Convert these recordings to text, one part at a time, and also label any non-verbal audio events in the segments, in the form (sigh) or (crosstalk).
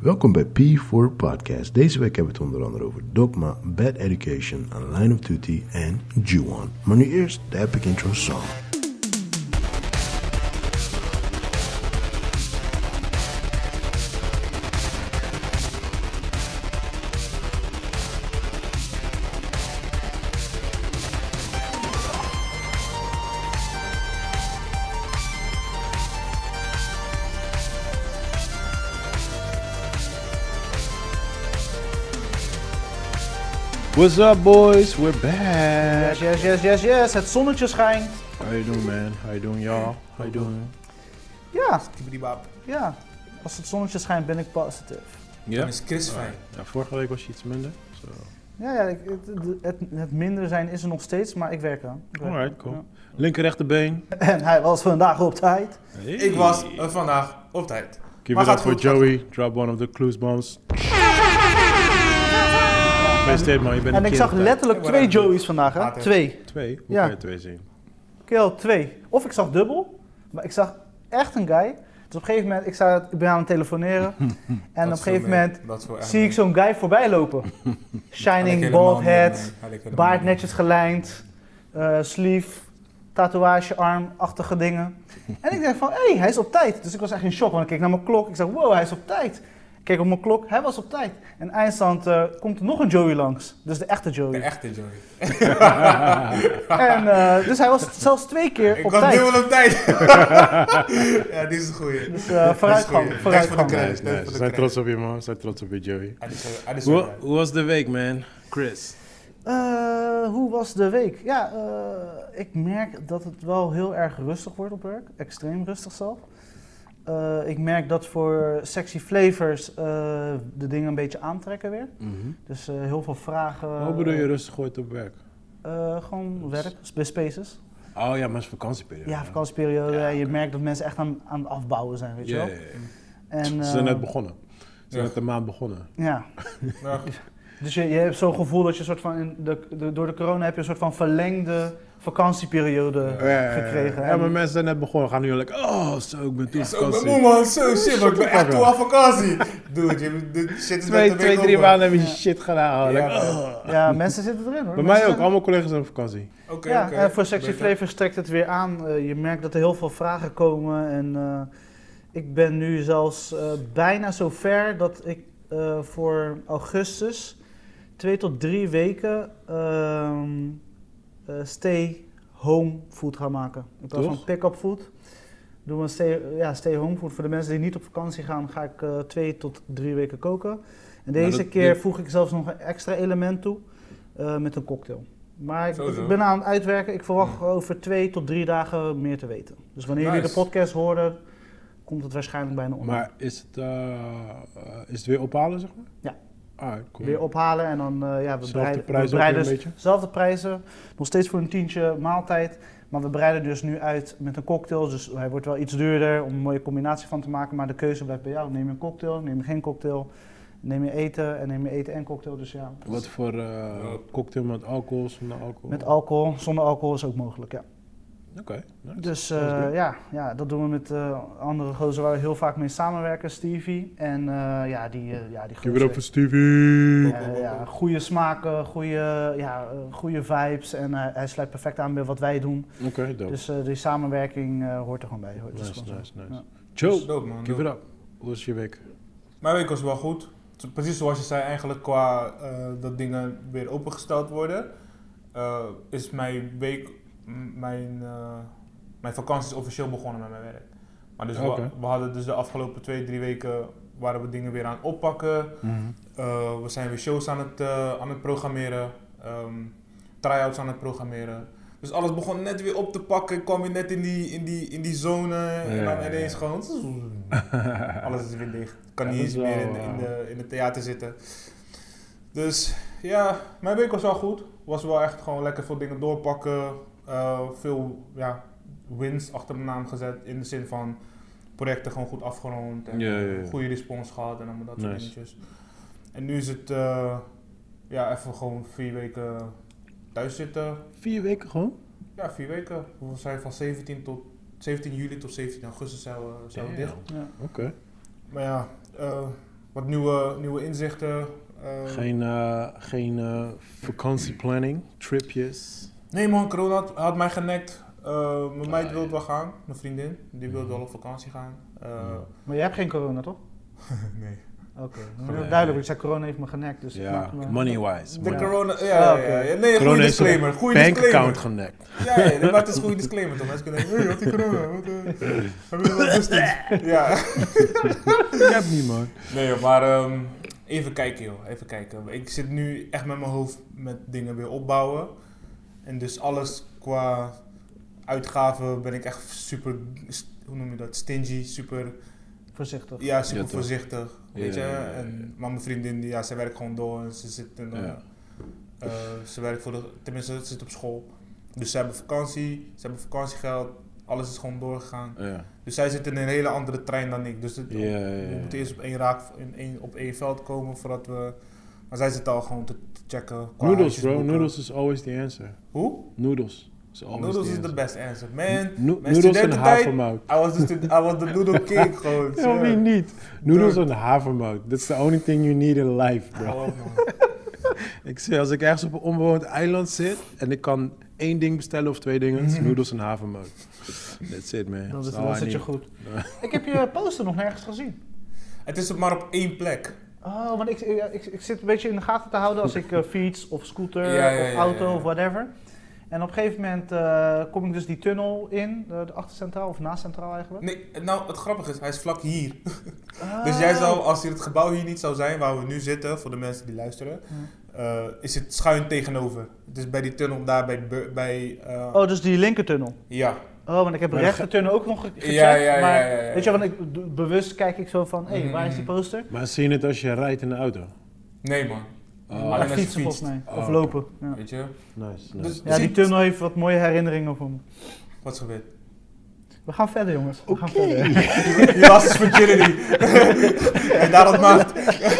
Welkom bij P4 Podcast. Deze week hebben we het onder andere over Dogma, Bad Education, A Line of Duty en Ju-on. Maar nu eerst de epic intro song. What's up, boys? We're back. Yes, yes, yes, yes, yes. Het zonnetje schijnt. How you doing, man? How you doing, y'all? How you doing? Ja, ja. Als het zonnetje schijnt ben ik positief. Ja. Oh, Dan is Chris fijn. ja. Vorige week was je iets minder. So. Ja, ja ik- het, het, het minder zijn is er nog steeds, maar ik werk aan. Ik werk aan, Alright, cool. Linker rechterbeen. ja. En hij was vandaag op tijd. Hey. Ik was eh, vandaag op tijd. Give maar it up gaat for goed, Joey. Drop one of the clues bombs. Gefeliciteerd, man. Je bent En een ik zag kind. letterlijk Ja, twee maar dan- Joey's vandaag, hè? Later. Twee. Twee? Hoe Ja. kan je twee zien? Kill, twee. Of ik zag dubbel, maar ik zag echt een guy. Dus op een gegeven moment, ik, sta, ik ben aan het (laughs) telefoneren. en op een gegeven moment zie ik zo'n guy voorbij lopen. (laughs) Shining, bald head. Baard netjes gelijnd, eh, sleeve, tatoeage, armachtige dingen. (laughs) En ik denk van, hé, hey, hij is op tijd. Dus ik was echt in shock, want ik keek naar mijn klok. Ik zeg, wow, hij is op tijd. Ik keek op mijn klok, hij was op tijd. En eindstand eh, komt er nog een Joey langs. Dus de echte De Joey. (laughs) echte Joey. En, eh, dus hij was zelfs twee keer Ik op was tijd. dubbel op tijd. (laughs) ja, dit is een goeie. Dus eh, vooruitgang, Dit is goed. vooruitgang. Dit is voor Nice, de nice. We zijn trots op je, man. We zijn trots op je, Joey. Hij is zo- hij is zo- Hoe hoe was de week, man? Chris. Eh, hoe was de week? Ja, eh, ik merk dat het wel heel erg rustig wordt op werk. Extreem rustig zelf. Eh, ik merk dat voor sexy flavors eh, de dingen een beetje aantrekken weer. Mhm. Dus eh, heel veel vragen. Hoe bedoel je rustig gooit op werk? Eh, gewoon werk, bij spaces. Oh ja, maar het is vakantieperiode. Ja, hè? vakantieperiode. Ja, ja, je oké. merkt dat mensen echt aan, aan het afbouwen zijn, weet je Ja, wel. ja, ja. En, Ze eh, zijn net begonnen. Ze zijn Ja. net de maand begonnen. Ja. Nou, Dus je, je hebt zo'n gevoel dat je een soort van, in de, de- door de corona heb je een soort van verlengde vakantieperiode gekregen. Ja, En- maar mensen zijn net begonnen. Gaan nu lekker, oh zo, ik ben toen op zo, ik ben vakantie. moe man, zo shit, maar ik ben echt Pakken. toe aan vakantie. Dude, je, dit shit is net Twee, een twee week drie over. maanden hebben je shit gedaan. Ja. lekker, oh. Ja, mensen zitten erin hoor. Bij Mensen mij ook, zijn- allemaal collega's zijn op vakantie. Oké, Ja, oké. en voor Sexy Beter. Flavors trekt het weer aan. Eh, je merkt dat er heel veel vragen komen. En eh, ik ben nu zelfs eh, bijna zo ver dat ik eh, voor augustus twee tot drie weken ehm, eh, stay home food ga maken. In plaats van Toch? pick-up food. Doen we een stay, ja, stay home food. Voor de mensen die niet op vakantie gaan, ga ik eh, twee tot drie weken koken. En Nou, Maar deze dat- keer dit- voeg ik zelfs nog een extra element toe eh, met een cocktail. Maar ik, Zo, zo. ik ben aan het uitwerken. Ik Mm. verwacht over twee tot drie dagen meer te weten. Dus wanneer jullie de Nice. podcast horen, komt het waarschijnlijk bijna online. Maar is het, eh, eh, is het weer ophalen, zeg maar? Ja. Alright, cool. Weer ophalen en dan, eh, ja, we Zelfde bereiden, prijs we ook bereiden weer een dus- zelfde prijzen. Nog steeds voor een tientje maaltijd. Maar we breiden dus nu uit met een cocktail. Dus hij wordt wel iets duurder om een mooie combinatie van te maken. Maar de keuze blijft bij jou. Neem je een cocktail, neem je geen cocktail. Neem je eten en neem je eten en cocktail. Dus ja, Wat voor eh, cocktail met alcohol, zonder alcohol? met alcohol, zonder alcohol is ook mogelijk, ja. Oké, nice. Dus Dat is eh, leuk. ja, ja, dat doen we met eh, andere gozer waar we heel vaak mee samenwerken, Stevie. En eh, ja, die, eh, ja, die Give it up gozer. voor Stevie. Ja, ja, goede smaken, goede, ja, eh, goede vibes en eh, hij sluit perfect aan bij wat wij doen. Oké, dope. Dus eh, die samenwerking eh, hoort er gewoon bij. Hoort dus nice, gewoon zo. nice, nice. Ja. Joe, Dope, man, give dope. it up. Hoe was je week? Mijn week was wel goed. Zo- Precies zoals je zei, eigenlijk qua eh, dat dingen weer opengesteld worden, eh, is mijn week, m- mijn, eh, mijn vakantie is officieel begonnen met mijn werk. Maar dus Oké. we, we hadden dus de afgelopen twee, drie weken waren we dingen weer aan het oppakken. (laughs) Eh, we zijn weer shows aan het, eh, aan het programmeren, ehm try-outs aan het programmeren. Dus alles begon net weer op te pakken. Ik kwam weer net in die, in die, in die zone en Ja, dan ja, ineens gewoon... Alles is weer dicht. Kan Ja, dat niet eens is meer wel, in, de- in, eh, de, in het theater zitten. Dus ja, mijn week was wel goed. Was wel echt gewoon lekker veel dingen doorpakken. Eh, veel ja, winst achter mijn naam gezet. In de zin van projecten gewoon goed afgerond. En Ja, ja, ja. goede respons gehad en allemaal dat soort Nice. dingetjes. En nu is het eh, ja, even gewoon vier weken thuis zitten. Vier weken gewoon? Ja, vier weken. We zijn van 17, tot, 17 juli tot 17 augustus zijn we, zijn we eh, dicht. Damn. Ja. Oké. Maar ja, eh, wat nieuwe, nieuwe inzichten. eh. Geen, eh, geen eh, vakantieplanning, tripjes. Nee man, corona had, had mij genekt. Eh, mijn meid Ah, wilde ja. wel gaan, mijn vriendin. Die wilde wel op vakantie gaan. Eh, Maar jij hebt geen corona, toch? nee. Oké, Nee. duidelijk. Ik zei corona heeft me genekt, dus het Ja, maakt me... money-wise. De money. corona, ja, Ah, oké. ja, ja. Corona Nee, goede heeft zijn disclaimer. Goede disclaimer. Bankaccount genekt. Ja, ja, maar het is een (laughs) goede disclaimer toch? Mensen kunnen denken, hey, had die corona? Wat, eh, heb je (laughs) wel distance? Ja. Ik heb niet, man. Nee, joh, maar ehm, even kijken, joh. Even kijken. Ik zit nu echt met mijn hoofd met dingen weer opbouwen. En dus alles qua uitgaven ben ik echt super, st- hoe noem je dat? Stingy, super, Voorzichtig. ja, super toch. voorzichtig. Weet Ja, je? ja, ja, ja. En, maar mijn vriendin, die, ja, zij werkt gewoon door en ze zit in, eh, Ja. eh, ze werkt voor de, tenminste, ze zit op school. Dus ze hebben vakantie, ze hebben vakantiegeld, alles is gewoon doorgegaan. Ja, Dus zij zit in een hele andere trein dan ik. Dus het, ja, ja, we ja. moeten eerst op één, raak, in één, op één veld komen voordat we... Maar zij zitten al gewoon te te checken. qua Noodles, huisjes bro. boeken. Noodles is always the answer. Hoe? Noodles is always Noodles the is answer. the best answer. Man, No- noodles en mijn studententijd- havermout. I was the, stu- I was the (laughs) noodle king gewoon. Ja, wie serieus. niet? Noodles Dude. en havermout. That's the only thing you need in life, bro. Hou op, man. Ik zeg, als ik ergens op een onbewoond eiland zit en ik kan één ding bestellen of twee dingen, het is noedels en havermout. That's it, man. Dan, That's is, all dan I zit je need. goed. Ik heb je poster nog nergens gezien. Het is maar op één plek. Oh, want ik, ik, ik, ik zit een beetje in de gaten te houden als ik eh, fiets of scooter (laughs) Ja, ja, of ja, auto ja, ja. of whatever. En op een gegeven moment eh, kom ik dus die tunnel in, eh, de achtercentraal of naast centraal eigenlijk. Nee, nou, het grappige is, hij is vlak hier. Ah. Dus jij zou, als hier het gebouw hier niet zou zijn, waar we nu zitten, voor de mensen die luisteren, eh, is het schuin tegenover. Dus bij die tunnel daar, bij... Bur- bij eh, Oh, dus die linkertunnel. Ja, Oh, want ik heb de Maar dan rechtertunnel ook nog ge- gecheckt. Ja, ja, ja, maar ja, ja, ja. weet je, want ik, d- bewust kijk ik zo van, hé, hey, waar is die Mm. poster? Maar zie je het als je rijdt in de auto? nee man. Oh, maar als je fietsen fietst. volgens mij. Oh, of oké. lopen. Ja. Weet je? Nice, nice. Dus- Ja, die Ziet- tunnel heeft wat mooie herinneringen voor me. Wat is gebeurd? We gaan verder, jongens. We gaan verder. Je was dus virginity. (laughs) en (laughs) daarom maakt...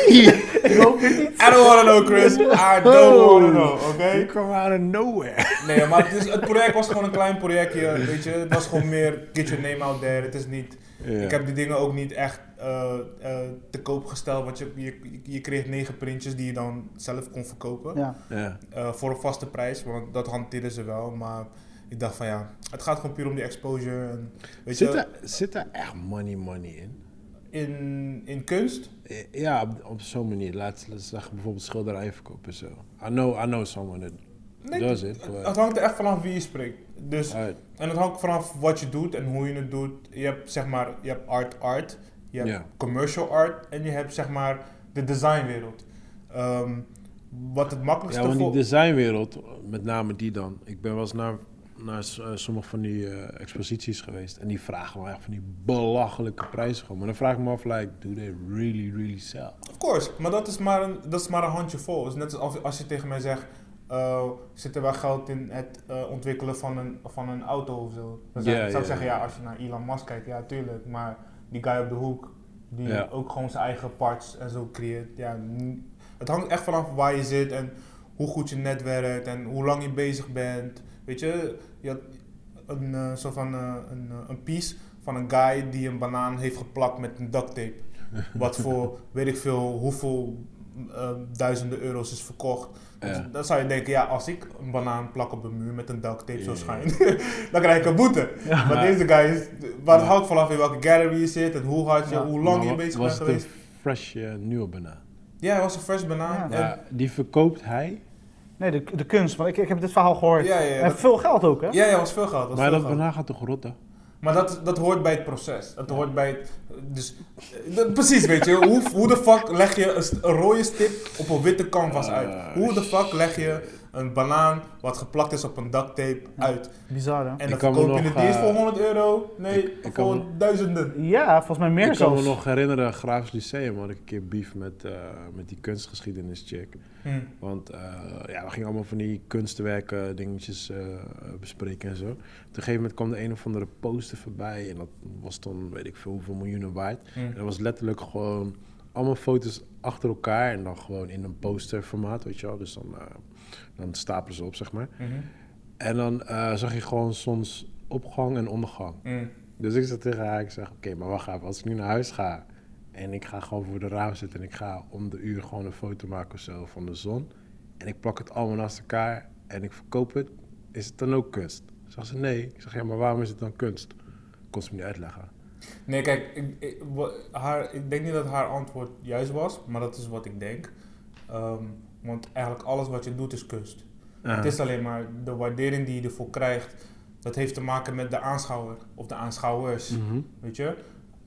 ik hoop het niet. Oh. I don't wanna know, Chris. I don't wanna know, oké? Ik kwam out of nowhere. Nee, maar het, is, het project was gewoon een klein projectje, weet je. Het was gewoon meer get your name out there. Het is niet... Ik heb die dingen ook niet echt eh, eh, te koop gesteld. Want je, je, je kreeg negen printjes die je dan zelf kon verkopen. Ja. Ja. Eh, voor een vaste prijs, want dat hanteerden ze wel. Maar ik dacht van ja, het gaat gewoon puur om die exposure. En, weet Zit, je, daar, zit daar echt money, money in? in, in kunst... Ja, op, op zo'n manier. Laat laat zeggen, bijvoorbeeld schilderijen verkopen zo. I know, I know someone that Nee, does it. Het, but- het hangt er echt vanaf wie je spreekt. Dus, Alright. en het hangt vanaf wat je doet en hoe je het doet. Je hebt zeg maar, je hebt art art, je hebt Ja. commercial art en je hebt zeg maar de designwereld. Ehm, wat het makkelijkste Ja, want die voor- designwereld, met name die dan. Ik ben wel eens naar, naar s- eh, sommige van die eh, exposities geweest. En die vragen wel echt van die belachelijke prijzen gewoon. Maar dan vraag ik me af, like, do they really, really sell? Of course, maar dat is maar een, dat is maar een handje vol. Het is net als als je tegen mij zegt, eh, zit er wel geld in het eh, ontwikkelen van een, van een auto of zo. Dan zou, Ja, zou ik ja, zeggen, ja. ja, als je naar Elon Musk kijkt, ja tuurlijk. Maar die guy op de hoek, die Ja. ook gewoon zijn eigen parts en zo creëert. Ja, n- het hangt echt vanaf waar je zit en hoe goed je netwerkt en hoe lang je bezig bent. Weet je, je had een eh, soort van eh, een, eh, een piece van een guy die een banaan heeft geplakt met een duct (laughs) tape. Wat voor weet ik veel hoeveel eh, duizenden euro's is verkocht. Dus Ja. dan zou je denken, ja, als ik een banaan plak op een muur met een duct tape zou Ja. schijn, (laughs) dan krijg ik een boete. Maar deze guy is. Maar het hangt vanaf in welke gallery je zit en hoe hard je, Ja. hoe lang Maar je wa- bezig bent was geweest. het een fresh eh, nieuwe banaan? Ja, hij was een fresh banaan. Ja. En- Ja, die verkoopt hij, Nee, de, de kunst, want ik, ik heb dit verhaal gehoord. Ja, ja, ja. En veel geld ook, hè? Ja, ja, was veel geld. Was maar veel dat geld. banaan gaat toch rotten? Maar dat, dat hoort bij het proces. Dat hoort bij het. Dus, eh, dat- precies, weet je. Hoe, hoe de fuck leg je een, st- een rode stip op een witte canvas uit? Ah, Hoe de fuck leg je een banaan wat geplakt is op een duct tape uit? Bizar, hè? En Ik dan kan me verkoop je nog, het niet eens eh, voor 100 euro. Nee, ik kan voor me- duizenden. Ja, volgens mij meer ik kan me zelfs. nog herinneren, Graafs Lyceum had ik een keer beef met, eh, met die kunstgeschiedenis chick. Hm. Want eh, ja, we gingen allemaal van die kunstwerken, dingetjes eh, bespreken en zo. Op een gegeven moment kwam de een of andere poster voorbij. En dat was dan, weet ik veel, hoeveel miljoenen waard. En dat was letterlijk gewoon allemaal foto's achter elkaar. En dan gewoon in een posterformaat, weet je wel. Dus dan, eh, dan stapelen ze op, zeg maar. Mhm. En dan eh, zag je gewoon soms opgang en ondergang. Mm. Dus ik zei tegen haar, ik zeg, oké, maar wacht even. Als ik nu naar huis ga En ik ga gewoon voor de raam zitten en ik ga om de uur gewoon een foto maken of zo van de zon. En ik plak het allemaal naast elkaar en ik verkoop het. Is het dan ook kunst? Zag ze nee. Ik zeg ja, maar waarom is het dan kunst? Kon ze me niet uitleggen. Nee, kijk, ik, ik- wa- haar, ik denk niet dat haar antwoord juist was, maar dat is wat ik denk. Ehm, want eigenlijk alles wat je doet is kunst. Ah, Het is alleen maar de waardering die je ervoor krijgt, dat heeft te maken met de aanschouwer of de aanschouwers. mhm. Weet je,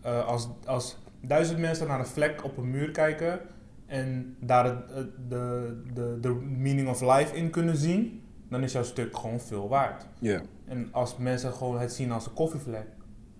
Eh, als, als duizend mensen naar een vlek op een muur kijken en daar het- het- de, de, de meaning of life in kunnen zien, dan is jouw stuk gewoon veel waard. Ja, En als mensen gewoon het zien als een koffievlek,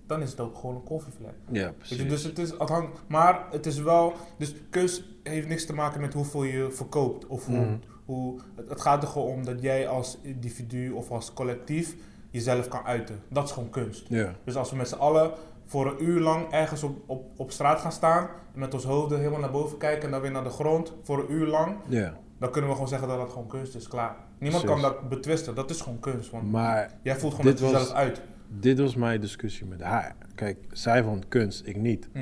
dan is het ook gewoon een koffievlek. ja, Weet je, precies. dus het is afhang- maar het is wel, dus keus heeft niks te maken met hoeveel je verkoopt of hoe, Mhm. hoe het, het gaat er gewoon om dat jij als individu of als collectief jezelf kan uiten. Dat is gewoon kunst. Ja, Dus als we met z'n allen voor een uur lang ergens op, op, op straat gaan staan, en met ons hoofden helemaal naar boven kijken en dan weer naar de grond voor een uur lang, ja. dan kunnen we gewoon zeggen dat dat gewoon kunst is, klaar. Niemand Precies. kan dat betwisten, dat is gewoon kunst, want Maar jij voelt gewoon dit dat was- jezelf uit. Dit was mijn discussie met haar. Kijk, zij vond kunst, ik niet. Hm,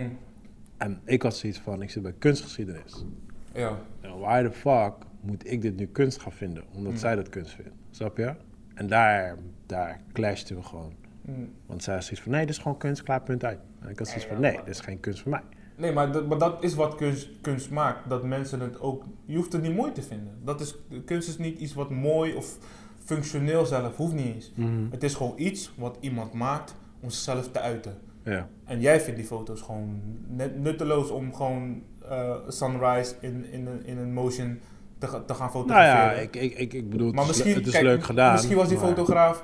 En ik had zoiets van, ik zit bij kunstgeschiedenis. Ja. En why the fuck moet ik dit nu kunst gaan vinden? Omdat Mm. zij dat kunst vindt. Snap je? En daar, daar clashten we gewoon. Hm. Want zij had zoiets van, nee, dit is gewoon kunst, klaar, punt uit. En ik had zoiets van, nee, dit is geen kunst voor mij. Nee, maar dat, maar dat is wat kunst, kunst maakt. Dat mensen het ook... Je hoeft het niet mooi te vinden. Dat is, kunst is niet iets wat mooi of functioneel zelf. Hoeft niet eens. Hm. Het is gewoon iets wat iemand maakt om zichzelf te uiten. Ja, En jij vindt die foto's gewoon net, nutteloos om gewoon eh, sunrise in, in, een- in een motion te, ga- te gaan nou fotograferen. ja, ik, ik, ik, ik bedoel, maar het is, misschien, le- het is kijk, leuk gedaan. Misschien was die maar- fotograaf...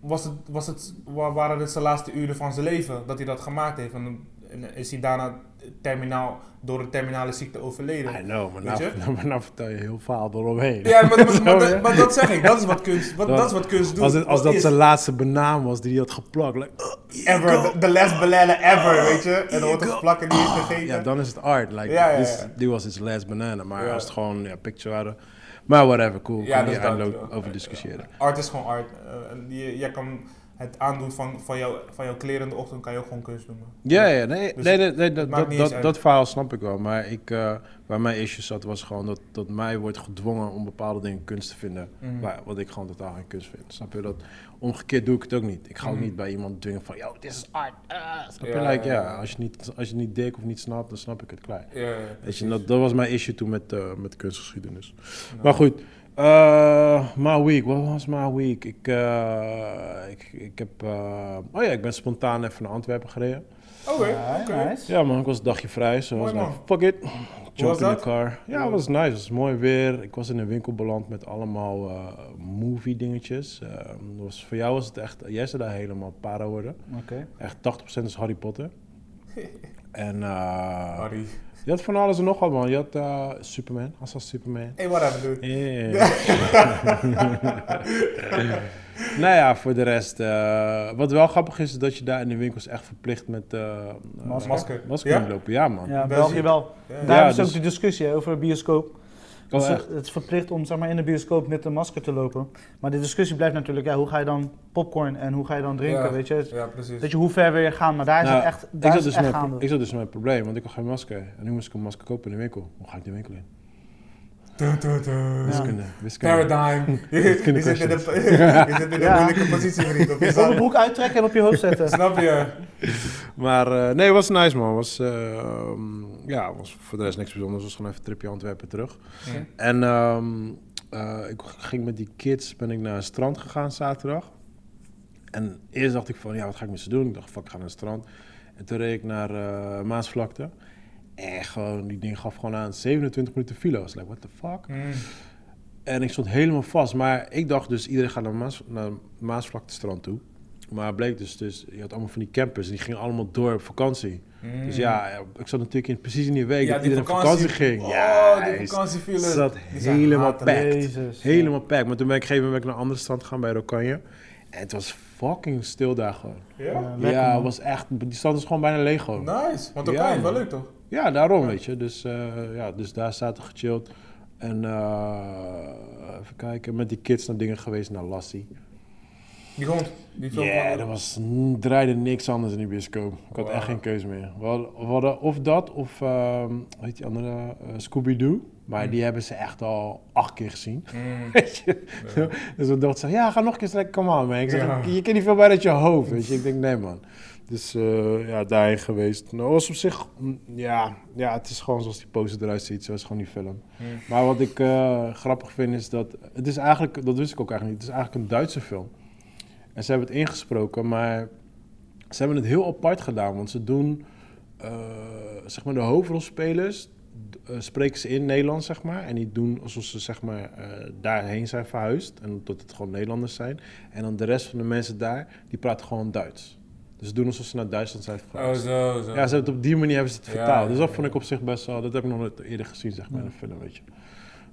Was het, was het, wa- waren dit zijn laatste uren van zijn leven dat hij dat gemaakt heeft? En dan- En is hij daarna terminaal, door een terminale ziekte overleden? I know, maar Weet nou, (laughs) maar nou vertel je heel verhaal eromheen. Ja, maar, maar, (laughs) maar, Zo, hè? dat- maar dat zeg ik. Dat is wat kunst, wat, Dat- dat, is wat kunst doet. Als, het- als Wat dat is zijn laatste benaam was die hij had geplakt, like, "Ugh, here you Ever, go." the- the last banana ever, weet je. En dan wordt het geplakt en die is gegeten. Ah, Ja, dan is het art. Like, Ja, ja, this- ja. die was his last banana. Maar Ja. als het gewoon ja, picture waren. Maar whatever, cool. Ja, Ja, dat kan is je dat, eindeloos ja. over discussiëren. Art is gewoon art. Eh, en je, jij kan het aandoen van, van, jou, van jouw kleren in de ochtend, kan je ook gewoon kunst noemen. Ja, ja, nee, Dus nee, nee, nee, dat, maakt dat, niet dat, eens uit. dat verhaal snap ik wel. Maar ik, eh, waar mijn issue zat, was gewoon dat, dat mij wordt gedwongen om bepaalde dingen kunst te vinden. Mhm. Waar, wat ik gewoon totaal geen kunst vind. Snap je dat? Omgekeerd doe ik het ook niet. Ik ga ook Mhm. niet bij iemand dwingen van, yo, dit is art. ah." snap je? Ja, Like, ja, ja, ja. als je niet, als je niet dik of niet snapt, dan snap ik het klaar. Ja, ja, Weet je, dat, dat was mijn issue toen met, eh, met kunstgeschiedenis. Nou. Maar goed, eh my week, wat was my week? Ik, eh, ik, ik heb, eh, oh ja, ik ben spontaan even naar Antwerpen gereden. Oké, Ja, oké. nice. Ja man, ik was een dagje vrij, zo was Mooi, like, man. fuck it. Jump was in dat? the car. Ja, het was nice, het was mooi weer. Ik was in een winkel beland met allemaal eh, movie dingetjes. Eh, was, voor jou was het echt, jij zou daar helemaal para worden. Oké. Echt 80% is Harry (laughs) Potter. En eh, Harry. je had van alles en nog wat, man. Je had eh, Superman, als was Superman. Hey, whatever, dude. Yeah. (laughs) nou ja, voor de rest. eh, wat wel grappig is, is dat je daar in de winkels echt verplicht met eh, eh, Masker. Masker. masker Ja? moet lopen. Ja, man. Ja, België. België wel. Ja, ja. Daar Ja, is ook dus- de discussie hè, over de bioscoop. Oh, Het is- echt? het is verplicht om zeg maar, in de bioscoop met een masker te lopen. Maar de discussie blijft natuurlijk, ja, hoe ga je dan popcorn en hoe ga je dan drinken, Ja. weet je? Ja, precies. Weet je, hoe ver wil je gaan? Maar daar is Nou, het echt, Ik daar zat, is dus het echt met, gaande. ik zat dus met een probleem, want ik had geen masker. En nu moest ik een masker kopen in de winkel. Hoe ga ik de winkel in? Dun, dun, dun. Wiskunde. wiskunde. (laughs) Paradigm. Je zit in de, questions. (laughs) je zit in de Ja. moeilijke positie, vriend. Op je Je zak. broek uittrekken en op je hoofd (laughs) zetten. Snap je? Maar eh, nee, was nice man. Was, eh, ja, was voor de rest niks bijzonders. Was gewoon even een tripje Antwerpen terug. Ja. En ehm, eh, ik ging met die kids ben ik naar het strand gegaan zaterdag. En eerst dacht ik van, ja, wat ga ik met ze doen? Ik dacht, fuck, ik ga naar het strand. En toen reed ik naar eh, Maasvlakte. En gewoon, die ding gaf gewoon aan 27 minuten file. I was like, what the fuck? Mm. En ik stond helemaal vast. Maar ik dacht dus, iedereen gaat naar, Maas, naar Maasvlaktestrand toe. Maar het bleek dus, dus, je had allemaal van die campers. Die gingen allemaal door op vakantie. Mm. Dus ja, ik zat natuurlijk in, precies in die week dat die iedereen op vakantie ging. Oh, ja, die is- vakantiefiles. zat Die zijn helemaal hatelijk. packed. Jezus. Helemaal pack. Maar toen ben ik op een gegeven moment ben ik naar een andere strand gaan bij Rokanje. En het was fucking stil daar gewoon. Ah, Ja? lekker, ja, het man. was echt, die strand is gewoon bijna leeg gewoon. Nice. Want dan Ja, kan je het wel man. leuk, toch? Ja, daarom weet je. Dus, eh, ja, dus daar zaten we gechilled. En eh, even kijken, met die kids naar dingen geweest, naar Lassie. Die hond. Die Ja, film van- er was, n- draaide niks anders in die bioscoop. Ik had Wow. echt geen keuze meer. We hadden, we hadden of dat of, ehm hoe heet die andere, eh, Scooby-Doo. Maar die hebben ze echt al acht keer gezien. Mm. Weet je? Dus we dachten, ja, ga nog een keer strekken, kom aan man. Ik zeg, Ja. je je kent die film bijna uit je hoofd, weet je. Ik denk, nee man. Dus eh, ja, daarheen geweest. Nou, was op zich, mm, ja, ja, het is gewoon zoals die poster eruit ziet, zo is gewoon die film. Mm. Maar wat ik eh, grappig vind is dat, het is eigenlijk, dat wist ik ook eigenlijk niet, het is eigenlijk een Duitse film. En ze hebben het ingesproken, maar ze hebben het heel apart gedaan. Want ze doen, eh, zeg maar, de hoofdrolspelers d- eh, spreken ze in Nederlands, zeg maar. En die doen alsof ze, zeg maar, eh, daarheen zijn verhuisd. En dat het gewoon Nederlanders zijn. En dan de rest van de mensen daar, die praten gewoon Duits. Dus ze doen alsof ze naar Duitsland zijn Oh, verhuisd. zo, zo. Ja, ze hebben het op die manier hebben ze het Ja, vertaald. dus dat ja, vond ja. ik op zich best wel... Dat heb ik nog nooit eerder gezien, zeg maar, in een film, weet je.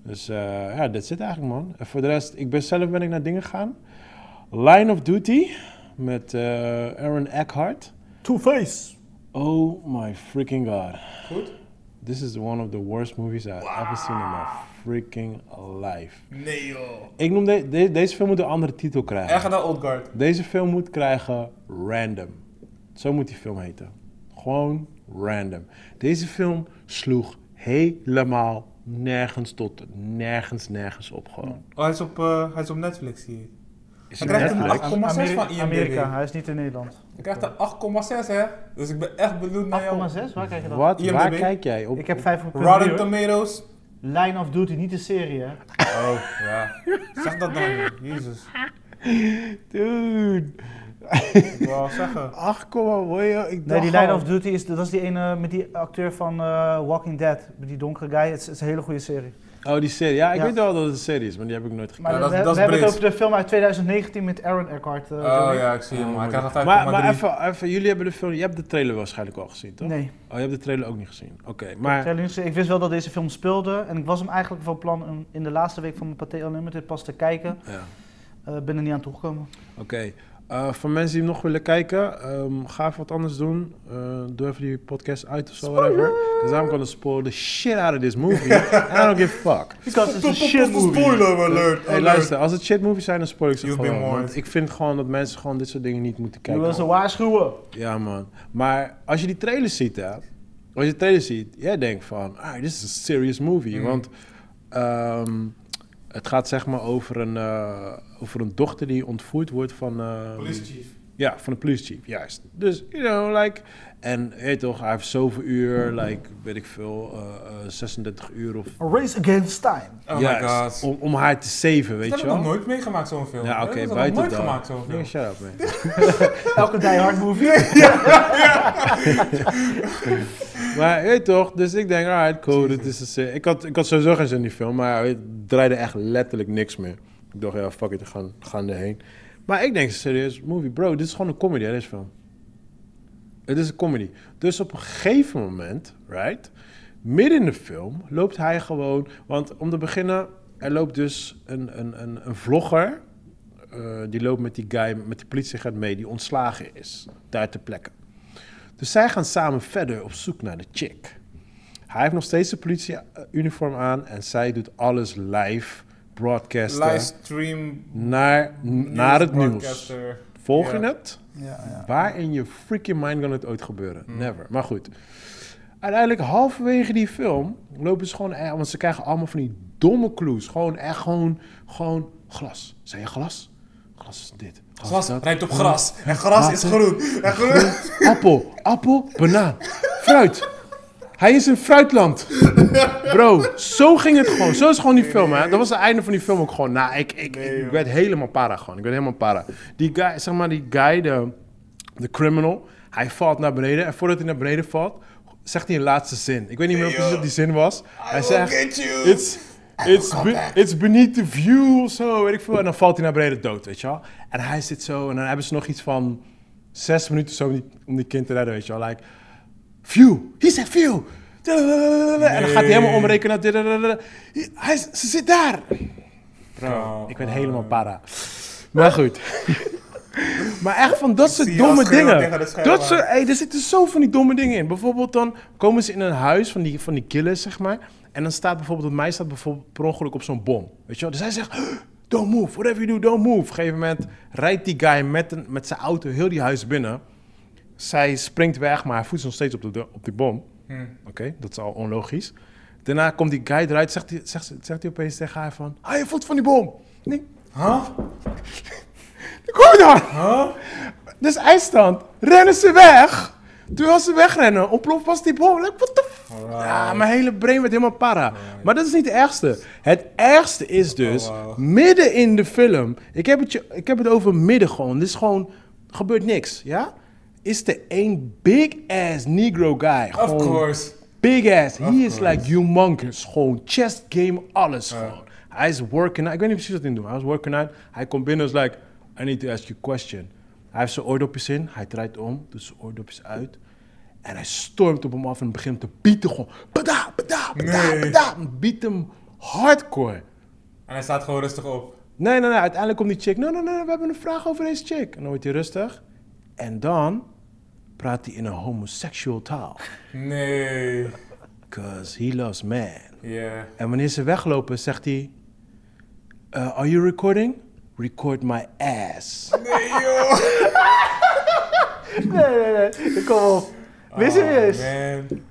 Dus eh, ja, dit zit eigenlijk, man. En voor de rest, ik ben zelf ben ik naar dingen gegaan. Line of Duty met eh, Aaron Eckhart. Two-Face. Oh my freaking god. Goed? This is one of the worst movies I've ever seen in my freaking life. Nee, joh. Ik noem de- de- deze film moet een andere titel krijgen. Echt naar Old Guard. Deze film moet krijgen Random. Zo moet die film heten. Gewoon Random. Deze film sloeg helemaal nergens tot nergens, nergens op gewoon. Oh, hij is op, eh, hij is op Netflix hier. Is Hij het krijgt een Netflix? 8,6 van IMDb. Amerika, hij is niet in Nederland. Ik krijg er 8,6 hè. Dus ik ben echt benieuwd naar jou. 8,6? Waar krijg je dat? Wat? IMDb? Waar kijk jij op? Ik heb 5 Rotten geprobeerd. Tomatoes. Line of Duty, niet de serie hè. Oh, ja. Zeg dat dan, joh. Jezus. Dude. Ik wil wel zeggen. 8, hoor je? Ik Nee, dacht die Line al- of Duty is, dat is die ene met die acteur van eh, Walking Dead. Met die donkere guy. Het is, het is een hele goede serie. Oh, die serie. Ja, ik Ja. weet wel dat het een serie is, maar die heb ik nooit gekeken. Maar Ja, we, dat- dat is we hebben het Brits. over de film uit 2019 met Aaron Eckhart. eh, Oh sorry. ja, ik zie hem. Hij krijgt er 5,3. Maar, maar even, even, jullie hebben de film, je hebt de trailer waarschijnlijk al gezien, toch? Nee. Oh, je hebt de trailer ook niet gezien. Oké, maar... Terwijl jullie- Ik wist wel dat deze film speelde. En ik was hem eigenlijk van plan om in de laatste week van mijn Pathé Unlimited pas te kijken. Ja. Eh ben er niet aan toegekomen. Oké. Eh, voor mensen die hem nog willen kijken, ehm, ga even wat anders doen. Eh, doe even die podcast uit of zo, whatever. Because I'm gonna spoil the shit out of this movie. And I don't give a fuck. Because it's a shit movie. Spoiler alert. Hey, luister, als het shit movies zijn, dan spoil ik ze You've gewoon. been warned. Want ik vind gewoon dat mensen gewoon dit soort dingen niet moeten Je kijken. wil ze waarschuwen. Ja, man. Maar als je die trailer ziet, hè. Als je de trailer ziet, jij denkt van, ah, dit is een serious movie. Mm. Want ehm, het gaat zeg maar over een, eh, over een dochter die ontvoerd wordt van... ehm, Police chief. ja, van de police chief, juist. Dus, you know, like... En, je weet toch, hij heeft zoveel uur, like, weet ik veel, eh, eh, 36 uur of... A race against time. Oh my juist, god. Om, om haar te saven, Dat weet heb je ik nog wel. nooit meegemaakt, zo'n film. Ja, Dat oké, heb ik nog buiten nooit dat. gemaakt, zo'n film. Nee, shut up, man. Elke Die Hard movie. Maar je weet toch, dus ik denk, alright, cool, dit is een se- ik, had, ik had sowieso geen zin in die film, maar het draaide echt letterlijk niks meer. Ik dacht, ja, fuck it, we gaan, we gaan erheen. Maar ik denk, serieus, movie, bro, dit is gewoon een comedy, hè, deze film. Het is een comedy. Dus op een gegeven moment, right, midden in de film, loopt hij gewoon... Want om te beginnen, er loopt dus een, een, een, een vlogger... eh, die loopt met die guy, met die politieagent mee, die ontslagen is. Daar ter plekke. Dus zij gaan samen verder op zoek naar de chick. Hij heeft nog steeds de politieuniform aan en zij doet alles live broadcasten Livestream. naar, naar het nieuws. broadcaster. Volg je Ja. het? Ja, ja. Waar in je freaking mind kan het ooit gebeuren? Hm. Never. Maar goed. Uiteindelijk, halverwege die film, lopen ze gewoon... eh, Want ze krijgen allemaal van die domme clues. Gewoon echt gewoon... Gewoon glas. Zijn je glas? Glas is dit. Glas is dat. rijmt op gras. En gras is groen. En groen. Appel, appel, banaan, fruit. Hij is in fruitland. Bro, zo ging het gewoon. Zo is gewoon die film, hè. Dat was het einde van die film ook gewoon. Nou, ik, ik, ik werd helemaal para gewoon. Ik werd helemaal para. Die guy, zeg maar, die guy, de, de criminal, hij valt naar beneden. En voordat hij naar beneden valt, zegt hij een laatste zin. Ik weet niet meer Hey, precies yo. wat die zin was. Hij zegt, get you. it's, it's, be- it's beneath the view of zo, weet ik veel. En dan valt hij naar beneden dood, weet je wel. En hij zit zo, en dan hebben ze nog iets van zes minuten zo om die, om die kind te redden, weet je wel. Like, view, he said view. En dan gaat hij helemaal omrekenen. naar dadadadada. Hij, is- ze zit daar. Bro, Ik ben helemaal para. Maar goed. Maar echt van dat soort zie jou domme schreeuwen tegen dingen. de scherm Dat soort, aan. hey, er zitten zo van die domme dingen in. Bijvoorbeeld dan komen ze in een huis van die, van die killers, zeg maar. En dan staat bijvoorbeeld, dat mij staat bijvoorbeeld per ongeluk op zo'n bom. Weet je wel? Dus hij zegt, "Huh, Don't move, whatever you do, don't move. Op een gegeven moment rijdt die guy met, een, met zijn auto heel die huis binnen. Zij springt weg, maar hij voet is nog steeds op, de, op die bom. Hmm. Oké, dat is al onlogisch. Daarna komt die guy eruit, zegt hij zegt, zegt hij opeens tegen haar van... Ah, je voet van die bom! Nee, Huh? kom dan! Huh? Dus eindstand, rennen ze weg. Terwijl ze wegrennen, ontploft was die bom. Like, what the f- Alright. Ja, mijn hele brein werd helemaal para. Maar dat is niet het ergste. Het ergste is dus, Oh, wow. midden in de film... Ik heb, het, je- ik heb het over midden gewoon. Dit is gewoon, gebeurt niks, ja? Is er één big ass negro guy. Of gewoon course. Big ass. He is like humongous. Gewoon chess game, alles gewoon. Hij is working out. Ik weet niet precies wat hij doet. Hij was working out. Hij komt binnen en is like, I need to ask you a question. Hij heeft zijn oordopjes in. Hij draait om, doet zijn oordopjes uit. En hij stormt op hem af en begint te bieten gewoon. Bada, bada, bada, Nee. bada. Biet hem hardcore. En hij staat gewoon rustig op. Nee, nee, nee. Uiteindelijk komt die chick. Nee, nee, nee. We hebben een vraag over deze chick. En dan wordt hij rustig. En dan praat hij in een homoseksueel taal. Nee. Cause he loves man. Yeah. En wanneer ze weglopen, zegt hij: eh, Are you recording? Record my ass. Nee, joh. Nee, nee, nee. Kom op. Wees serieus. Oh, man.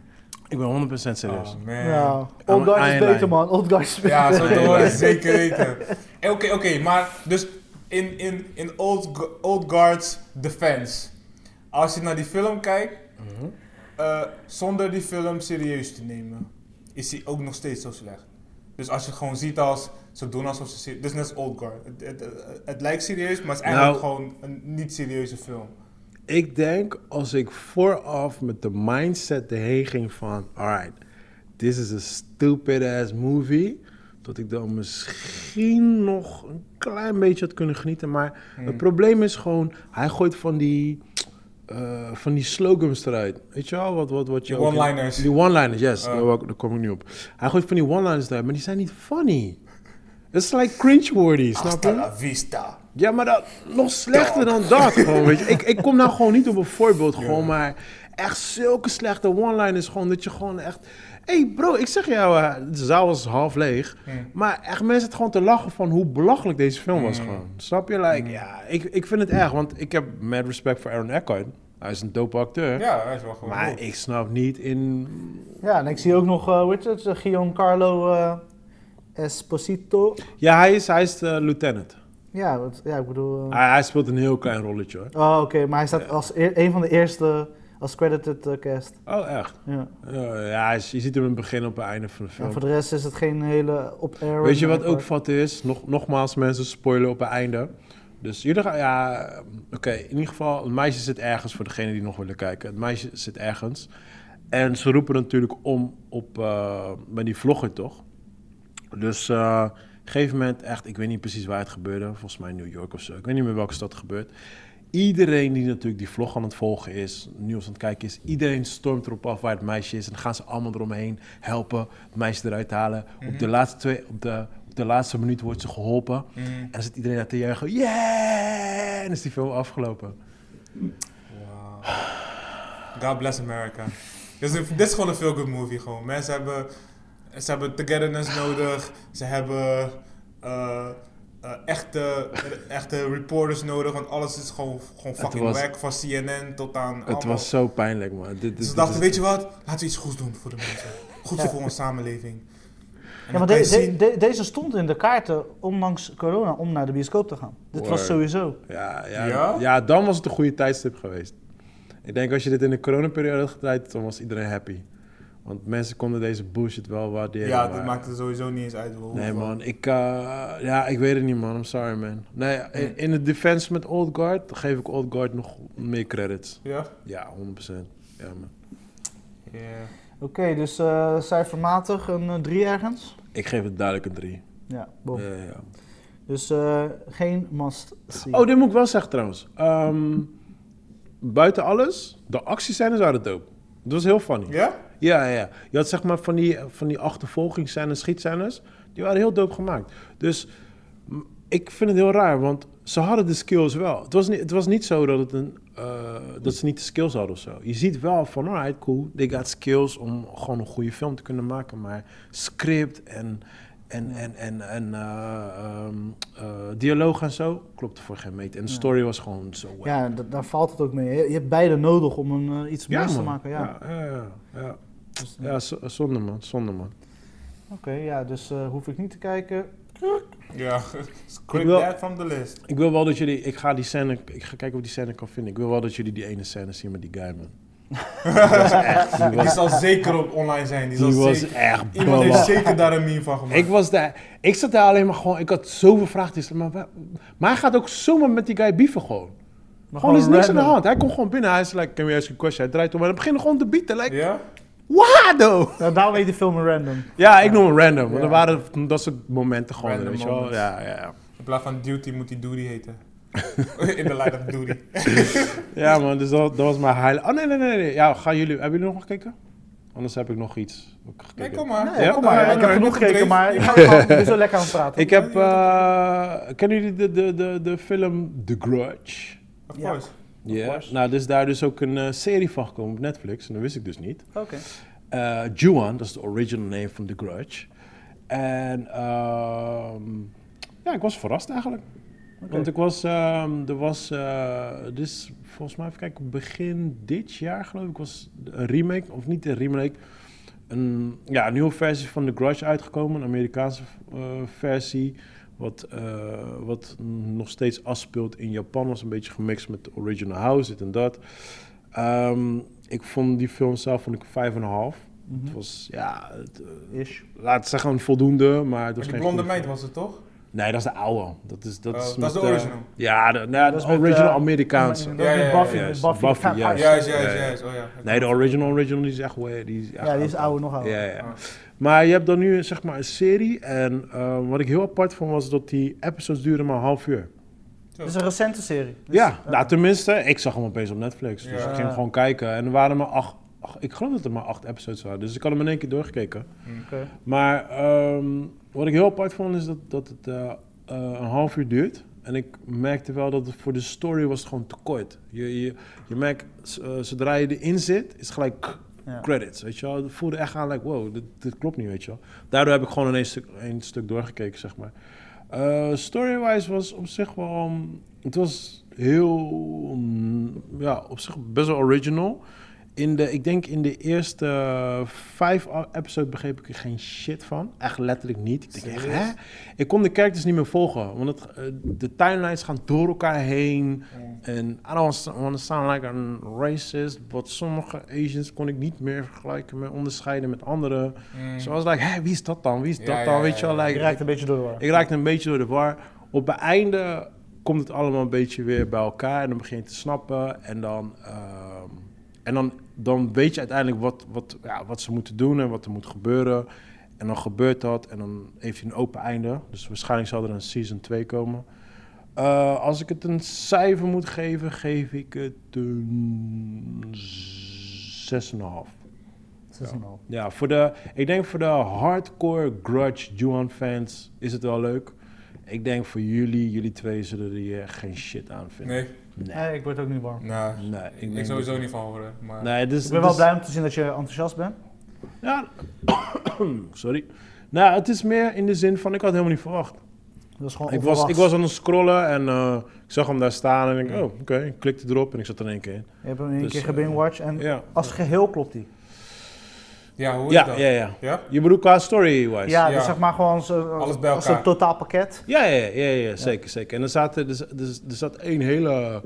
Ik ben 100% serieus. Oh, man. Nou, I'm Old Guard an is beter, eyeliner. man. Old Guard is beter. (laughs) Ja, zo te Nee, horen, maar- zeker weten. Eh, Oké, oké, maar dus in, in, in old, Gu- old Guard's defense. Als je naar die film kijkt, Mhm. eh, zonder die film serieus te nemen, is hij ook nog steeds zo slecht. Dus als je het gewoon ziet als, ze doen alsof ze serieus, dus net als Old Guard. Het, het, het, het lijkt serieus, maar het is eigenlijk Nou. gewoon een niet serieuze film. Ik denk als ik vooraf met de mindset erheen ging van: Alright, this is a stupid ass movie. Dat ik dan misschien nog een klein beetje had kunnen genieten. Maar Hmm. het probleem is gewoon: hij gooit van die. eh, van die slogans eruit. Weet je wel? Wat, wat, wat je Die ook in- one-liners. Die one-liners, yes. Ah. Daar, wou ik- daar kom ik nu op. Hij gooit van die one-liners eruit, maar die zijn niet funny. Het is like cringe-worthy, snap Hasta je? la vista. Ja, maar dat, nog slechter dan dat gewoon, weet je. Ik, ik kom nou gewoon niet op een voorbeeld gewoon, maar echt zulke slechte one-liners gewoon dat je gewoon echt... Hé hey bro, ik zeg jou, eh, de zaal was half leeg, maar echt mensen het gewoon te lachen van hoe belachelijk deze film Mm. was gewoon. Snap je? Like, ja, ik, ik vind het erg, want ik heb mad respect voor Aaron Eckhart. Hij is een dope acteur. Ja, hij is wel gewoon. Maar dope. ik snap niet in... Ja, en ik zie ook nog, eh Richard, uh, Giancarlo eh, Esposito. Ja, hij is, hij is de lieutenant. Ja, wat, ja ik bedoel... eh, Hij, hij speelt een heel klein rolletje hoor. Oh, oké, maar hij staat als eer- een van de eerste als credited eh, cast. Oh, echt? Ja. Eh, ja, hij is- je ziet hem in het begin op het einde van de film. En voor de rest is het geen hele op-air. Weet je wat record. ook fout is? Nog, nogmaals, mensen spoilen op het einde. Dus jullie gaan, ja, oké, in ieder geval, het meisje zit ergens voor degene die nog willen kijken. Het meisje zit ergens. En ze roepen natuurlijk om op, eh, bij die vlogger toch? Dus eh, op een gegeven moment, echt, ik weet niet precies waar het gebeurde. Volgens mij New York of zo. Ik weet niet meer welke stad het gebeurt. Iedereen die natuurlijk die vlog aan het volgen is, nieuws aan het kijken is, iedereen stormt erop af waar het meisje is. En dan gaan ze allemaal eromheen helpen, het meisje eruit halen. Mhm. Op, de laatste twee, op, de, op de laatste minuut wordt ze geholpen. Mhm. En dan zit iedereen daar te juichen. Yeah! En is die film afgelopen. Wow. God bless America. Dit is, een- dit is gewoon een feel-good movie gewoon. Mensen hebben, ze hebben togetherness nodig. Ze hebben eh, eh, echte, echte reporters nodig. Want alles is gewoon, gewoon fucking was- wack. Van CNN tot aan Het allemaal- was zo pijnlijk, man. Dit, dit, Dus dit ze dachten, is- weet je wat? Laten we iets goeds doen voor de mensen. Goed voor onze samenleving. En Ja, maar dan kan de- je de- zien- de- deze stond in de kaarten, ondanks corona, om naar de bioscoop te gaan. Dit was Word. sowieso. Ja, ja, Ja? ja? dan was het een goede tijdstip geweest. Ik denk als je dit in de coronaperiode had gedraaid, dan was iedereen happy. Want mensen konden deze bullshit wel waarderen. ja, dat maar- maakt het sowieso niet eens uit. hoe- Nee hoeveel- man, ik, eh, ja, ik weet het niet man, I'm sorry man. Nee, in, in de defense met Old Guard geef ik Old Guard nog meer credits. Ja? Ja, 100%. Ja man. Ja. Oké, dus eh, cijfermatig een 3 ergens. Ik geef het duidelijk een 3. Ja, bom. Ja, ja, ja. Dus eh, geen must see. Oh, dit moet ik wel zeggen trouwens. Ehm, buiten alles, de actiescènes waren dope. Dat was heel funny. Ja? Ja, ja, ja. Je had zeg maar van die, eh, van die achtervolgingsscènes, schietscènes. Die waren heel dope gemaakt. Dus m, ik vind het heel raar, want ze hadden de skills wel. Het was niet, het was niet zo dat, het een, eh, dat ze niet de skills hadden of zo. Je ziet wel van, alright, cool. They got skills om gewoon een goede film te kunnen maken. Maar script en En, en, en, en eh, ehm, eh, dialoog en zo klopte voor geen meet. En de story was gewoon zo. wack. Ja, da- daar valt het ook mee. Je- Je hebt beide nodig om een, eh, iets moois te man. maken. Ja. Dus, Ja, ja, ja, ja. Ja, z- zonde man, zonde man. Oké, ja, dus eh, hoef ik niet te kijken. Ja, (laughs) scrape wil- that from the list. Ik wil wel dat jullie, ik ga die scène, ik ga kijken of ik die scène kan vinden. Ik wil wel dat jullie die ene scène zien met die guy man. Die Die was, zal zeker op online zijn. Die zal die was zeker- echt Iemand heeft belachelijk. zeker daar een meme van gemaakt. Ik was daar, ik zat daar alleen maar gewoon, ik had zoveel vraagtekens. Maar, wa- maar hij gaat ook zomaar met die guy bieven gewoon. Gewoon er is niks aan de hand. Hij komt gewoon binnen, hij is like, can we ask you a question? Hij draait om en hij begint gewoon te bieten. Like, Ja? wado! Ja, Nou, daarom heet de film een random. Ja, ik noem hem random, want Ja. er waren dat soort momenten gewoon, Random weet je wel. moments. Ja, ja, ja. In plaats van duty moet hij duty (laughs) heten. In de light of duty. Ja, man, dus dat, dat was mijn highlight. Oh, nee, nee, nee, nee. Ja, gaan jullie, hebben jullie nog gekeken? Anders heb ik nog iets. wat ik gekeken Nee, heb. kom maar. Ja, kom maar, Ja, ik heb ja, genoeg gekeken, gedreven. maar ik Ja. ben zo lekker aan het praten. Ik heb, eh, kennen jullie de, de, de, de film The Grudge? Of Ja. course. Ja. Nou, dus daar dus ook een eh, serie van gekomen op Netflix, en dat wist ik dus niet. Oké. eh Juan, dat is de original name van The Grudge. En ehm, ja, ik was verrast eigenlijk. Want ik was, ehm, er was, eh, dit is volgens mij, even kijken, begin dit jaar geloof ik, was een remake, of niet een remake, een, ja, een nieuwe versie van The Grudge uitgekomen, een Amerikaanse eh, versie, wat, eh, wat nog steeds afspeelt in Japan, was een beetje gemixt met de original house, dit en dat. Ehm, ik vond die film zelf vond ik 5,5. Hm. Het was, ja, het, eh, Mhm. Ish. laat het zeggen, een voldoende, maar het was Maar Dus geen die blonde goede meid film. was het toch? Nee, dat is de oude. Dat is, dat Oh, is, dat met, is de eh, original. ja, de, nou ja, Dat de is met, original eh, Amerikaanse. Dat Ja, is ja, met ja, Buffy. ja, met ja, Buffy, Buffy, Fat juist. House. Juist, juist, ja, ja. juist. Oh ja. Nee, de original original die is echt way. Die is echt Ja, die is oude, nog ouder. Ja, ja. Ah. Maar je hebt dan nu zeg maar een serie. En eh, wat ik heel apart vond was dat die episodes duren maar een half uur. Het is een recente serie. Dus- ja, nou tenminste, ik zag hem opeens op Netflix. Dus Ja. ik ging hem gewoon kijken. En er waren maar acht, acht- ik geloof dat er maar acht episodes waren. Dus ik had hem in één keer doorgekeken. Oké. Maar ehm, wat ik heel apart vond is dat, dat het eh, eh, een half uur duurt. En ik merkte wel dat het voor de story was het gewoon te kort. Je, je, je merkt, z- eh, zodra je erin zit, is het gelijk k- Ja. credits, weet je wel. Het voelde echt aan, like, wow, dit, dit klopt niet, weet je wel. Daardoor heb ik gewoon in één stuk, één stuk doorgekeken, zeg maar. Eh, Story-wise was op zich wel... mm, Het was heel... mm, Ja, op zich best wel original. In de, ik denk in de eerste eh, vijf a- episode begreep ik er geen shit van. Echt letterlijk niet. Ik denk echt, hè? Ik kon de characters niet meer volgen. Want het, eh, de timelines gaan door elkaar heen. En I don't want to sound like a racist. But sommige Asians kon ik niet meer vergelijken met onderscheiden met anderen. Mm. Zoals So I was like, hè, wie is dat dan? Wie is Ja, dat ja, dan? ja, Weet je wel, ja. like, Je raakt een beetje door de war. ik raakte een beetje door de war. Op het einde komt het allemaal een beetje weer bij elkaar en dan begin je te snappen. En dan, ehm, en dan, dan weet je uiteindelijk wat, wat, ja, wat ze moeten doen en wat er moet gebeuren. En dan gebeurt dat en dan heeft hij een open einde. Dus waarschijnlijk zal er een season 2 komen. Eh, als ik het een cijfer moet geven, geef ik het een 6,5. Het is een al. Ja, voor de, ik denk voor de hardcore grudge Juan fans is het wel leuk. Ik denk voor jullie, jullie twee zullen er hier geen shit aan vinden. Nee, Nee, ik word ook niet warm. nou, Nee, ik, ik denk sowieso dat- niet van horen. Maar Nee, dus, Ik ben wel blij om te zien dat je enthousiast bent. Ja, (coughs) sorry. Nou, het is meer in de zin van, ik had helemaal niet verwacht. Dat is gewoon Ik was, ik onverwachts. was aan het scrollen en eh, ik zag hem daar staan en ik oh, oké, ik klikte erop en ik zat er in één keer in. Je hebt hem in één Dus, keer eh, gebingewatcht en Ja, als geheel klopt die. ja, hoe is ja, dat? ja, ja. Ja? Je bedoelt qua story-wise? Ja, ja. dus zeg maar gewoon zo, Alles bij als een elkaar. totaal pakket. Ja, ja, ja, ja, ja, zeker, zeker. En er, zaten, er, er, er zat één hele...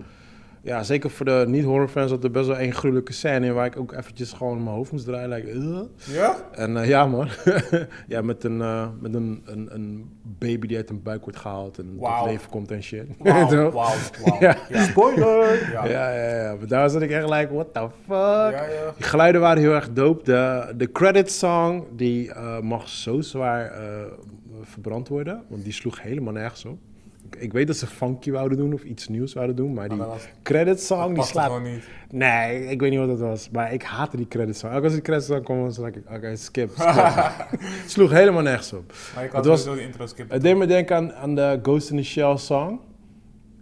Ja, zeker voor de niet-horrorfans zat er best wel één gruwelijke scène in... waar ik ook eventjes gewoon mijn hoofd moest draaien. Like, "Ugh." (laughs) Ja? En eh, ja, man. ja, met, een, eh, met een, een, een baby die uit een buik wordt gehaald... en tot Wauw. leven komt en shit. (laughs) Wauw, Toch? wauw, wauw. Ja. Ja. Ja. Spoiler! Ja. Ja, ja, ja. Maar daar zat ik echt like, what the fuck? Ja, ja. Die geluiden waren heel erg dope. De, de credit song die eh, mag zo zwaar eh, verbrand worden, want die sloeg helemaal nergens op. Ik, ik weet dat ze funky wouden doen of iets nieuws wouden doen, maar die Maar dat was- credit song die Past slaat. gewoon niet. Nee, ik weet niet wat dat was, maar ik haatte die credit song. Elke keer als die credit song kwam, was ik, oké, (laughs) skip. skip. sloeg helemaal nergens op. Maar ik Het had was- sowieso de intro skip. Het deed me denken aan, aan de Ghost in the Shell song.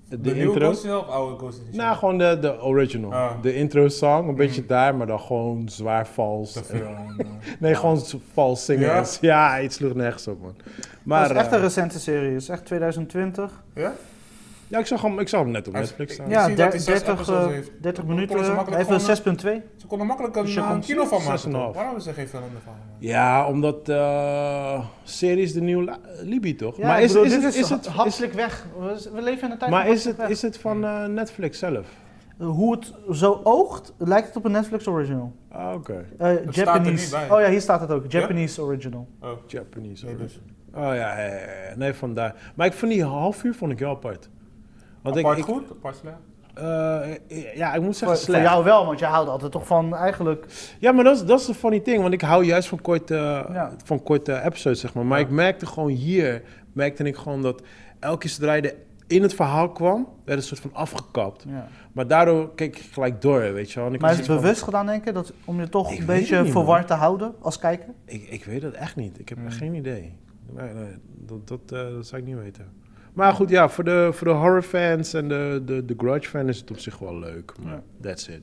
de, De, nieuwe intro. Ghost in the Shell of oude Ghost in the Shell? Nou, gewoon de, de original. Ah. De intro song, een beetje daar, maar dan gewoon zwaar vals. Te veel, eh. Nee, gewoon z- vals zingen. Ja? Ja, (laughs) ja iets sloeg nergens op, man. Maar Maar, dat is echt een eh, recente serie, dat is echt 2020. Ja? ja, ik, zag hem, ik zag hem net op Hij is- Netflix staan. ik Ja, zie dat hij der- zes 30, episodes eh, heeft. 30 Dan konden ze minuten, hij makkelijk heeft wel gewoon- 6.2. Ze konden makkelijk een, Dus je eh, kon een kilo van zes en maken. een toch? half. Waarom hebben ze geen film ervan gemaakt? Ja, omdat eh series de nieuwe la- Libi, toch? Ja, maar ik is, bedoel, is, dit het, is, het, het hapselijk weg. We we leven in een tijd maar van is het, hapselijk is het van eh, Netflix zelf? weg. Hoe het zo oogt, lijkt het op een Netflix original. Ah, oké. Eh, er Japanese. niet bij. Oh ja, hier staat het ook. Japanese original. Oh, Japanese. nee, dus. Oh ja, ja, ja, ja. nee, vandaar. Maar ik vond die half uur vond ik heel apart. Want ik- Apart ik, goed, apart slecht. eh, ja, ik moet Voor, zeggen voor slecht. jou wel, want jij houdt altijd toch van eigenlijk... Ja, maar dat is, dat is een funny thing, want ik hou juist van korte, Ja. van korte episodes, zeg maar. Maar Ja. ik merkte gewoon hier, merkte ik gewoon dat elke keer zodra je er in het verhaal kwam, werd een soort van afgekapt. Ja. Maar daardoor keek ik gelijk door, weet je wel. En ik Maar was is het iets van- bewust gedaan, denk ik? Dat, om je toch Ik een weet beetje het niet, man. verward te houden als kijker? Ik, ik weet dat echt niet. Ik heb Hmm. Mm. echt geen idee. Nee, nee, dat, dat, eh, dat zou ik niet weten. Maar goed, ja, voor de, voor de horrorfans en de, de, de grudge-fan is het op zich wel leuk. Maar Ja. that's it.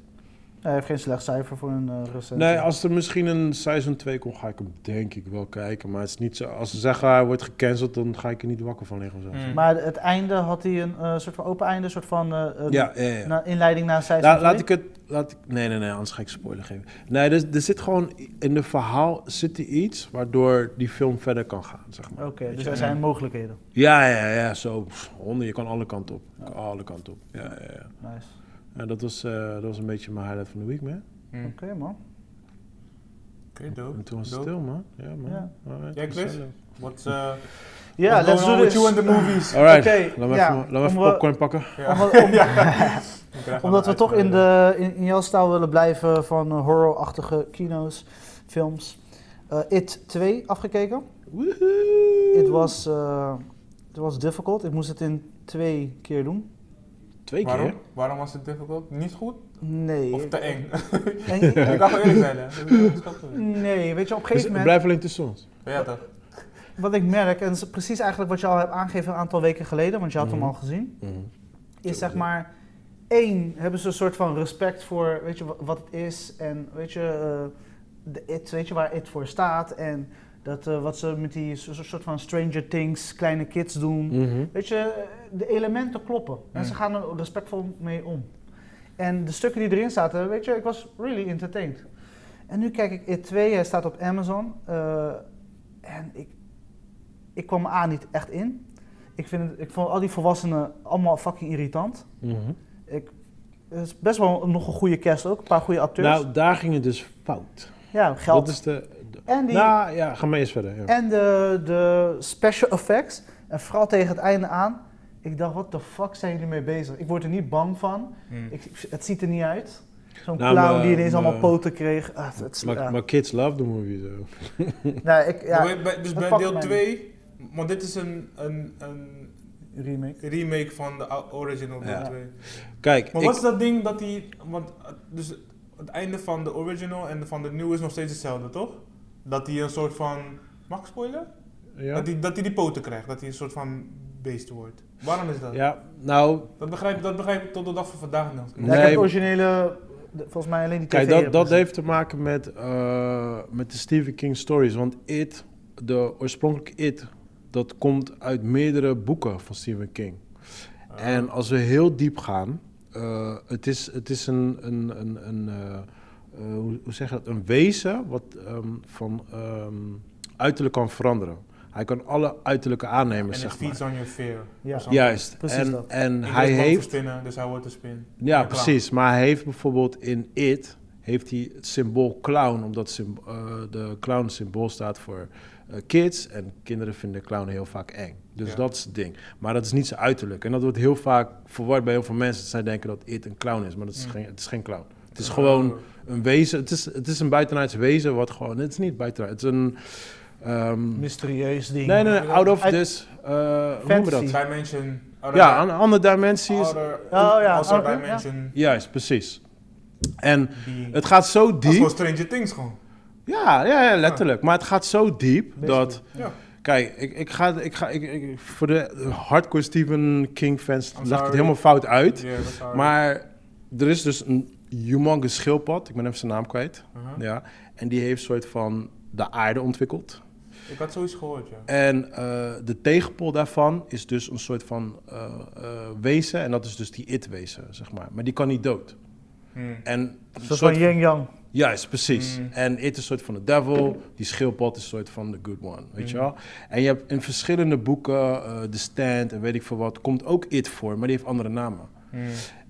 Hij heeft geen slecht cijfer voor een eh recensie. Nee, als er misschien een seizoen 2 komt, ga ik hem denk ik wel kijken. Maar het is niet zo... Als ze zeggen hij wordt gecanceld, dan ga ik er niet wakker van liggen of zo. Hmm. Maar het einde had hij een eh, soort van open einde, een soort van eh, een Ja, ja, ja. na- inleiding naar seizoen La- laat twee? ik het... Laat ik, nee, nee, nee, anders ga ik spoiler geven. Nee, er, er zit gewoon... In de verhaal zit er iets waardoor die film verder kan gaan, zeg maar. Oké, Weet dus je? er zijn mogelijkheden. Ja, ja, ja, zo. pff, Honden, je kan alle kanten op. Je kan Alle kanten op. Ja, ja, ja. Nice. En dat was, eh, dat was een beetje mijn highlight van de week, man. Hmm. Oké, man. Oké, dope. En toen was het dope. stil, man. Ja, man. Ja. Alright, Jij, Chris? gezellig. What's, uh, Ja, what's let's going do on with this. nou you and the (laughs) movies? Alright, Oké, laat me ja, even, laat me even om we- popcorn pakken. (laughs) Ja. Om- om- Ik krijg Omdat we allemaal toch in, uitgenodigd. de, in, in jouw stijl willen blijven van eh, horrorachtige kino's, films. Eh, It 2 afgekeken. Woehoe! It was, eh, it was difficult. Ik moest het in twee keer doen. Twee keer? eh, Waarom? Waarom was het difficult? Niet goed? Nee. Of te (laughs) eng? (laughs) En- ik kan gewoon eerlijk zijn, hè. Dat is wel goed. nee, weet je, op een Dus gegeven het moment, blijft alleen tussen ons. Ja, toch? wat ik merk, en het is precies eigenlijk wat je al hebt aangegeven een aantal weken geleden, want je had Mhm. hem al gezien, is Sowieso. zeg maar, één, hebben ze een soort van respect voor, weet je, wa- wat het is en weet je, eh, de it, weet je, waar it voor staat en dat eh, wat ze met die so- so- soort van Stranger Things, kleine kids doen. Mhm. Weet je, eh, de elementen kloppen. En Mm. ze gaan er respectvol mee om. En de stukken die erin zaten, weet je, ik was really entertained. En nu kijk ik It 2, hij staat op Amazon. eh, en ik, ik kwam er A niet echt in. Ik, vind het, ik vond al die volwassenen allemaal fucking irritant. Mhm. Ik, het is best wel nog een goede cast ook, een paar goede acteurs. Nou, daar ging het dus fout. ja, geld. Dat is de... de- en die, Nou, ja, ga maar eerst verder. Ja. En de, de special effects. En vooral tegen het einde aan. Ik dacht, wat de fuck zijn jullie mee bezig? Ik word er niet bang van. Mm. Ik, het ziet er niet uit. Zo'n Nou, clown maar- die ineens maar- allemaal poten kreeg. Ah, het, is- Maar, ja. maar kids love the movie, zo. Nou, ik, Maar ja, bij- bij- dus dat bij pakt deel mij 2, want dit is een, een, een remake. remake van de ou- original deel Ja. 2. Kijk, Maar ik- wat is dat ding dat die, want eh, dus het einde van de original en van de nieuwe is nog steeds hetzelfde, toch? Dat hij een soort van, mag ik spoilen? Ja? Dat hij dat die, die poten krijgt, dat hij een soort van beest wordt. Waarom is dat? ja, nou, Dat, begrijp, dat begrijp ik tot de dag van vandaag nog. Ja, ik heb Nee. het originele, de- volgens mij alleen die tv Kijk, dat, hebben dat gezien. heeft te maken met, eh, met de Stephen King stories. Want It, de oorspronkelijke It, dat komt uit meerdere boeken van Stephen King. Ah. En als we heel diep gaan, eh, het is, het is een, een, een, een eh, eh, hoe, hoe zeg je dat, een wezen wat ehm, van ehm, uiterlijk kan veranderen. Hij kan alle uiterlijke en aannemen, het zeg maar. feeds on your fear. Ja. Of zo. Juist. Precies en dat. en Iedereen hij is bang voor heeft... spinnen, dus hij wordt een spin. Ja, Een clown. precies. Maar hij heeft bijvoorbeeld in It heeft hij het symbool clown, omdat sym- eh, de clown symbool staat voor eh, kids en kinderen vinden clown heel vaak eng. Dus Ja. dat is het ding. Maar dat is niet zijn uiterlijk. En dat wordt heel vaak verward bij heel veel mensen. Dat zij denken dat It een clown is, maar dat is Mm. geen, het is geen clown. Het is Oh. gewoon een wezen. Het is, het is een buitenaards wezen wat gewoon. Het is niet buitenaards. Het is een. ehm, Mysterieus ding. nee, nee, nee. Out of Uit- this. eh, hoe noemen we dat? Fantasy. Dimension. Ja, een andere dimensie. is- Outer, Oh, ja, Also ouder, dimension. Juist, precies. En being. Het gaat zo Dat is diep. gewoon Stranger Things gewoon. Ja, ja, ja, letterlijk. Maar het gaat zo diep Basically. dat Ja. Kijk, ik, ik ga, ik ga ik, ik- voor de hardcore Stephen King fans I'm legt het sorry. helemaal fout uit. Ja, dat is waar. Maar er is dus een humongous schildpad, ik ben even zijn naam kwijt. Uh-huh. Ja, en die heeft soort van de aarde ontwikkeld. Ik had zoiets gehoord, ja. En eh, de tegenpol daarvan is dus een soort van eh, eh, wezen. En dat is dus die it-wezen, zeg maar. Maar die kan niet dood. Hmm. En Een een soort soort- van yin-yang. Juist, precies. Mm. En it is een soort van de devil, die schildpad is een soort van the good one, weet je wel. En je hebt in verschillende boeken, eh, The Stand en weet ik veel wat, komt ook it voor, maar die heeft andere namen. Hmm.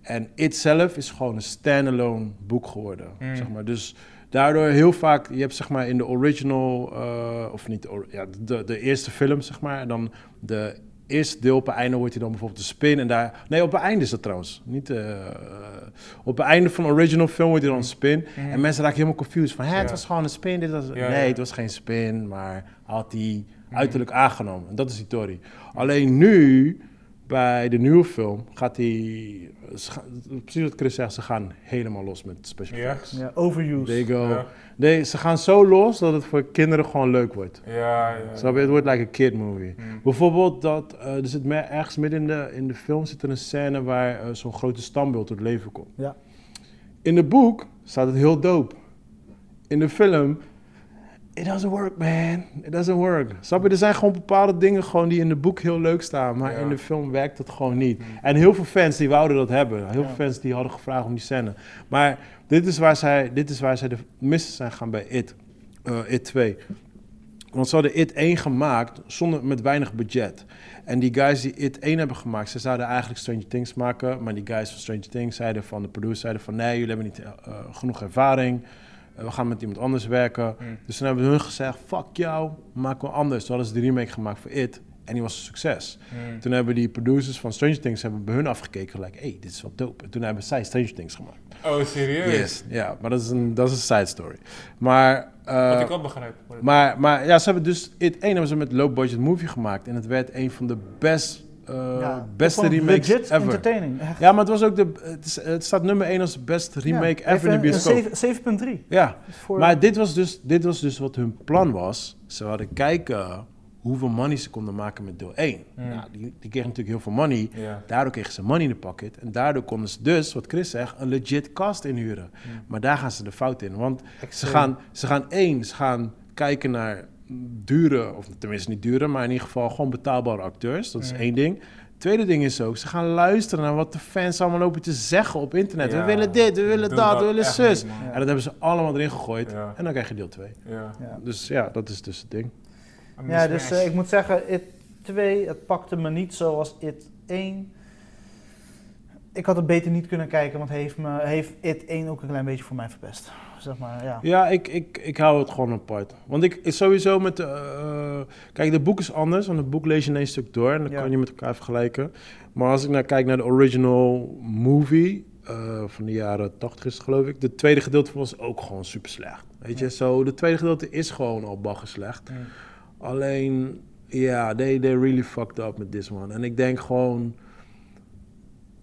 En it zelf is gewoon een standalone boek geworden, Mm. zeg maar. Dus daardoor heel vaak, je hebt zeg maar in de original, eh, of niet, de or- ja, de, de eerste film zeg maar, en dan de eerste deel op het einde wordt hij dan bijvoorbeeld de spin en daar... Nee, op het einde is dat trouwens, niet... eh, eh, op het einde van de original film wordt hij dan een spin Mhm. en mensen raken helemaal confused van, hè, het Ja. was gewoon een spin, dit was... Ja, nee, ja. het was geen spin, maar had hij Mhm. uiterlijk aangenomen. En dat is die Tory. Alleen nu, bij de nieuwe film, gaat hij... ze gaan- Precies wat Chris zegt, ze gaan helemaal los met special Ja. effects. Ja, overuse. They go. Ja. Nee, ze gaan zo los dat het voor kinderen gewoon leuk wordt. Ja, ja. Snap je? Het wordt like a kid movie. Hmm. Bijvoorbeeld dat, eh, er zit me- ergens midden in de, in de film zit er een scène waar eh, zo'n grote standbeeld tot leven komt. Ja. In het boek staat het heel dope. In de film, it doesn't work man, it doesn't work. Snap je, er zijn gewoon bepaalde dingen gewoon die in het boek heel leuk staan, maar Ja. in de film werkt dat gewoon niet. En heel veel fans die wouden dat hebben, heel Ja. veel fans die hadden gevraagd om die scène. Maar dit is waar zij, dit is waar zij de mis zijn gaan bij It, eh, It 2. Want ze hadden It 1 gemaakt zonder, met weinig budget. En die guys die It 1 hebben gemaakt, ze zouden eigenlijk Stranger Things maken. Maar die guys van Stranger Things zeiden van, de producer zeiden van... nee, jullie hebben niet eh, genoeg ervaring. Eh, we gaan met iemand anders werken. Mm. Dus toen hebben hun gezegd, fuck jou, maak wel anders. Toen hadden ze de remake gemaakt voor It. En die was een succes. Hmm. Toen hebben die producers van Stranger Things hebben bij hun afgekeken. Gelijk, hey, dit is wel dope. En toen hebben zij Stranger Things gemaakt. Oh, serieus? Yes. Ja, maar dat is een, dat is een side story. Maar... eh, Wat ik wel begrijp. Maar, maar, maar ja, ze hebben dus It 1 hebben ze met low budget movie gemaakt. En het werd een van de best, eh, Ja, beste gewoon remakes legit ever. entertaining. Echt. Ja, maar het was ook de. Het, is- het staat nummer 1 als best remake Ja, ever in de even bioscoop. een zeven- 7.3. Ja, Voor- maar dit was, dus, dit was dus wat hun plan was. Ze hadden kijken hoeveel money ze konden maken met deel 1. Hmm. Nou, die, die kregen natuurlijk heel veel money. Ja. Daardoor kregen ze money in de pocket. En daardoor konden ze dus, wat Chris zegt, een legit cast inhuren. Maar daar gaan ze de fout in. Want ze gaan, ze gaan één, ze gaan kijken naar dure, of tenminste niet dure, maar in ieder geval gewoon betaalbare acteurs. Dat is één ding. Tweede ding is ook, ze gaan luisteren naar wat de fans allemaal lopen te zeggen op internet. Ja. We willen dit, we willen Doe dat, we dat willen echt zus. niet, man. en dat hebben ze allemaal erin gegooid. Ja. En dan krijg je deel 2. ja. Ja. Dus ja, dat is dus het ding. I miss Ja, dus Smash. eh, ik moet zeggen, It 2, het pakte me niet zoals It 1. Ik had het beter niet kunnen kijken, want heeft, me, heeft It 1 ook een klein beetje voor mij verpest. Zeg maar, ja. Ja, ik, ik, ik hou het gewoon apart. Want ik is sowieso met de. eh, kijk, het boek is anders, want het boek lees je in één stuk door en dan Ja. kan je niet met elkaar vergelijken. Maar als ik naar kijk naar de original movie eh, van de jaren 80 is het, geloof ik, de tweede gedeelte was ook gewoon super slecht. Weet je, zo, de tweede gedeelte is gewoon al bagger slecht. Mm. Alleen, ja, they, they really fucked up met this one. En ik denk gewoon.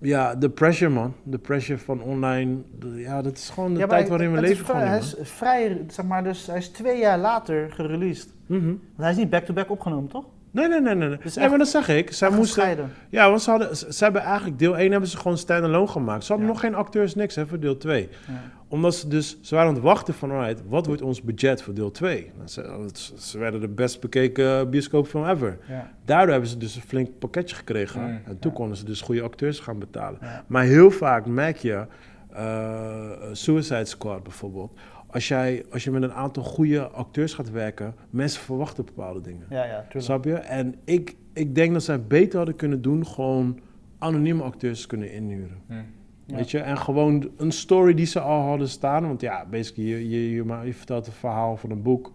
Ja, de pressure, man. De pressure van online. de- ja, dat is gewoon de Ja, maar tijd ik- waarin we het is leven. vrij- Gewoon, in, hij man. is vrij, zeg maar, dus hij is twee jaar later gereleased. Mhm. Want hij is niet back-to-back opgenomen, toch? Nee, nee, nee, nee. nee. Dus nee echt- maar dat zeg ik. Zij moesten, Gescheiden. ja, want ze, hadden, ze ze hebben eigenlijk deel 1 hebben ze gewoon stand-alone gemaakt. Ze hadden Ja. nog geen acteurs, niks hè, voor deel 2. Ja. Omdat ze dus, ze waren aan het wachten van, alright, wat wordt ons budget voor deel 2? Nou, ze, ze werden de best bekeken bioscoopfilm ever. Ja. Daardoor hebben ze dus een flink pakketje gekregen. Mm. en toen konden ze dus goede acteurs gaan betalen. Ja. Maar heel vaak merk je, eh, Suicide Squad bijvoorbeeld, als, jij, als je met een aantal goede acteurs gaat werken, mensen verwachten bepaalde dingen. ja, ja, tuurlijk. Snap je? En ik, ik denk dat zij beter hadden kunnen doen, gewoon anonieme acteurs kunnen inhuren. Hmm. Ja. Weet je? En gewoon een story die ze al hadden staan. Want ja, basically, je, je, je, ma- je vertelt een verhaal van een boek.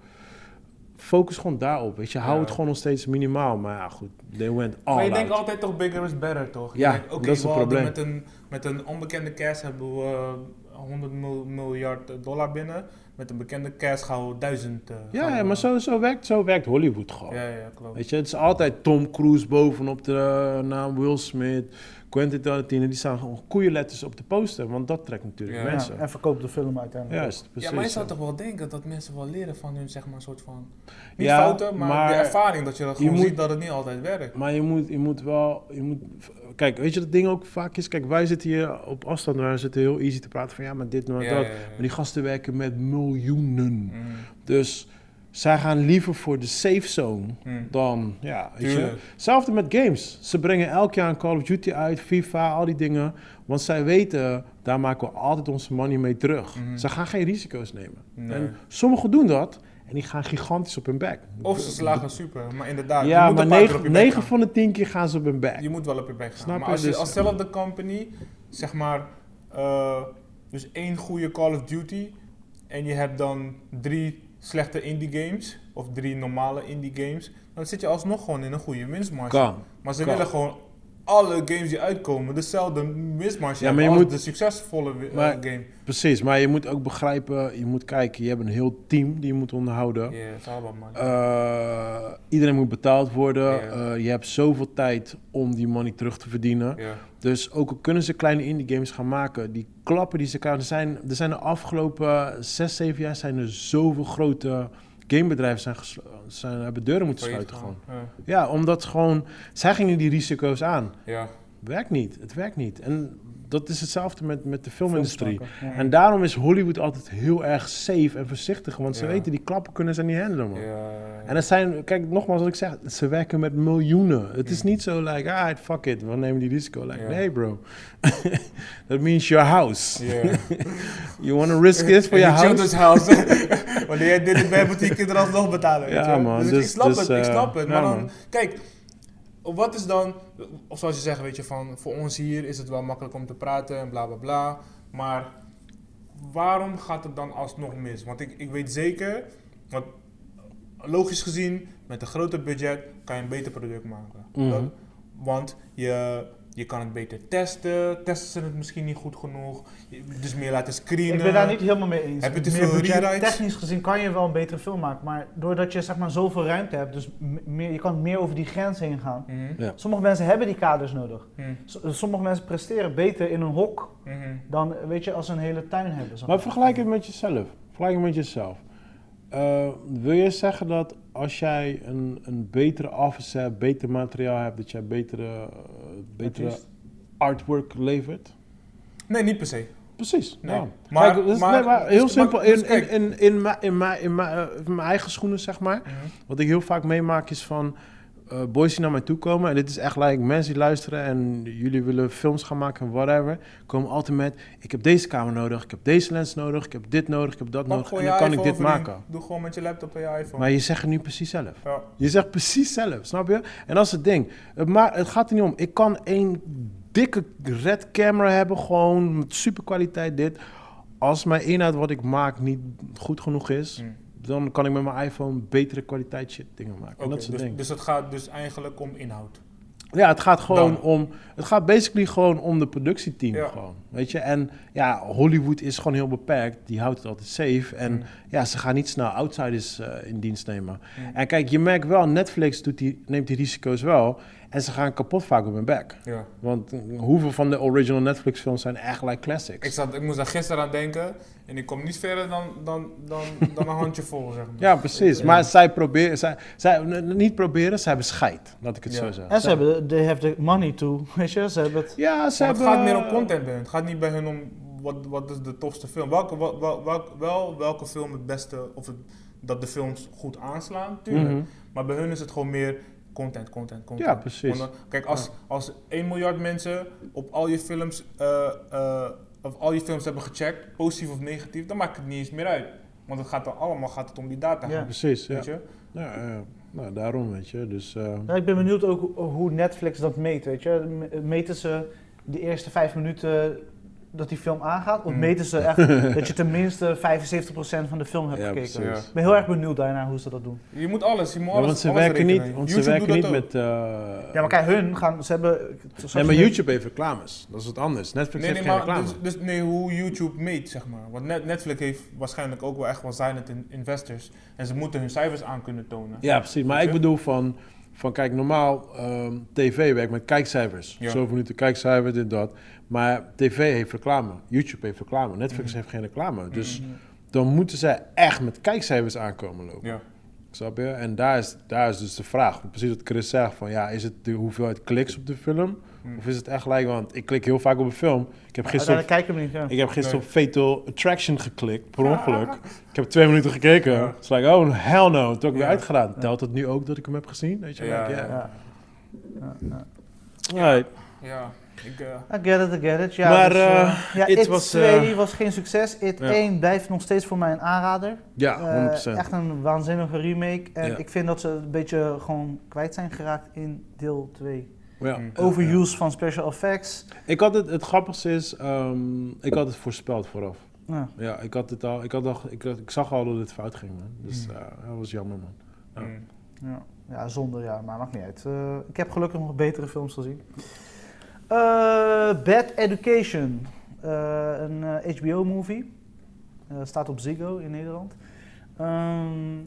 Focus gewoon daarop, weet je. Hou Ja. het gewoon nog steeds minimaal. Maar ja, goed, they went all Maar je out. denkt altijd toch bigger is better, toch? Je Oh, Ja, denkt, oké, dat is we het probleem. hadden Met een, met een onbekende cast hebben we eh, 100 mil- miljard dollar binnen. Met een bekende cast gaan we 1000. eh, Ja, gaan ja, we- maar zo, zo, werkt, zo werkt Hollywood gewoon. Ja, ja, klopt. Weet je, het is altijd Tom Cruise bovenop de eh, naam, Will Smith, Quentin Tarantino. Die staan gewoon koeienletters op de poster, want dat trekt natuurlijk Ja. mensen. en verkoopt de film uiteindelijk. Juist, precies. Ja, maar je zou toch wel denken dat mensen wel leren van hun, zeg maar, soort van... Niet Ja, fouten, maar, maar de ervaring dat je dat gewoon moet- ziet dat het niet altijd werkt. Maar je moet, je moet wel. Je moet, kijk, weet je dat ding ook vaak is? Kijk, wij zitten hier op afstand, wij zitten heel easy te praten van ja, maar dit, maar Ja, dat. ja, ja, ja. Maar die gasten werken met miljoenen. Mm, Dus zij gaan liever voor de safe zone mm. dan. Ja, weet je. Tuurlijk. Hetzelfde met games. Ze brengen elk jaar een Call of Duty uit, FIFA, al die dingen. Want zij weten, daar maken we altijd onze money mee terug. Mhm. Ze gaan geen risico's nemen. Nee. En sommigen doen dat en die gaan gigantisch op hun bek. Of ze slagen super, maar inderdaad. Ah, je Ja, moet maar een paar keer op 9, je bek gaan. van de 10 keer gaan ze op hun bek. Je moet wel op je bek gaan. Snap maar je? als je Dus- als zelfde company, zeg maar, eh, dus één goede Call of Duty en je hebt dan drie slechte indie games of drie normale indie games, dan zit je alsnog gewoon in een goede winstmarge. Kan. Maar ze kan. willen gewoon alle games die uitkomen dezelfde winstmarge Ja, hebben maar je als moet- de succesvolle wi- eh, Maar- game. Precies, maar je moet ook begrijpen, je moet kijken, je hebt een heel team die je moet onderhouden. Ja, het is allemaal man. Eh, iedereen moet betaald worden. Ja. Eh, je hebt zoveel tijd om die money terug te verdienen. Ja. Dus ook al kunnen ze kleine indie games gaan maken, die klappen die ze krijgen. Er zijn, er zijn de afgelopen 6, 7 jaar zijn er zoveel grote gamebedrijven zijn geslo- zijn, hebben deuren moeten sluiten. Gewoon. Ja. Ja, omdat gewoon, zij gingen die risico's aan. Eh, Ja. Werkt niet, het werkt niet. En dat is hetzelfde met, met de filmindustrie. Filmsmaker, ja. En daarom is Hollywood altijd heel erg safe en voorzichtig, want ze Ja. weten die klappen kunnen ze niet handelen. Man. Ja. En dat zijn, kijk, nogmaals wat ik zeg, ze werken met miljoenen. Het is niet zo like, ah, fuck it, we nemen die risico. Like, Mm. Ja. nee bro, (laughs) that means your house. (laughs) Ja. You want to risk this (laughs) for In your je house? children's house. (laughs) Wanneer jij dit bij boutique kinderen alsnog betalen. weet Ja, je wel. man, Dus, ik- dus- ik snap dus, het, eh, ik snap het. Maar ja, dan, man. kijk, wat is dan, of zoals je zegt, weet je, van voor ons hier is het wel makkelijk om te praten en bla bla bla. Maar waarom gaat het dan alsnog mis? Want ik, ik weet zeker, want logisch gezien, met een groter budget kan je een beter product maken. Mhm. Dat- want je, je kan het beter testen, testen ze het misschien niet goed genoeg, je- dus meer laten screenen. Ik ben eh, daar niet helemaal mee eens. Heb je te Meer veel budget, rewrites? Technisch gezien kan je wel een betere film maken, maar doordat je zeg maar zoveel ruimte hebt, dus m- meer, je kan meer over die grens heen gaan. Mhm, Sommige mensen hebben die kaders nodig. mhm, S- sommige mensen presteren beter in een hok mhm. dan, eh, weet je, als ze een hele tuin hebben. zeg Maar vergelijk het met jezelf. Vergelijk het met jezelf. Eh, wil je zeggen dat als jij een, een betere office hebt, beter materiaal hebt, dat jij betere, eh, betere Artiest. artwork levert? Nee, niet per se. Precies. Nee. daarom. Maar- Kijk, dat is- maar- nee, maar heel dus- simpel. maar- dus in, in, kijk. in, in, mijn- in, mijn- in mijn- eh, in mijn eigen schoenen, zeg maar. Wat ik heel vaak meemaak is van eh, boys die naar mij toe komen. En dit is echt like mensen die luisteren en jullie willen films gaan maken en whatever. Komen altijd met: ik heb deze camera nodig, ik heb deze lens nodig, ik heb dit nodig, ik heb dat Pak nodig. gewoon En je dan kan ik iPhone dit over die- maken. Doe gewoon met je laptop en je iPhone. Maar je zegt het nu precies zelf. ja. Je zegt precies zelf, snap je? En dat is het ding. Het, ma- het gaat er niet om. Ik kan één dikke red camera hebben, gewoon met super kwaliteit dit. Als mijn inhoud wat ik maak niet goed genoeg is, Mm. dan kan ik met mijn iPhone betere kwaliteit shit dingen maken. En Oké, dat soort dus, dingen. dus het gaat dus eigenlijk om inhoud. Ja, het gaat gewoon Dan. om. Het gaat basically gewoon om de productieteam. Ja. Gewoon, weet je? En ja, Hollywood is gewoon heel beperkt. Die houdt het altijd safe. En Mm. ja, ze gaan niet snel outsiders eh, in dienst nemen. Mm. En kijk, je merkt wel, Netflix doet die, neemt die risico's wel. En ze gaan kapot vaak op hun bek. Ja. Want eh, hoeveel van de original Netflix films zijn echt like classics? Ik, zat, ik moest daar gisteren aan denken en ik kom niet verder dan, dan, dan, dan een handje vol, zeg maar. Ja, precies. Ja. Maar zij proberen, zij, zij, n- niet proberen, ze hebben scheid. Laat ik het Ja. zo maar. zeggen. En ze hebben, de- they have the money to, (laughs) weet je, ze hebben het. Ja, ze Maar het hebben... gaat meer om content bij hun. Het gaat niet bij hun om wat, wat is de tofste film. Welke, wel, wel, welk- wel welke film het beste, of het, dat de films goed aanslaan, tuurlijk. Mhm. Maar bij hun is het gewoon meer content, content, content. Ja, precies. Want, eh, kijk, als, als 1 miljard mensen op al je films, eh, eh, of al je films hebben gecheckt, positief of negatief, dan maakt het niet eens meer uit. Want het gaat dan allemaal gaat het om die data. Ja. Precies, ja. Weet je? Ja, eh, nou, daarom weet je. Dus, eh, Ja, ik ben benieuwd ook hoe- hoe Netflix dat meet, weet je. M- Meten ze de eerste vijf minuten dat die film aangaat? Hmm. Of meten ze (laughs) echt dat je tenminste 75% van de film hebt Ja, gekeken? precies. Ja. Ik ben heel erg benieuwd daarna hoe ze dat doen. Je moet alles, je moet Ja, alles want ze alles werken rekenen. niet, want ze YouTube werken doet niet dat ook. met... eh, Ja, maar kijk, hun gaan, ze hebben... Nee, maar YouTube heeft reclames. Dat is wat anders. Netflix Nee, nee, heeft geen maar reclame. dus, dus nee, hoe YouTube meet, zeg maar. Want Net- Netflix heeft waarschijnlijk ook wel echt wel silent in- investors. En ze moeten hun cijfers aan kunnen tonen. Ja, precies. Maar Weet ik je? bedoel van, van kijk, normaal ehm, tv werkt met kijkcijfers. Ja. Zoveel minuten kijkcijfer, dit, dat. Maar tv heeft reclame, YouTube heeft reclame, Netflix Mhm. heeft geen reclame. Dus dan moeten zij echt met kijkcijfers aankomen lopen. Ja. Snap je? En daar is, daar is dus de vraag. Precies wat Chris zegt, van ja, is het de hoeveelheid kliks op de film? Hmm. Of is het echt gelijk, want ik klik heel vaak op een film. Ik heb gisteren Gisteren... kijk ik hem niet, ja. ik heb gisteren Nee. op Fatal Attraction geklikt, (laughs) per ongeluk. Ik heb twee minuten gekeken. Ja. Het is like, oh, hell no. Toen heb ik weer Ja. uitgedaan. Telt het nu ook dat ik hem heb gezien? Weet je, Ja, like, ja. ja. Ja. Alright. Ja, ik, eh, I get it, I get it. Ja, Maar, dus, eh, eh, ja, It It was, 2 was geen succes. It ja. 1 blijft nog steeds voor mij een aanrader. Eh, Ja, 100%. echt een waanzinnige remake. En Ja. ik vind dat ze een beetje gewoon kwijt zijn geraakt in deel 2. ja. Mm. Overuse van special effects. Ik had het, het grappigste is, ehm, ik had het voorspeld vooraf. Ja. Ja, ik had het al, ik, had al, ik, had- ik zag al dat het fout ging, man. Dus Mm. eh, dat was jammer, man. Ja. mm. Ja. ja, zonde, ja, maar maakt niet uit. Eh, ik heb gelukkig nog betere films gezien. Eh, Bad Education, Eh, een HBO-movie. Eh, staat op Ziggo in Nederland. Ehm,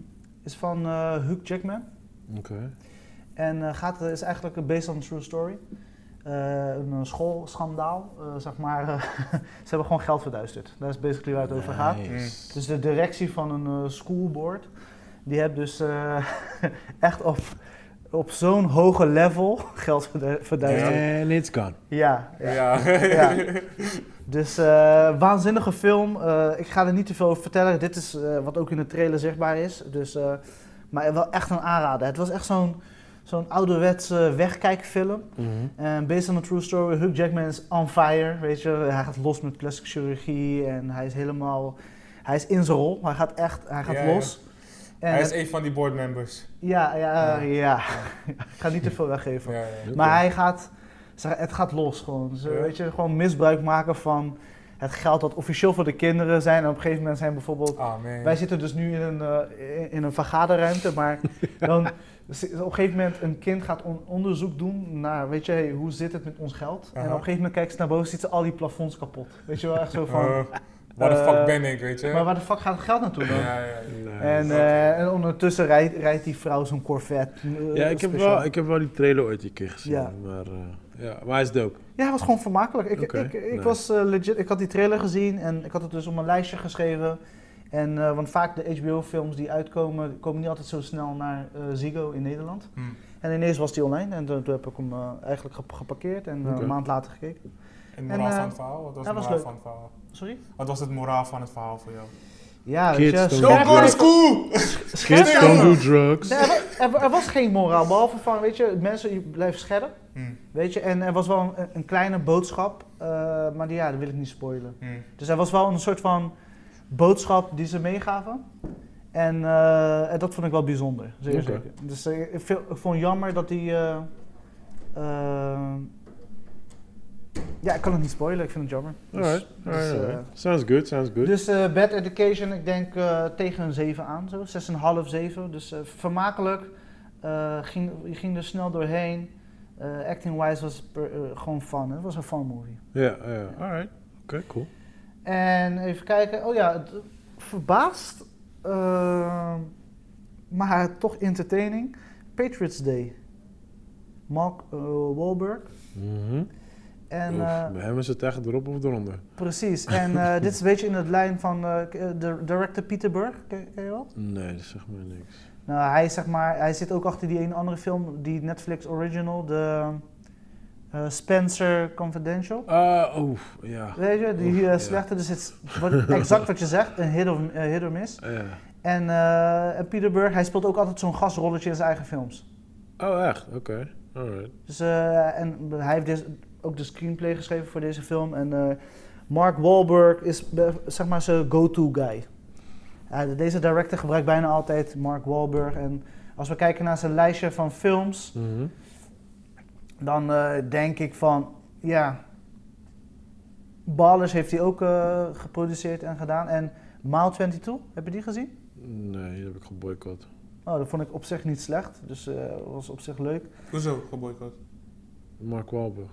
is van eh, Hugh Jackman. Oké. En eh, gaat, is eigenlijk based on a true story. Eh, een eh, schoolschandaal, eh, zeg maar. eh, (laughs) ze hebben gewoon geld verduisterd. Daar is basically waar het over gaat. Nice. Dus de directie van een eh, schoolboard, die heeft dus eh, (laughs) echt op, op zo'n hoge level (laughs) geld verdu- verduisterd. And it's gone. Ja, ja. Ja. (laughs) Ja. Dus eh, waanzinnige film. Eh, ik ga er niet te veel over vertellen. Dit is eh, wat ook in de trailer zichtbaar is. Dus, eh, maar wel echt een aanrader. Het was echt zo'n zo'n ouderwetse wegkijkfilm. En based on a true story, Hugh Jackman is on fire, weet je. Hij gaat los met plastic chirurgie en hij is helemaal... Hij is in zijn rol, hij gaat echt, hij gaat Ja, ja. los. En Hij is een van die boardmembers. Ja, ja, (laughs) ja. Ja. ik ga niet te veel weggeven. Ja, ja. Oké. Maar hij gaat... zeg, Het gaat los gewoon. Ze, Ja. Weet je, gewoon misbruik maken van het geld dat officieel voor de kinderen zijn. En op een gegeven moment zijn bijvoorbeeld... Ah, man. Wij zitten dus nu in een, eh, in- in een vergaderruimte, (laughs) maar dan zi- op een gegeven moment een kind gaat on- onderzoek doen naar, weet je, hey, hoe zit het met ons geld? En Aha. op een gegeven moment kijkt ze naar boven, ziet ze al die plafonds kapot. Weet je wel, echt zo Oh, van, Eh, waar de fuck eh, ben ik, weet je? maar waar de fuck gaat het geld naartoe dan? Ja, ja, ja. En, eh, en ondertussen rijdt, rijdt die vrouw zo'n Corvette. eh, Ja, ik heb, speciaal. wel, ik heb wel die trailer ooit een keer gezien. Ja. Maar, eh, ja, maar hij is dope. Ja, het was gewoon vermakelijk. Ik, Oké, ik, ik nice. was eh, legit, ik had die trailer gezien en ik had het dus op mijn lijstje geschreven. En, eh, want vaak de HBO-films die uitkomen, die komen niet altijd zo snel naar eh, Ziggo in Nederland. Hmm. En ineens was die online en toen, toen heb ik hem eh, eigenlijk gep- geparkeerd en eh, Oké. een maand later gekeken. En het moraal eh, van het verhaal? Wat was ja, het was moraal leuk. van het verhaal? Sorry? Wat was het moraal van het verhaal voor jou? Ja, Kids weet je, don't Don't Don't go go to to school! Kids Ja. don't do drugs. Nee, er, wa- er wa- er was geen moraal, behalve van, weet je, mensen je blijft scherp. Hm, Weet je, en er was wel een, een kleine boodschap, eh, maar die, ja, dat wil ik niet spoilen. hm. Dus er was wel een soort van boodschap die ze meegaven. En, eh, en dat vond ik wel bijzonder. Zeer Oké. zeker. Dus eh, ik, vind- ik vond het jammer dat die. eh, eh, ja, ik kan het niet spoilen, ik vind het jammer. Dus, Alright, dus, alright, eh, alright. Sounds good, sounds good. dus eh, Bad Education, ik denk eh, tegen een 7 aan, zo. 6,5, 7. Dus eh, vermakelijk. Eh, ging, je ging er snel doorheen. Eh, Acting-wise was het per- eh, gewoon fun. Het was een fun movie. Ja, ja, alright. Oké, cool. En even kijken. Oh ja, het verbaast, eh, maar toch entertaining. Patriots Day. Mark eh, Wahlberg. En, Mhm. Oef, eh, bij hem is het echt erop of eronder. precies. En eh, dit is een beetje in het lijn van eh, k- eh, de director Peter Berg. Ken, ken je wel? Nee, dat zegt mij niks. Nou, hij, is, zeg maar, hij zit ook achter die ene andere film, die Netflix original, de eh, Spencer Confidential. Ah, oef, ja. Weet je, die Oef, eh, ja. slechte, dus het is wat- exact wat je zegt, een hit of, eh, hit or miss. Ja. En, eh, en Peter Berg, hij speelt ook altijd zo'n gasrolletje in zijn eigen films. Oh, echt? Oké, alright. Dus, eh, en hij heeft dus ook de screenplay geschreven voor deze film. En eh, Mark Wahlberg is be- zeg maar zijn go-to guy. Eh, deze director gebruikt bijna altijd Mark Wahlberg. En als we kijken naar zijn lijstje van films, Mhm. dan eh, denk ik van, ja, Ballers heeft hij ook eh, geproduceerd en gedaan. En Maal 22, heb je die gezien? Nee, die heb ik geboycott. Nou, dat vond ik op zich niet slecht. Dus eh was op zich leuk. Hoezo geboycott? Mark Wahlberg.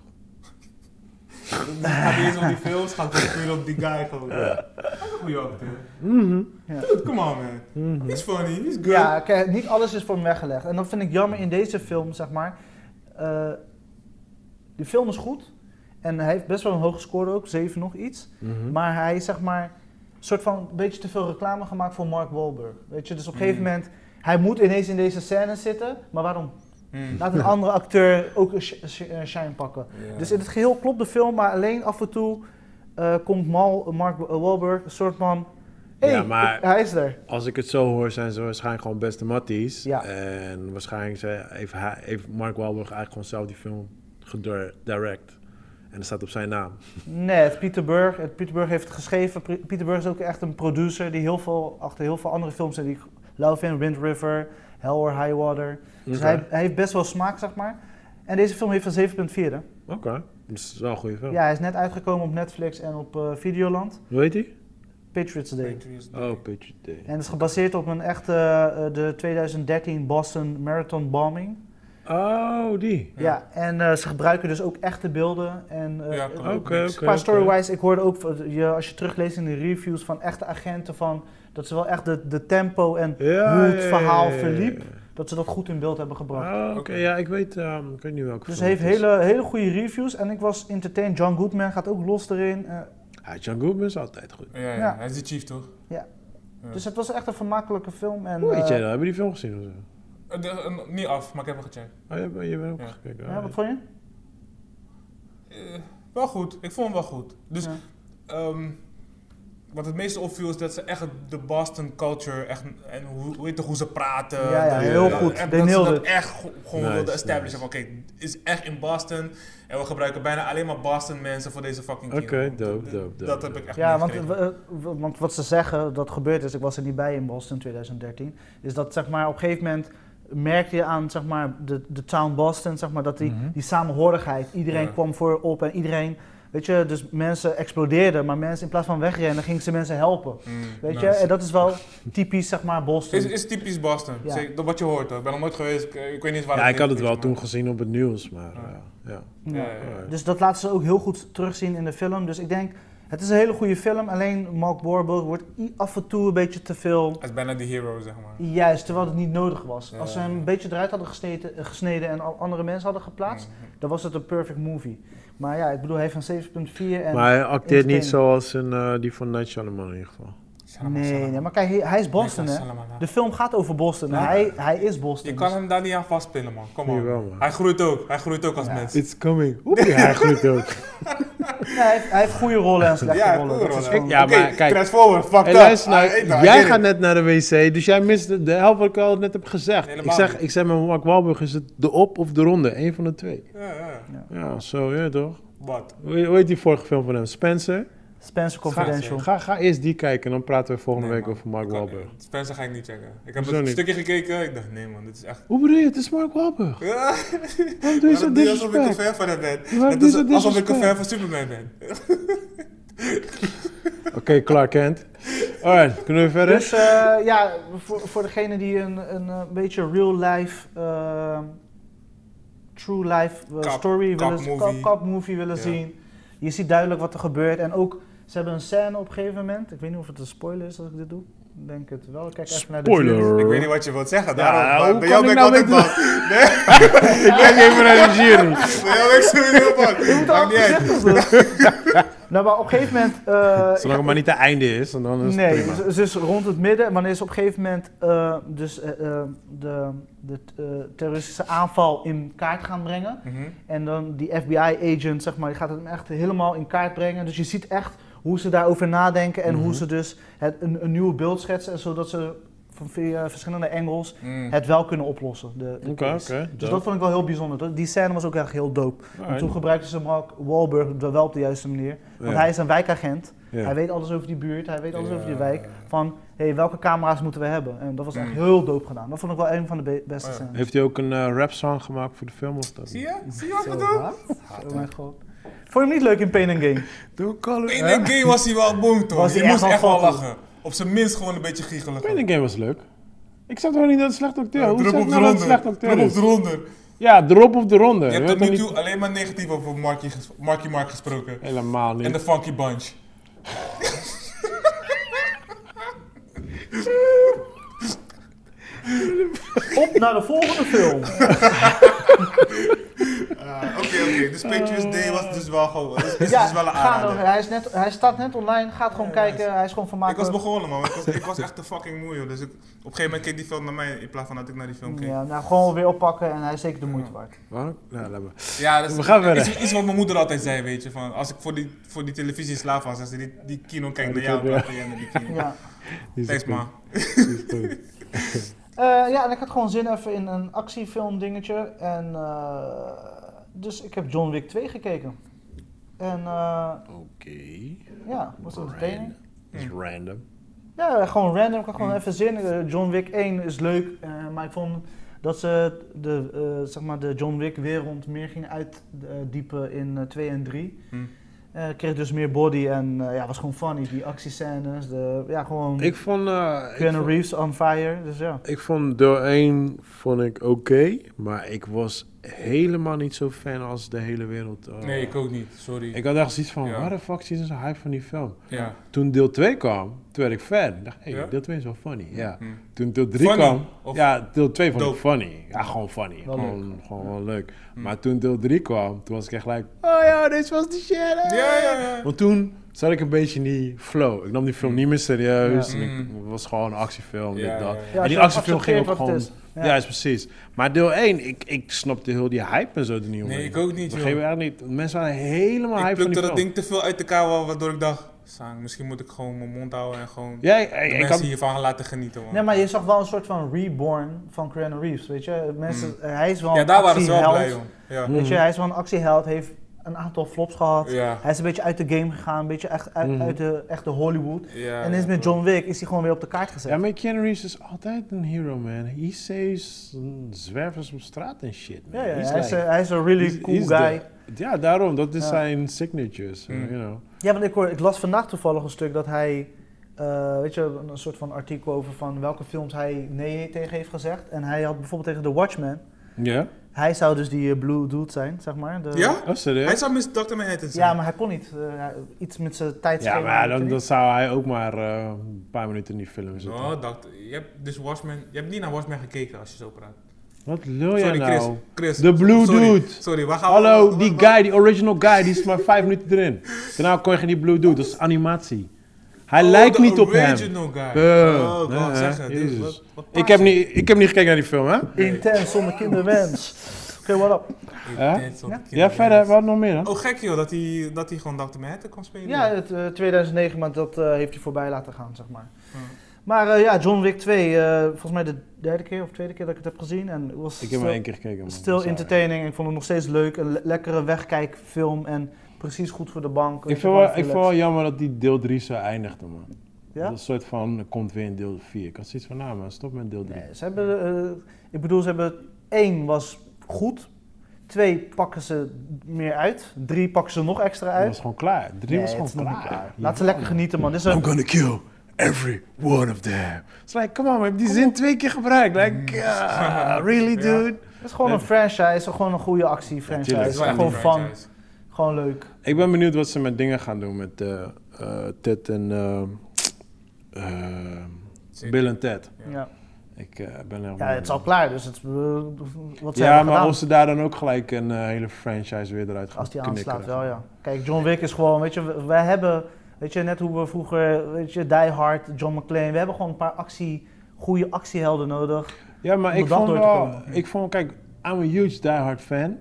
Het gaat niet eens om die films, het gaat gewoon puur op die guy gewoon. Dat is een goede acteur. Mhm. Ja. Dude, come on man. Mhm. He's funny, he's good. Ja, kijk, niet alles is voor hem weggelegd. En dat vind ik jammer in deze film, zeg maar. Eh die film is goed. En hij heeft best wel een hoge score ook, 7 nog iets. Mhm. Maar hij is, zeg maar, soort van een beetje te veel reclame gemaakt voor Mark Wahlberg. Weet je, dus op een gegeven Mm. Mhm. moment, hij moet ineens in deze scène zitten. Maar waarom? Hmm. Laat een andere acteur ook een sh- sh- eh, shine pakken. Ja. Dus in het geheel klopt de film, maar alleen af en toe eh, komt Mal, Mark Wahlberg, een soort van... Hé, Ja, maar- ik- hij is er. Als ik het zo hoor, zijn ze waarschijnlijk gewoon beste matties. Ja. En waarschijnlijk ze- heeft, hij- heeft Mark Wahlberg eigenlijk gewoon zelf die film gedirect. En dat staat op zijn naam. Nee, het Pieter Burg. Het Pieter Burg heeft het geschreven. Pri- Pieter Burg is ook echt een producer die heel veel, achter heel veel andere films zit. Die ik- Love in Wind River, Hell or High Water. Dus Oké. hij, hij heeft best wel smaak, zeg maar. En deze film heeft een 7.4. hè? Oké, dat is wel een goede film. Ja, hij is net uitgekomen op Netflix en op eh, Videoland. Hoe heet die? Patriots Day. Patriots Day. Oh, Pitch Day. En het is gebaseerd op een echte, eh, de 2013 Boston Marathon Bombing. Oh, die. Ja, en eh, ze gebruiken dus ook echte beelden. En, eh, Ja, het- klopt. Oké, oké. Qua Qua oké. storywise, ik hoorde ook, van- je, als je terugleest in de reviews van echte agenten, van, dat ze wel echt de, de tempo en Ja, hoe ja, het ja, verhaal ja, ja. verliep, dat ze dat goed in beeld hebben gebracht. Ah, Oké, Oké. ja, ik weet, ehm, ik weet niet welke dus film heeft het is. hele, hele goede reviews en ik was entertained. John Goodman gaat ook los erin. eh, Ja, John Goodman Ah, is altijd goed. Ja, ja, Ja. hij is de chief toch? Ja. Dus het was echt een vermakelijke film. En, Hoe heet eh, jij dat? Hebben die film gezien of zo? Eh, de- eh, niet af, maar ik heb hem gecheckt. Oh, je, bent- je bent ook Ja. gekeken. ja, Ah, wat vond je? Eh, wel goed, ik vond hem wel goed. Dus Ja. ehm, wat het meeste opviel is dat ze echt de Boston culture echt, en hoe, hoe, heet toch, hoe ze praten. Ja, ja, de- heel de- goed. en They dat ze nailed dat it. echt go- gewoon Nice, wilden establishen. nice. Van, Oké, het is echt in Boston en we gebruiken bijna alleen maar Boston mensen voor deze fucking Oké, kino. dope, Dat- dope, Dat dope. heb ik echt Ja, want, meegekregen. eh, w- want wat ze zeggen, dat gebeurd is, ik was er niet bij in Boston in 2013, is dat zeg maar, op een gegeven moment merkte je aan zeg maar, de, de town Boston, zeg maar, dat die, die samenhorigheid, iedereen Mhm. Ja. kwam voorop en iedereen, weet je, dus mensen explodeerden, maar mensen in plaats van wegrennen, gingen ze mensen helpen. Mm, Weet je, nice. en dat is wel typisch zeg maar Boston. Is, is typisch Boston. Ja. Zeker, dat wat je hoort hoor. Ik ben nog nooit geweest. Ik, eh, ik weet niet eens waar Ja, ik had het ligt, wel maar- toen gezien op het nieuws, maar Ah. eh, ja. Ja, ja, ja. Alright. Dus dat laten ze ook heel goed terugzien in de film. Dus ik denk, het is een hele goede film, alleen Mark Wahlberg wordt i- af en toe een beetje te veel Hij is bijna de hero, zeg maar. Juist, terwijl het niet nodig was. Ja. Als ze hem een beetje eruit hadden gesneden, gesneden en al andere mensen hadden geplaatst, Mhm. dan was het een perfect movie. Maar ja, ik bedoel, hij heeft een 7.4 en... Maar hij acteert niet entertaining. zoals in, eh, die van Night Shyamalan in ieder geval. nee, nee, maar kijk, hij, hij is Boston, hè. De film gaat over Boston. Ja. Hij, hij is Boston. Dus Je kan hem daar niet aan vastpillen, man. Kom op. Jawel, man. Hij groeit ook. Hij groeit ook als mens. It's coming. Oeh, (laughs) ja, hij groeit ook. Dus hij, heeft, hij heeft goede rollen en slechte Ja, rollen. goede Dat is rollen. gewoon- Ja, Oké, Ah, maar kijk. Crash forward, fuck Hey, up. luister nou, I- I- I get jij it. gaat net naar de wc, dus jij mist de, de helft wat ik al net heb gezegd. ik Helemaal zeg, niet. ik zeg met Mark Wahlberg, is het de op of de ronde? Eén van de twee. Ja, ja. Ja, zo, ja toch? Wat? Hoe hoe heet die vorige film van hem? Spencer? Spencer Confidential. Ga, ga eerst die kijken en dan praten we volgende Nee, week man. over Mark Ik kan- Wahlberg. Spencer ga ik niet checken. Ik heb Hoezo een niet? stukje gekeken. Ik dacht, nee man, dit is echt... (laughs) Hoe bedoel je, het is Mark Wahlberg. Ja, Waarom doe je maar zo het is alsof ik een disrespect? fan van hem ben. Waarom Net doe je als- zo alsof ik een disrespect? fan van Superman ben. Oké, Clark Kent. Alright, kunnen we verder? (laughs) Dus eh, ja, voor, voor degene die een, een eh, beetje real life, eh, true life eh, Cop- story cop willen, movie. cop- cop movie willen Ja. zien. Je ziet duidelijk wat er gebeurt. En ook, ze hebben een scène op een gegeven moment. Ik weet niet of het een spoiler is als ik dit doe. Ik denk het wel. Ik Kijk even naar de Spoiler. trailers. Ik weet niet wat je wilt zeggen. Ja, Daarom, maar hoe bij kan jou ben ik ik nou altijd weten- bang. Nee, (laughs) Ik kijk even naar de jury. bij jou ben ik sowieso bang. (laughs) Je moet Maakt al niet uit. voorzichtig doen. (laughs) (laughs) nou, maar op een gegeven moment... eh, Zolang het maar niet het einde is, en dan is het Nee, prima. ze, ze is rond het midden. Wanneer is op een gegeven moment eh, dus, eh, eh, de, de eh, terroristische aanval in kaart gaan brengen. Mhm. En dan die FBI-agent, zeg maar, die gaat het hem echt helemaal in kaart brengen. Dus je ziet echt hoe ze daarover nadenken en Mhm. hoe ze dus het, een, een nieuw beeld schetsen. Zodat ze van via verschillende engels Mm. het wel kunnen oplossen. de- de Mhm. Oké, case. oké, Dus dope. dat vond ik wel heel bijzonder. Dat- Die scène was ook echt heel dope. En Alright. toen gebruikten ze Mark Wahlberg wel op de juiste manier. Want Ja. hij is een wijkagent. Ja. Hij weet alles over die buurt, hij weet alles over die Ja. wijk. Van, hé, welke camera's moeten we hebben? En dat was echt Mhm. Mm. heel dope gedaan. Dat vond ik wel een van de be- beste Oh ja. scènes. eh, Heeft hij ook een rap song gemaakt voor de film of dat? Zie je? Zie je wat ik Zo, bedoel? wat? Oh mijn god. Vond je hem niet leuk in Pain and Game? Don't call it. In een game was hij wel boem toch? Was je hij echt moest wel echt wel grappig. lachen. Op zijn minst gewoon een beetje giechelig. Pain and Game was leuk. Ik zag gewoon niet dat het slecht acteur. Hoe zeg Druk ik op de nou dat het ronde. slecht acteur Druk op is? de ronde. Ja, drop op de ronde. Je hebt weet tot nu toch toe alleen maar negatief over Marky, ges- Marky Mark gesproken. Helemaal niet. En de Funky Bunch. Op naar de volgende (laughs) film. Oké, oké. Dus Patriots Day was dus wel gewoon... Is, is dus wel een ga aanrader. nog. hij, is net, hij staat net online. Gaat gewoon kijken. Hij is gewoon Ik was vermakelijk. begonnen, man. Ik was, ik was echt te fucking moe, joh. Dus ik, op een gegeven moment keek die film naar mij in plaats van dat ik naar die film keek. Ja, Ja, nou gewoon weer oppakken en hij is zeker de moeite waard. Waarom? Nou, laat maar. dat is We gaan verder. Iets, iets wat mijn moeder altijd zei, weet je. Van, als ik voor die, voor die televisie in slaaf was, als ze die, die kino kijkt naar die jou, kijk, dan ja. ga jij naar die kino. Ja. Die is Thanks, goed. man. Die is goed. Eh, ja, en ik had gewoon zin even in een actiefilm dingetje. En, eh, dus ik heb John Wick 2 gekeken. En eh, Oké. ja, was entertaining. Dat is Hmm. random. Ja, gewoon random. Ik had Mm. gewoon even zin. Eh, John Wick 1 is leuk, eh, maar ik vond dat ze de, eh, zeg maar de John Wick wereld meer ging uitdiepen in eh, 2 en 3. Hm. Eh, kreeg dus meer body en eh, ja, was gewoon funny. Die actiescènes, de, ja, gewoon Ik vond... eh, ik Keanu vond- Reeves on fire. Dus ja. Ik vond deel 1 vond ik oké, maar ik was helemaal niet zo fan als de hele wereld. eh. Nee, ik ook niet. Sorry. Ik had echt zoiets van, Ja. waar de fuck zit zo'n hype van die film? ja. Toen deel 2 kwam, toen werd ik fan. Ik dacht, hey, Ja? deel 2 is wel funny. Ja. Hm. Toen deel 3 Funny? kwam, Of ja, deel 2 vond dope? Hmm. ik funny. Ja, gewoon funny. Wel gewoon gewoon wel leuk. Maar toen deel 3 kwam, toen was ik echt like, oh ja, deze was de shit. hè. Ja, ja, ja. Want toen zat ik een beetje in die flow. Ik nam die film niet meer serieus. Ja. En ik het was gewoon een actiefilm, Mm. Ja, dit, dat. ja, ja. Ja, En als die je actiefilm ging accepteert ook wat gewoon... het Ja, is. Ja. is precies. Maar deel 1, ik, ik snapte heel die hype en zo er niet omheen. ik ook niet, We joh. geven echt niet. Mensen waren helemaal Ik hype van plukte die dat film. ding te veel uit elkaar, wa- waardoor ik dacht... Sang, misschien moet ik gewoon mijn mond houden en gewoon Ja, ik, ik- de ik mensen had... hiervan gaan laten genieten, man. Nee, maar je zag wel een soort van reborn van Keanu Reeves, weet je. Mensen, eh, hij is wel Mm. ja, een daar waren ze wel actieheld. blij om. Ja. Weet je, hij is wel een actieheld, heeft een aantal flops gehad. Ja. Mm-hmm. Hij is een beetje uit de game gegaan, een beetje echt uit, uit de echte Hollywood. Ja, en ja. is met John Wick is hij gewoon weer op de kaart gezet. Ja, maar Keanu Reeves is altijd een hero, man. He saves mm, zwervers op straat en shit, man. Ja, ja, He's hij, is, like- een- hij is een really he's- cool he's guy. the- ja, daarom. Dat is Ja. zijn signatures, Mm. you know. Ja, want ik, hoor, ik las vandaag toevallig een stuk dat hij, eh, weet je, een soort van artikel over van welke films hij nee tegen heeft gezegd. En hij had bijvoorbeeld tegen The Watchmen, Ja? hij zou dus die eh, Blue Dude zijn, zeg maar. De, Ja? Oh, Hij serieus? zou Miss Dr. Manhattan zijn. Ja, maar hij kon niet. eh, hij- iets met zijn tijdschema. Ja, maar weet je dan, dan niet. zou hij ook maar eh, een paar minuten in die film zitten. Oh, dokter. Je hebt dus Watchmen... Je hebt niet naar Watchmen gekeken als je zo praat. Wat lul jij Sorry, Chris. Oh, nou? Chris. De Blue sorry. Dude. Sorry, waar gaan we... Hallo, waar- die waar- guy, die original guy, die is maar vijf minuten erin. Daarna kon je geen die Blue Dude, dat is animatie. Hij Oh, lijkt de niet op hem. original guy. Eh, oh, god, eh, zeg het. Dit is Jezus. wat- wat Ik heb, paars. niet, ik heb niet gekeken naar die film, hè? Intens, zonder (laughs) kinderwens. Oké, what up? Hè? Dit soort Ja, kinderen. verder, wat nog meer dan? Oh, gek joh, dat hij, dat hij gewoon Dr. Manhattan kon spelen. Ja, het, eh, 2009, maar dat eh, heeft hij voorbij laten gaan, zeg maar. Maar eh, ja, John Wick 2, eh, volgens mij de derde keer of tweede keer dat ik het heb gezien. En het was Ik heb still, maar één keer dus, eh, gekeken, man. still Sorry. entertaining. Ik vond het nog steeds leuk. Een le- lekkere wegkijkfilm en precies goed voor de bank. Ik vind, wel, ik vind wel jammer dat die deel 3 zo eindigde, man. Dat Ja? is een soort van, er komt weer in deel 4. Ik had zoiets van, nou man, stop met deel 3. Nee, ze hebben... eh, ik bedoel, ze hebben... één was goed. Twee pakken ze meer uit. Drie pakken ze nog extra dat uit. was gewoon klaar. 3 Nee, was het is gewoon nog klaar. niet klaar. Laat ze lekker genieten, man. Dit is I'm een... gonna kill every one of them. It's like, come on, we hebben die zin twee keer gebruikt. Like, ah, really (laughs) dude? Het is gewoon een franchise, gewoon een goede actiefranchise. tuurlijk. dat Het is is wel echt gewoon een fun, franchise. gewoon leuk. Ik ben benieuwd wat ze met dingen gaan doen met eh, eh, Ted en eh, eh, Zeker. Bill en Ted. Ja. Ja. Ik eh, ben er ja, het is al klaar, dus het, is, eh, wat ze Ja, hebben maar gedaan. of ze daar dan ook gelijk een eh, hele franchise weer eruit gaan Als die knikkeren. aanslaat wel, ja. Kijk, John Wick is gewoon, weet je, we- wij hebben, weet je, net hoe we vroeger, weet je, Die Hard, John McClane, we hebben gewoon een paar actie, goede actiehelden nodig. Ja, maar Om ik de dag vond door te wel, komen. ik vond, kijk, I'm a huge diehard fan.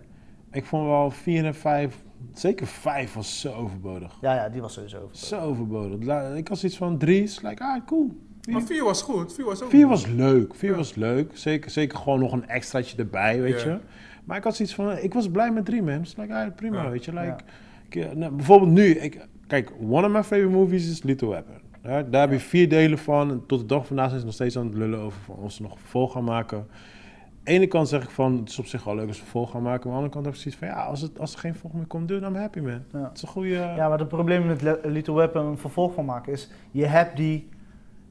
Ik vond wel 4 en 5, zeker 5 was zo overbodig. Ja, ja, die was sowieso. Zo overbodig. La- Ik had iets van 3, is like, ah, cool. Maar 4 was goed. 4 was ook Vier goed. was leuk. Vier was leuk. Zeker, zeker gewoon nog een extraatje erbij, weet Ja. je. Maar ik had zoiets van, ik was blij met drie, man. It's like, ah, prima, Ja. weet je. Like, Ja. ik, eh, nou, bijvoorbeeld nu, ik, kijk, one of my favorite movies is Little Weapon. Ja, daar heb je vier delen van. En tot de dag vandaag zijn ze nog steeds aan het lullen over van of ze nog een vervolg gaan maken. ene kant zeg ik van, het is op zich wel leuk als we volgen gaan maken. Maar aan de andere kant heb ik zoiets van, ja, als, het, als er geen volg meer komt, dude, I'm happy man. Ja. Het is een eh, goede... Ja, maar het probleem met Le- Little Weapon een vervolg van maken is, je hebt die,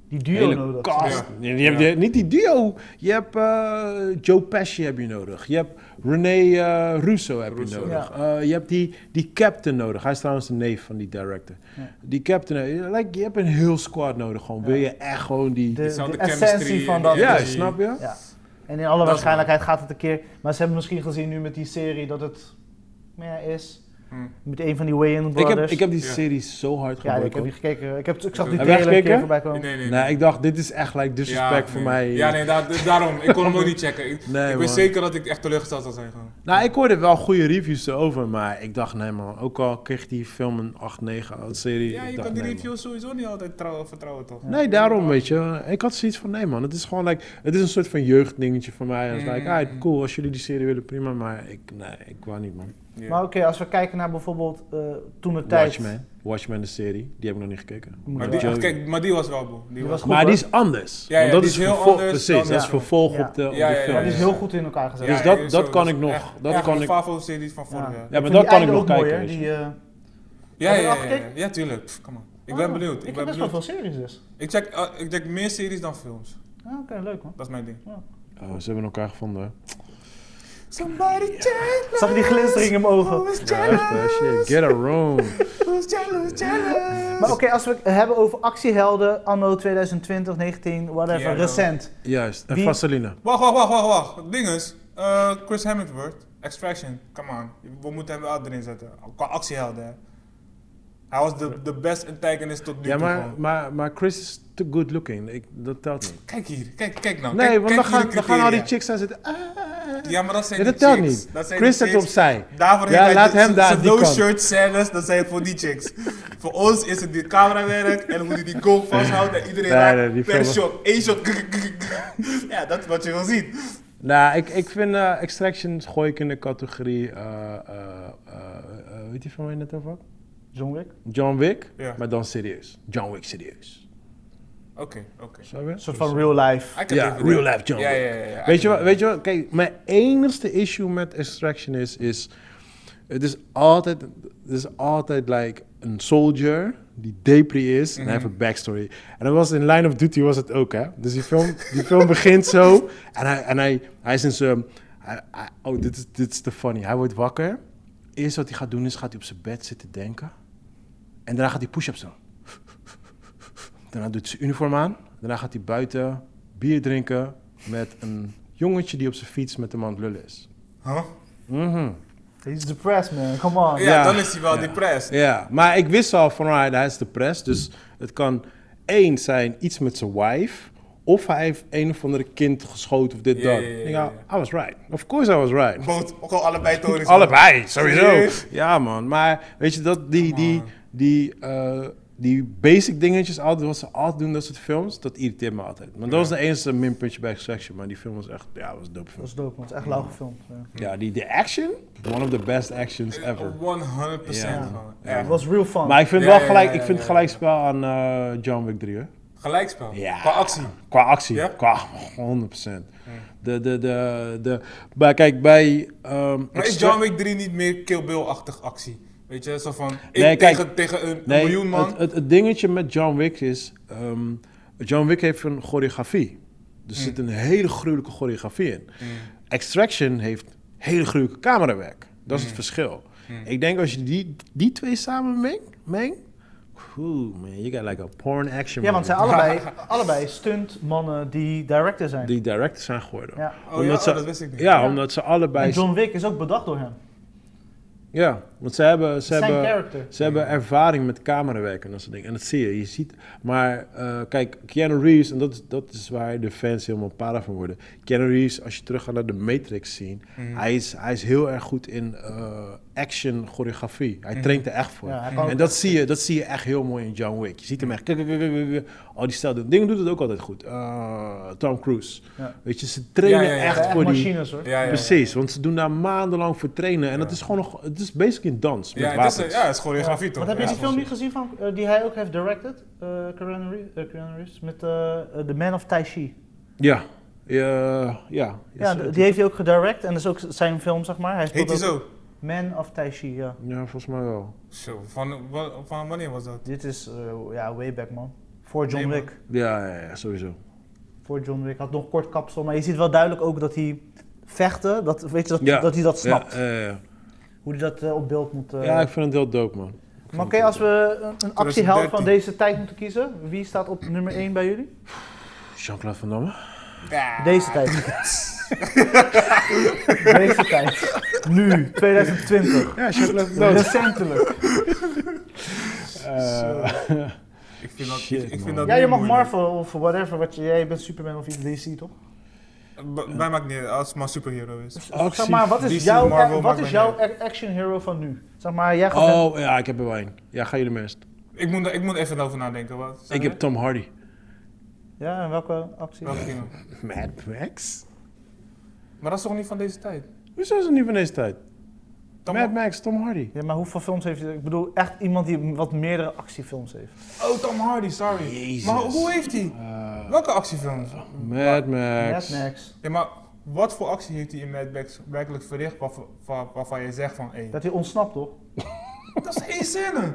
die duo Hele nodig. cast. Ja. Je, je hebt Ja. je- niet die duo. Je hebt eh, Joe Pesci heb je nodig. Je hebt René eh, Russo heb Russo. je nodig. Eh, je hebt die, die captain nodig. Hij is trouwens de neef van die director. Ja. Die captain, eh, like, je hebt een heel squad nodig. Gewoon. Wil je echt gewoon die... De, zou de de chemistry eh, essentie van en dat. die- ja, die- snap je? Ja. En in alle is waarschijnlijkheid gaat het een keer. Maar ze hebben misschien gezien nu met die serie dat het meer is. Hm. Met een van die Way-In Ik heb, Brothers. ik heb die Ja. serie zo hard ja, ik heb gebroken. niet gekeken. Ik, heb, ik zag die Heb jij trailer een keer gekeken? voorbij Nee, komen. nee, nee. nee, ik dacht, dit is echt like disrespect voor nee. mij. Ja, nee, da- dus daarom. Ik kon hem ook niet checken. Ik, Nee, ik man. weet zeker dat ik echt teleurgesteld zou zijn. Gewoon. Nou, ik hoorde wel goede reviews erover, maar ik dacht, nee man, ook al kreeg die film een 8, 9 uit serie. Ja, ik je dacht, kan die nee, man. reviews sowieso niet altijd trouw- vertrouwen, toch? Nee, daarom weet je. Ik had zoiets van, nee man, het is gewoon like, het is een soort van jeugddingetje voor mij. En het is like, Mm. ah, cool, als jullie die serie willen, prima, maar ik, nee, ik wou niet man. Ja. Maar oké, als we kijken naar bijvoorbeeld eh, toen de tijd. Watchmen, Watchmen de serie, die heb ik nog niet gekeken. Maar, Ja. die, kijk, maar die was wel boe. Die was, goed, maar die hoor. is anders. Ja, ja, want dat die is is heel vervolg, anders precies, dan- dat is ja. vervolg Ja. op de, op de Ja, ja, ja, film. Ja, die is ja. heel goed in elkaar gezet. Ja, Dus dat- ja, dat zo, kan is ik nog. Echt, Dat echt kan mijn ik- Favo-series van vorig Ja. jaar. Ja, Ik maar vond dat die kan ik einde nog ook mooi, kijken. dus. hè, weet je. die, eh, Ja, Heb je ja, al ja, ja, gekeken? ja, tuurlijk. Pff, Kom maar. Ik ben oh, benieuwd. Ik Ik ben heb best wel benieuwd. veel series dus. Ik check, eh, ik check meer series dan films. Ah, Oké, leuk man. Dat is mijn ding. Oh, ze hebben elkaar gevonden. hè. Somebody jealous. Zag je die glinstering in mijn ogen? Who's Ja, echt, hè. shit, get a room. (laughs) Who's jealous? Jealous. Maar oké, als we het hebben over actiehelden, anno 2020, 19, whatever, Keanu. recent. Juist, en Wie- Vaseline. Wacht, wacht, wacht, wacht, wacht. Ding is, eh, Chris Hemsworth, Extraction, come on. We moeten hem wel erin zetten. Qua actiehelden, hè. Hij was de, de best antagonist tot nu toe. Ja, maar, gewoon. maar, maar Chris is te good looking. Ik, dat telt niet. Kijk hier, kijk, kijk nou. Nee, kijk, want dan kijk hier gaan, de dan gaan al die criteria. chicks daar zitten. Ah, ah, ah. Ja, maar dat zijn Ja, de dat telt chicks. niet. Dat zijn Chris de zit chicks. opzij. Daarvoor Ja, heeft laat hij hem daar, zijn die no kant. shirt scènes, dat zijn voor die chicks. (laughs) voor ons is het dit camerawerk en hoe die die goal vasthoudt en iedereen Nee, raakt nee, die per film- shot. Eén shot. (laughs) ja, dat is wat je wil zien. Nou, ik, ik vind eh, Extraction gooi ik in de categorie. eh eh eh, eh, hoe heet die van mij net over? had? John Wick. John Wick, Ja. maar dan serieus. John Wick serieus. Oké, oké. Snap je? Een soort van real life. I can Ja, live with real that. life John Ja, Wick. ja, ja, ja, I Weet je, can wat, weet je wat? Kijk, mijn enigste issue met Extraction is, is het is altijd, het is altijd like een soldier die depri is en hij heeft een backstory. En dat was in Line of Duty was het ook, hè? Dus die film, die film (laughs) begint zo en hij, en hij, hij is in zijn, hij- hij- oh, dit is, dit is te funny. Hij wordt wakker. Eerst wat hij gaat doen is, gaat hij op zijn bed zitten denken. En daarna gaat hij push-ups doen. Daarna doet hij zijn uniform aan. Daarna gaat hij buiten bier drinken met een jongetje die op zijn fiets met hem aan het lullen is. Huh? Mhm. He's depressed man, come on. Ja, Ja. dan is hij wel Ja. depressed. Ja, maar ik wist al van right, hij is depressed. Dus het kan één zijn iets met zijn wife. Of hij heeft een of andere kind geschoten of dit, Ja, dat. ja, ja, Ik ja, dacht, I was right. Of course I was right. Both, ook al (laughs) allebei torens. Allebei, sowieso. Serieus? Ja, man. Maar weet je, dat, die, Come die, on. die, eh, die basic dingetjes, altijd, wat ze altijd doen, dat soort films, dat irriteert me altijd. Maar dat was de enige minpuntje bij Extraction. Maar die film was echt, ja, was een dope film. Dat is dope man, het is echt lauw gefilmd. ja. Ja, die, de action, one of the best actions ever. 100% Ja. gewoon. Het Echt. was real fun. Maar ik vind Ja, wel ja, gelijk, ja, ik ja, vind ja. gelijkspel aan eh, John Wick 3, hoor. Gelijkspel. Ja. Qua actie. Qua actie, Ja? qua 100%. De, de, de, de, maar kijk, bij... ehm, Maar is Extra- John Wick 3 niet meer Kill Bill-achtig actie? Weet je, zo van ik Nee, kijk. tegen, tegen een Nee, miljoen man. Het, het, het dingetje met John Wick is... ehm, John Wick heeft een choreografie. Mm. Dus er zit een hele gruwelijke choreografie in. Extraction heeft hele gruwelijke camerawerk. Dat Mm. is het verschil. Ik denk als je die, die twee samen mengt... Meng, oeh, man, you got like a porn action ja, want het movie. zijn (laughs) allebei, allebei stuntmannen die director zijn. Die directors zijn geworden. Ja. Oh ja? Oh, dat wist ik niet. Ja, Ja. omdat ze En allebei... John Wick is ook bedacht door hem. Ja, want ze hebben, ze Zijn hebben, character. ze hebben ervaring met camerawerken en dat soort dingen. En dat zie je, je ziet. Maar eh, kijk, Keanu Reeves, en dat, is- dat is waar de fans helemaal para van worden. Keanu Reeves, als je teruggaat naar de Matrix scene, Mhm. hij, is, hij is heel erg goed in eh, action choreografie. Hij Mhm. traint er echt voor. Ja, hij kan ook en dat zie, je, dat zie je echt heel mooi in John Wick. Je ziet hem echt, Mhm. kijk, kijk, kijk, kijk, kijk. al die stijl dingen doet het ook altijd goed. Eh, Tom Cruise. Ja. Weet je, ze trainen Ja, ja, ja. echt Echt voor die... machines hoor. Ja, ja, ja. Precies, want ze doen daar maandenlang voor trainen. En dat is gewoon nog, het is basically een dans met Ja, het wapens. is, eh, ja, het is choreografie toch? Wat heb je Ja. die film niet gezien van, eh, die hij ook heeft directed? eh Keanu Reeves, eh, Keanu Reeves, met eh, eh, The Man of Tai Chi. ja. Ja, ja. Ja, Yes, d- het- die heeft hij ook gedirect en dat is ook zijn film, zeg maar. Hij Heet speelt hij ook zo? Man of Tai Chi, ja. ja, volgens mij wel. Zo, van, wa- van wanneer was dat? Dit is, eh, ja, way back, man. Voor John Nee, man. Wick. Ja, ja, ja, sowieso. Voor John Wick. Had nog een kort kapsel, maar je ziet wel duidelijk ook dat hij vechten, dat, weet je, dat, Ja. dat hij dat snapt. Ja, eh, ja. Hoe hij dat eh, op beeld moet... eh, ja, ik vind het heel dope, man. Ik vind het maar oké, heel als we een, een actieheld van 2013. deze tijd moeten kiezen, wie staat op nummer 1 bij jullie? dope. Jean-Claude Van Damme? Ja. Deze tijd. Deze tijd. Nu, 2020. Ja, Jean-Claude Recentelijk. (laughs) Ik vind dat, Shit, ik, ik man. vind dat Ja, je heel mag moeilijk. Marvel of whatever, wat je, jij bent Superman of iets DC, toch? B- Mij maakt niet uit, als het maar superhero is. Zeg maar, wat DC, is jouw, Marvel, eh, wat maakt is mij jouw niet ac- action hero van nu? Zeg maar, jij gaat... Oh, ja, ik heb er wel één. Ja, ga jullie mest. Ik moet, ik moet even over nadenken. Wat, Ik heb Tom Hardy. Ja, en welke actie? Welke dingen? Mad Max? Maar dat is toch niet van deze tijd? Hoezo is het niet van deze tijd? Dan Mad Max, Tom Hardy. Ja, maar hoeveel films heeft hij? Ik bedoel, echt iemand die wat meerdere actiefilms heeft. Oh, Tom Hardy, sorry. Jezus. Maar hoe heeft hij? Eh, Welke actiefilms? Mad Max. Mad Max. Ja, maar wat voor actie heeft hij in Mad Max werkelijk verricht waarvan, waar- waarvan je zegt van, hé, Dat hij ontsnapt, toch? dat is één scène.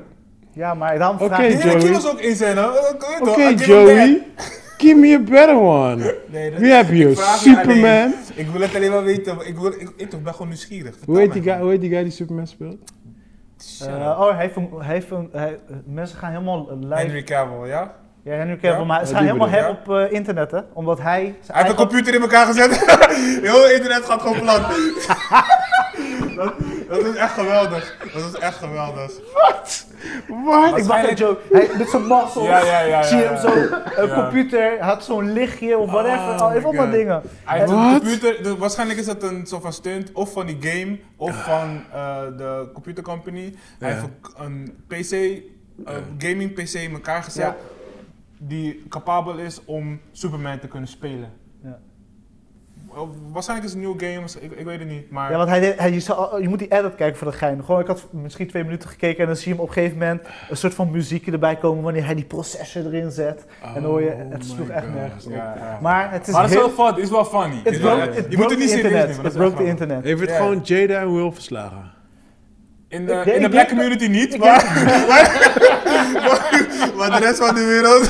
Ja, maar daarom Oké, vraag De ik... hele Joey. kill is ook één scène. Eh, eh, Oké, I give him Joey. Give me a better one. that. Nee, dat- Wie heb je? ik vraag je Superman? alleen. Ik wil het alleen maar weten. want Ik, wil, ik, ik toch ben gewoon nieuwsgierig. Hoe heet, die guy, hoe heet die guy die Superman speelt? guy? Eh, oh, hij heeft een... Hij heeft een hij- eh, mensen gaan helemaal eh, live... Henry Cavill, ja? Ja, Henry Cavill, Ja? maar ze Ja, gaan die helemaal bedoel hem op ik, eh, internet, hè? Omdat hij... Hij heeft een computer in elkaar gezet. (laughs) Heel internet gaat gewoon plat. (laughs) dat, dat is echt geweldig. Dat is echt geweldig. Wat? Ik mag het joke. Hij, met zijn muscles. Ja, ja, ja, Zie je ja, hem ja. zo. Een Ja. computer, hij had zo'n lichtje of whatever. Oh al my even allemaal God. dingen. Hij heeft een Wat? computer, dus waarschijnlijk is dat een soort van stunt of van die game of van eh, de computercompany. Hij Ja. heeft een- een PC, een gaming PC in elkaar gezet Ja. die capabel is om Superman te kunnen spelen. Ja. Wel, Waarschijnlijk is het een nieuw game, waarsch- ik, ik weet het niet, maar Ja, want hij, deed- hij, je, zal- je moet die edit kijken voor de gein. Gewoon, ik had misschien twee minuten gekeken en dan zie je hem op een gegeven moment een soort van muziekje erbij komen wanneer hij die processor erin zet. en dan hoor je, Oh het my sloeg echt God. nergens op. Ja, ja. Maar het is Maar het is heel... wel fun, het is wel funny. Het Het is wel- broke, het je moet broke het the niet serieus internet. nemen, dat Het is wel broke the grappig. internet. Heeft het Ja. gewoon Jada en Will verslagen? In de, Ik denk- in de ik black denk- community niet, maar, maar, maar de rest van de wereld,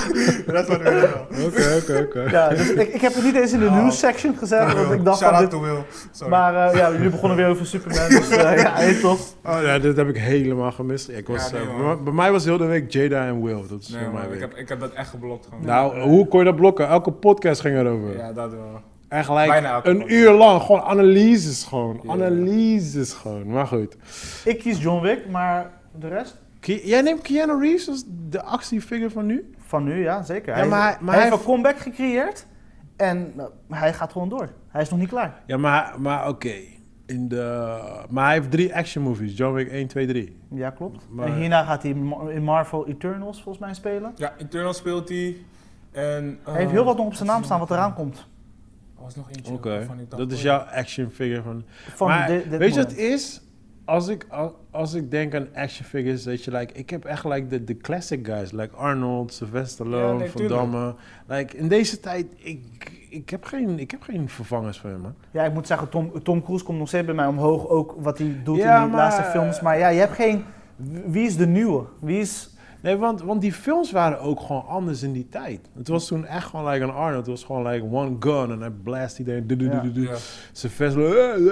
de rest van de wereld wel. Oké, oké, oké. Ja, dus ik, ik heb het niet eens in de Nou. Oh. news section gezet, want ik dacht Shout van out dit... to Will, sorry. Maar eh, ja, jullie begonnen weer over Superman, dus (laughs) eh, ja, weet je toch. Oh, ja, dit heb ik helemaal gemist. Ja, ik was, Ja, nee, eh, man. bij- bij mij was heel de week Jada en Will. Dat is Nee, voor man, mij ik, week. heb, ik heb dat echt geblokt gewoon. Nou, hoe kon je dat blokken? Elke podcast ging erover. Ja, dat wel. En gelijk Bijna elke een podcast. uur lang. Gewoon analyses gewoon. Ja. Analyses gewoon. Maar goed. Ik kies John Wick, maar de rest? Ki- Jij neemt Keanu Reeves als de actiefigure van nu? Van nu, ja, zeker. Ja, hij, maar hij- hij, maar hij heeft heeft- een comeback gecreëerd en eh, hij gaat gewoon door. Hij is nog niet klaar. Ja, maar, maar oké. In de... Maar hij heeft drie action movies. John Wick 1, 2, 3. Ja, klopt. Maar- En hierna gaat hij in Mar- in Marvel Eternals volgens mij spelen. Ja, Eternal speelt hij. En, eh, Hij Oh. heeft heel wat nog op zijn naam staan wat eraan komt. Er was nog eentje. Oké. waarvan ik dacht, Dat is oh, jouw action figure van... Van maar dit, dit weet je wat moment. het is? Als ik, al- als ik denk aan action figures, dat je like... Ik heb echt like de, de classic guys. Like Arnold, Sylvester Stallone, Ja, nee, Van tuurlijk. Damme. Like, in deze tijd... Ik, ik, heb geen, ik heb geen vervangers voor hem, man. Ja, ik moet zeggen, Tom, Tom Cruise komt nog steeds bij mij omhoog. Ook wat hij doet Ja, in die maar- laatste films. Maar ja, je hebt geen... Wie is de nieuwe? Wie is... Nee, want, want die films waren ook gewoon anders in die tijd. Het was toen echt gewoon like een Arnold. Het was gewoon like one gun en hij blast iedereen. Du, du, du, Ja. du, du. Ja. Zijn vest. eh, eh,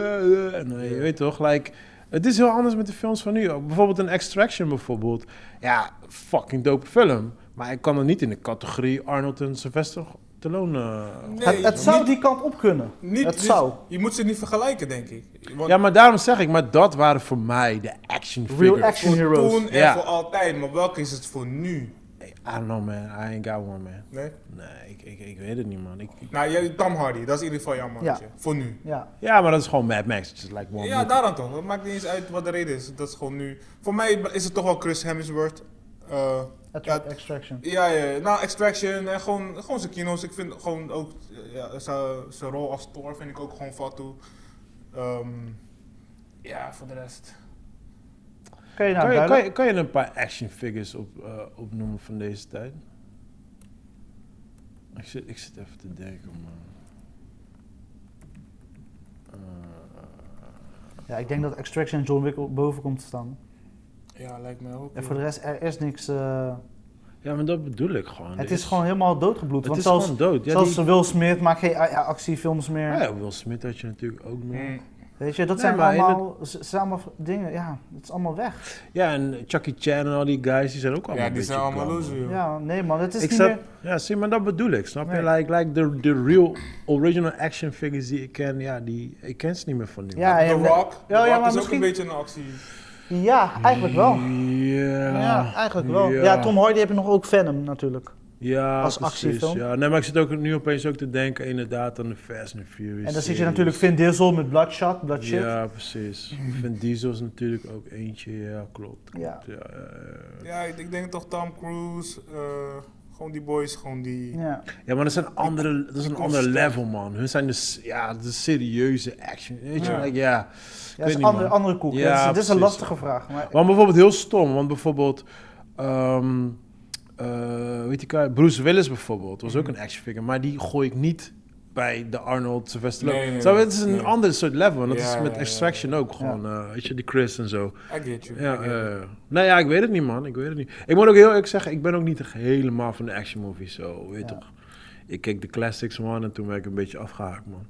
eh. En eh, je weet toch, like... Het is heel anders met de films van nu. Ook Bijvoorbeeld een Extraction bijvoorbeeld. Ja, fucking dope film. Maar ik kan er niet in de categorie Arnold en Sylvester Stallone... eh, Nee, het het zou niet- die kant op kunnen. Niet, het niet- zou. Je moet ze niet vergelijken, denk ik. Want Ja, maar daarom zeg ik, maar dat waren voor mij de action Real figures. action. voor Heroes. toen en Ja. voor altijd. Maar welke is het voor nu? I don't know, man. I ain't got one, man. Nee? Nee, ik, ik, ik weet het niet, man. Ik, ik- Nou, jij- Tom Hardy, dat is in ieder geval jouw mannetje. Voor nu. Ja. Ja, maar dat is gewoon Mad Max. Het is like one Ja, daaraan toch. Het maakt niet eens uit wat de reden is. Dat is gewoon nu. Voor mij is het toch wel Chris Hemsworth. Eh, Attra- Ja. Extraction. Ja, ja, ja. nou, Extraction en gewoon, gewoon zijn kino's. Ik vind gewoon ook eh, ja, zijn- zijn rol als Thor vind ik ook gewoon vat toe. Ehm, ja, voor de rest. Oké, nou, kan, je, kan, duidelijk. je, kan je een paar action figures op, eh, opnoemen van deze tijd? Ik zit, ik zit even te denken, man. Eh, Ja, ik denk dat Extraction en John Wick op- boven komt te staan. Ja, lijkt mij ook. En voor de rest, er is niks. eh, Ja, maar dat bedoel ik gewoon. het Er is gewoon helemaal doodgebloed. Het Want is zelfs, gewoon dood. Ja, zelfs die- Will Smith maakt geen a- ja, actiefilms meer. Ah ja, Will Smith had je natuurlijk ook nog. Mm. Weet je, dat Nee, zijn maar in allemaal, z- zijn allemaal v- dingen. Ja, het is allemaal weg. Ja, en Chucky Chan en al die guys, die zijn ook allemaal Ja, een die beetje zijn allemaal klaar, man. loser, joh. Ja, nee man, het is Ik niet zat- meer... Ja, zie, maar dat bedoel ik, snap je? Nee. Like, like de, de real original action figures die ik ken, ja, die, ik ken ze niet meer van nu. Ja, The en- Rock. The ja, Rock maar is misschien- ook een beetje een actie. Ja, eigenlijk wel. Ja. Ja, eigenlijk wel. Ja. Tom Hardy heb je nog ook Venom natuurlijk. Ja, als precies, actiefilm. Ja, nee, maar ik zit ook nu opeens ook te denken inderdaad aan de Fast and Furious. En dan zit je series. natuurlijk Vin Diesel met Bloodshot, Bloodshit. Ja. Ja, precies. Vin Diesel is natuurlijk ook eentje, ja, klopt. Ja. klopt, ja, eh. Ja, ik, ik denk toch Tom Cruise. eh, gewoon die boys, gewoon die... Ja, maar dat is een andere, dat is een kom ander sterk. level, man. Hun zijn dus, ja, de serieuze action. Weet je, Ja. like, ja. dat is niet, een andere, man. andere koek. Ja, Ja, dit is een precies. lastige vraag. Maar Maar bijvoorbeeld heel stom, want bijvoorbeeld, ehm eh, weet je, ka- Bruce Willis bijvoorbeeld, was Mhm. ook een action figure, maar die gooi ik niet bij de Arnold Sylvester Nee, Stallone. nee, Zo, nee. het is een Nee. ander soort level en dat Ja, is ja, met ja, Extraction ook gewoon, eh, weet je, die Chris en zo. I get you. Ja, I get you. eh, nou ja, ik weet het niet man, ik weet het niet. Ik moet ook heel eerlijk zeggen, ik ben ook niet echt helemaal van de action movies zo, weet Ja. toch. Ik keek de classics man en toen werd ik een beetje afgehaakt man.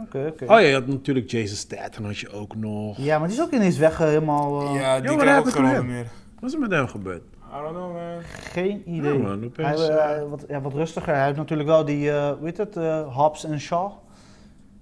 oké, oké. Oh ja, je had natuurlijk Jason Statham had je ook nog. Ja, maar die is ook ineens weg eh, helemaal... eh, Ja, maar die daar krijgen heb ook ik geen hem. rollen meer. Wat is er met hem gebeurd? I don't know, man. Geen Ja, idee. man, hij, opeens, eh, eh, wat, ja, wat rustiger. Hij heeft natuurlijk wel die, eh hoe heet het, eh Hobbs en Shaw.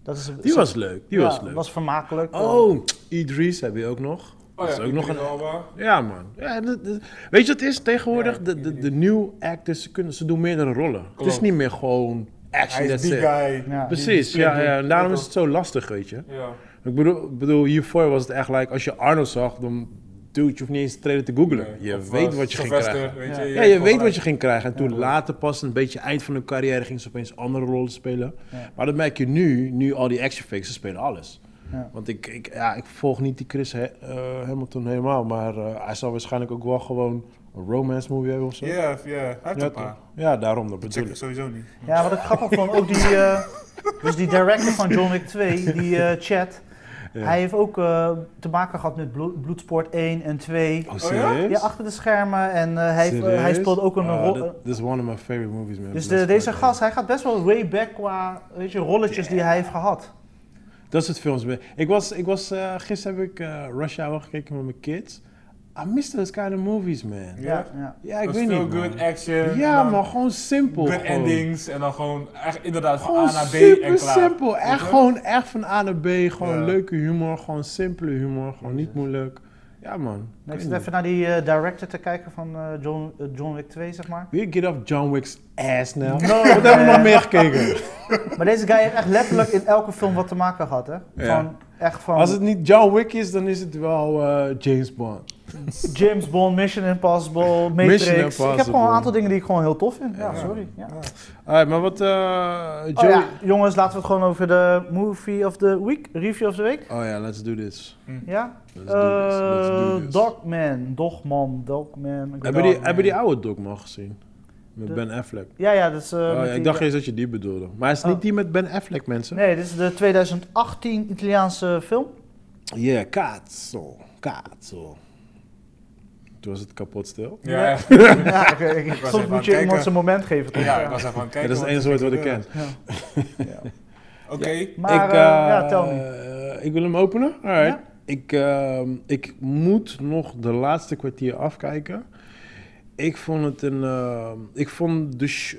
Dat is, Die was leuk, die ja, was leuk. was vermakelijk. Oh, Idris heb je ook nog. Oh dat ja, is ook nog een... Alba. Ja man. Ja, dat- dat- weet je wat het is? Tegenwoordig, Ja, de, de, de nieuwe actors, ze, kunnen, ze doen meerdere rollen. Het is Klopt. niet meer gewoon action, Hij is that's die it. guy. Ja. Precies, ja, ja, en daarom is het zo lastig, weet je. Ja. Ik bedoel, ik bedoel, hiervoor was het echt like, als je Arno zag, dan... Dude, je hoeft niet eens de trailer te googlen. je Of, weet eh, wat je ging Sylvester, krijgen. weet Ja. je, Ja, je weet wat je ging krijgen. En toen later pas, een beetje eind van hun carrière, gingen ze opeens andere rollen spelen. Ja. Maar dat merk je nu, nu al die action figures, ze spelen alles. Ja. Want ik, ik, ja, ik volg niet die Chris He- eh, Hamilton helemaal, maar eh, hij zal waarschijnlijk ook wel gewoon een romance movie hebben of zo. Ja, ja, hij heeft Ja, een toch? paar. ja daarom, dat Check bedoel het ik. sowieso niet. Ja, wat ik grappig vond, ook die, eh, dus die director van John Wick 2, die eh, chat, Ja. hij heeft ook eh, te maken gehad met Blo- Bloedsport 1 en 2. Oh, serieus? Ja, achter de schermen en eh, hij, heeft, eh, hij Serieus? speelde ook een Oh, rol. dat- Dat is one of my favorite movies, man. dus de- Bloodsport, deze man. gast, hij gaat best wel way back qua weet je, rolletjes die hij heeft gehad. Dat soort films. ben- Ik was, ik was eh, gisteren heb ik eh, Rush Hour gekeken met mijn kids. I miss those kind of movies, man. Ja. Ja, ja. Ja, ik weet Dat is niet, veel man. good action. Nou, Ja, dan maar gewoon simpel. Good gewoon. endings en dan gewoon echt inderdaad Oh. van Gewoon A naar B en super klaar. simpel. Weet Echt je? gewoon echt van A naar B. Gewoon Ja. leuke humor. Gewoon simpele humor. Gewoon niet moeilijk. Ja, man. Ik Ik zit weet even naar die eh, director te kijken van eh, John, eh, John Wick 2, zeg maar. niet. Weer get off John Wick's ass now. No, (laughs) Wat hebben we man. (laughs) nog meer gekeken? Maar deze guy heeft echt letterlijk in elke film wat te maken gehad, hè? Ja. Van, echt van Als het niet John Wick is, dan is het wel eh, James Bond. James Bond, Mission Impossible, Matrix. Ik heb Impossible. gewoon een aantal dingen die ik gewoon heel tof vind. Ja, Ja. sorry. Ja. Alright, maar wat... eh Joey... Oh ja, jongens, laten we het gewoon over de movie of the week, review of the week. Oh ja, let's do this. Ja? Hm. Let's do this. Let's do Eh, this. Dogman, Dogman, Dogman. ik Hebben weet- die, hebben die oude Dogman gezien? Met De- Ben Affleck. Ja, ja, dat is... eh, Oh ja, met die- ik dacht eerst dat je die bedoelde. Maar het is Oh. niet die met Ben Affleck, mensen. Nee, dit is de 2018 Italiaanse film. Yeah, cazzo, cazzo. Toen was het kapot stil. (clears throat) Ja, Ja. (laughs) echt. Ja, oké, ik- was soms moet je even aan iemand het kijken. zijn moment geven, toch? ja, ik was even aan het kijken. Ja, dat is het want enige woord wat ik gebeurde. ken. Ja. Oké. Maar, ik, eh, ja, eh, tel me. eh, ik wil hem openen. Alright. Ja. Ik, ehm, ik moet nog de laatste kwartier afkijken. Ik vond het een. ehm, ik vond de. Ch-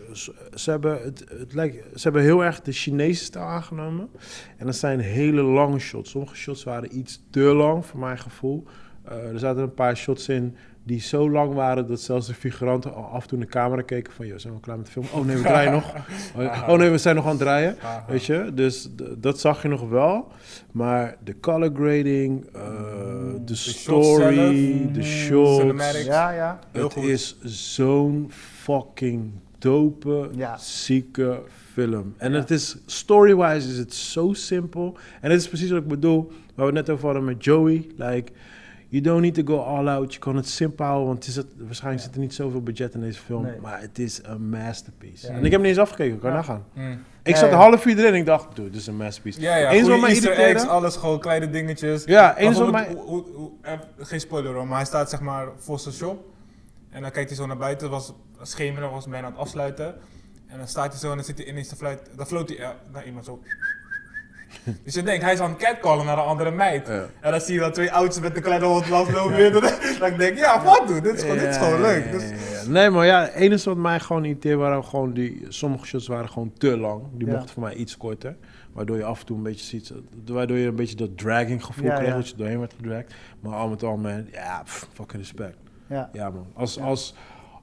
Ze hebben, het, het lijkt, ze hebben heel erg de Chinese stijl aangenomen. En dat zijn hele lange shots. Sommige shots waren iets te lang, voor mijn gevoel. Eh, er zaten een paar shots in die zo lang waren dat zelfs de figuranten al af en toe naar de camera keken: van, joh, zijn we klaar met de film? Oh nee, we draaien (laughs) nog. Oh oh nee, we zijn nog aan het draaien. Aha. Weet je, dus d- dat zag je nog wel. Maar de color grading, eh, de shots story, de zelf. Mm, shots. cinematic. Ja, ja. Heel Het goed. is zo'n fucking dope, Ja. zieke film. En het is, story-wise is het zo simpel. En dit is precies wat ik bedoel, waar we het net over hadden met Joey. Like, you don't need to go all out. Je kan het simpel houden, want het is het, waarschijnlijk zit er niet zoveel budget in deze film. Nee. Maar het is een masterpiece. Ja. En ik heb hem niet eens afgekeken, ik kan Ja. nagaan. Mm. Ik Ja, zat ja. een half uur erin en ik dacht, dude, dit is een masterpiece. Ja, ja. Eens goeie wat mij Easter eggs, irriteren. alles gewoon kleine dingetjes. Ja, eens wat Bijvoorbeeld, mij... hoe- hoe- hoe- eh, Geen spoiler hoor, maar hij staat zeg maar voor zijn shop. En dan kijkt hij zo naar buiten, het was het schemeren, was bijna aan het afsluiten. En dan staat hij zo en dan zit hij ineens te fluiten. Dan floot hij eh, naar iemand zo. (laughs) Dus je denkt, hij is aan het catcallen naar een andere meid. Ja. En dan zie je wel twee oudjes met een kleine (laughs) hond lopen. weer. (laughs) Dan ik denk ja, wat doen? Dit is gewoon, dit is gewoon Ja, leuk. ja, Dus, ja, ja. Nee, maar ja, het enige wat mij gewoon irriteerde waren gewoon die... Sommige shots waren gewoon te lang. Die Ja. mochten voor mij iets korter. Waardoor je af en toe een beetje ziet... Waardoor je een beetje dat dragging gevoel Ja, kreeg. ja. Dat je doorheen werd gedragged. Maar al met al, man. Ja, pff, fucking respect. Ja. Ja, man. Als, als,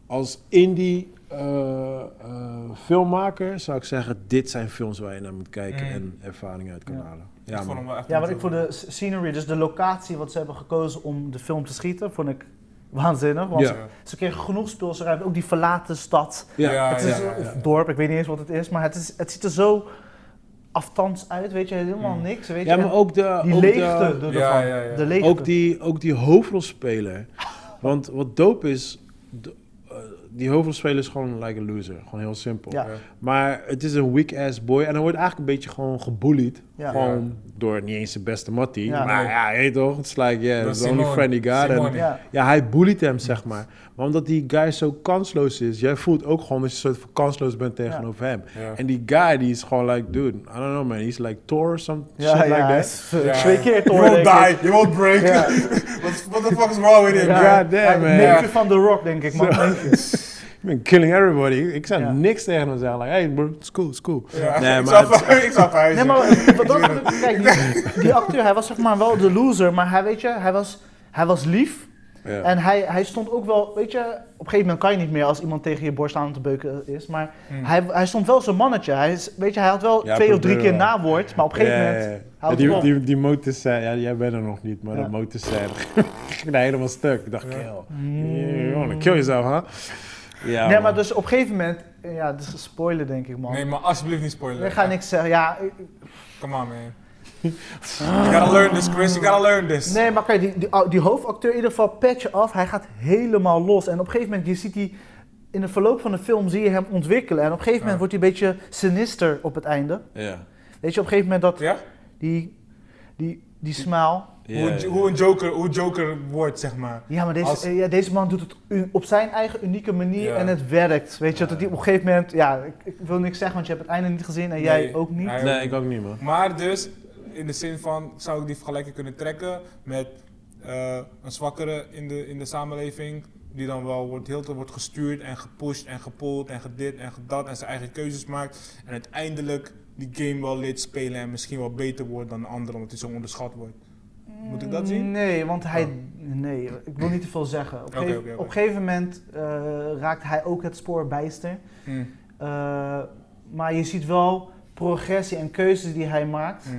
als indie eh, eh, filmmaker zou ik zeggen... Dit zijn films waar je naar moet kijken Mm. en ervaring uit kan Ja. halen. ik Ja, vond hem man. wel echt ja, want een- ik voor de s- scenery, dus de locatie wat ze hebben gekozen om de film te schieten, vond ik waanzinnig. Want Ja. ze kregen genoeg speelserij, ook die verlaten stad. Ja, Ja, het Ah, ja, is, ja, Of ja. dorp, ik weet niet eens wat het is, maar het, is, het ziet er zo aftans uit, weet je, helemaal Mm. niks. Weet ja, je. maar ook de... die ook de- leegte de, Ja, ervan. ja, ja. De leegte. Ook die, ook die hoofdrolspeler. Want wat dope is, de- eh, die hoofdrolspeler is gewoon like a loser. Gewoon heel simpel. Ja. Maar het is een weak ass boy. En hij wordt eigenlijk een beetje gewoon gebullied. Ja. Gewoon door niet eens zijn beste mattie. Ja. Maar ja, je weet toch? Het is like, yeah, Door it's the only Simone. friend he got. En- Simone. Ja. ja, hij bullied hem, zeg maar. Maar omdat die guy zo kansloos is, jij voelt ook gewoon dat je een soort van kansloos bent tegenover hem. Ja. En die guy, die is gewoon like, dude, I don't know man, he's like Thor or some Ja, shit ja, like that. is, Ja. eh, Twee keer You toch. won't denk ik. die, you won't break. Ja. (laughs) what, what the fuck is wrong with him? Ja. man? God damn, man. Neefje van The Rock, denk ik, man. Ik ben killing everybody. Ik zou Ja. niks tegen hem zeggen. Like, hey bro, it's cool, it's cool. Ja, Nee, (laughs) ik, maar zou, ver- ik zou verhuizen. Nee, maar eh, wat dat betreft, kijk, die, die acteur, hij was zeg maar wel de loser, maar hij, weet je, hij was, hij was lief. Ja. En hij, hij stond ook wel, weet je, op een gegeven moment kan je niet meer als iemand tegen je borst aan te beuken is. Maar Hmm. hij, hij stond wel zijn mannetje. Hij, is- weet je, hij had wel Ja, twee of drie keer probeerde wel. nawoord, maar op een gegeven Ja, moment ja, ja. houdt die, het op. die, die motors zijn, ja, jij bent er nog niet, maar Ja. de motors zijn, (laughs) ging daar helemaal stuk. Ik dacht, Ja. kill. You wanna kill yourself, huh? Ja, Mm. nee, maar man. dus op een gegeven moment, ja, dit is spoiler denk ik, man. Nee, maar alsjeblieft niet spoilen. ik ga niks zeggen, ja. ik- Come on, man. you gotta learn this, Chris. You gotta learn this. Ah. Nee, maar kijk, die, die, die hoofdacteur in ieder geval patch af. Hij gaat helemaal los. En op een gegeven moment, je ziet die... In het verloop van de film zie je hem ontwikkelen. En op een gegeven moment Ja. wordt hij een beetje sinister op het einde. Ja. Weet je, op een gegeven moment dat Ja? die, die, die smile... Ja, Hoe, een, hoe, een joker, hoe Joker wordt, zeg maar. Ja, maar deze, Als- eh, ja, deze man doet het u- op zijn eigen unieke manier Ja. en het werkt. Weet je, dat hij op een gegeven moment... Ja, ik, ik wil niks zeggen, want je hebt het einde niet gezien en jij Nee, ook niet. hij- Nee, ik ook niet, man. Maar dus, in de zin van, zou ik die vergelijking kunnen trekken met eh, een zwakkere in de, in de samenleving, die dan wel wordt, heel te wordt gestuurd en gepusht en gepoeld en gedit en gedat en zijn eigen keuzes maakt. En uiteindelijk die game wel leert spelen en misschien wel beter wordt dan de ander, omdat hij zo onderschat wordt. Moet ik dat zien? Oh. Nee, want hij... Nee, ik wil niet te veel zeggen. Op, een Oké, gegeven- oké, oké. op een gegeven moment eh, raakt hij ook het spoor bijster. Hm, Eh, maar je ziet wel progressie en keuzes die hij maakt. hm.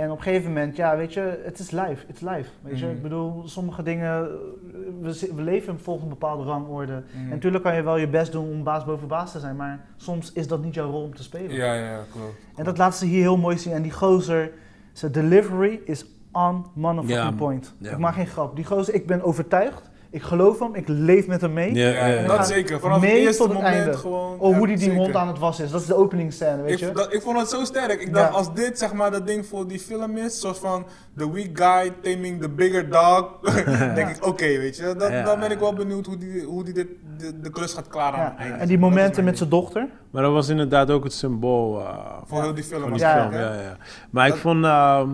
En op een gegeven moment, ja, weet je, het is live. Het is live. Weet je, Mhm. ik bedoel, sommige dingen. eh, We, zi- we leven volgens een bepaalde rangorde. En Mhm. natuurlijk kan je wel je best doen om baas boven baas te zijn, maar soms is dat niet jouw rol om te spelen. Ja, ja, klopt. En dat laten ze hier heel mooi zien. En die gozer, zijn delivery is on motherfucking Ja, man. point. Ja, ik man. maak geen grap. Die gozer, ik ben overtuigd. Ik geloof hem. Ik leef met hem mee. Ja, ja, Ja, ja. dat zeker. Vanaf het mee eerste tot het moment einde. gewoon. Oh, ja, hoe die die zeker. hond aan het wassen is. Dat is de openingsscène, weet Ik, je. v- dat- ik vond het zo sterk. Ik Ja. dacht, als dit zeg maar dat ding voor die film is, soort van The Weak Guy Taming the Bigger Dog, (laughs) denk ik, oké, weet je. Dat, Ja. Dan ben ik wel benieuwd hoe die, hoe die dit, de, de klus gaat klaren aan Ja, het einde. en die Dat is momenten met mijn ding. zijn dochter. Maar dat was inderdaad ook het symbool eh, Voor heel die film. van die Ja, film. hè? Ja, ja. Maar ik Dat- vond, ehm,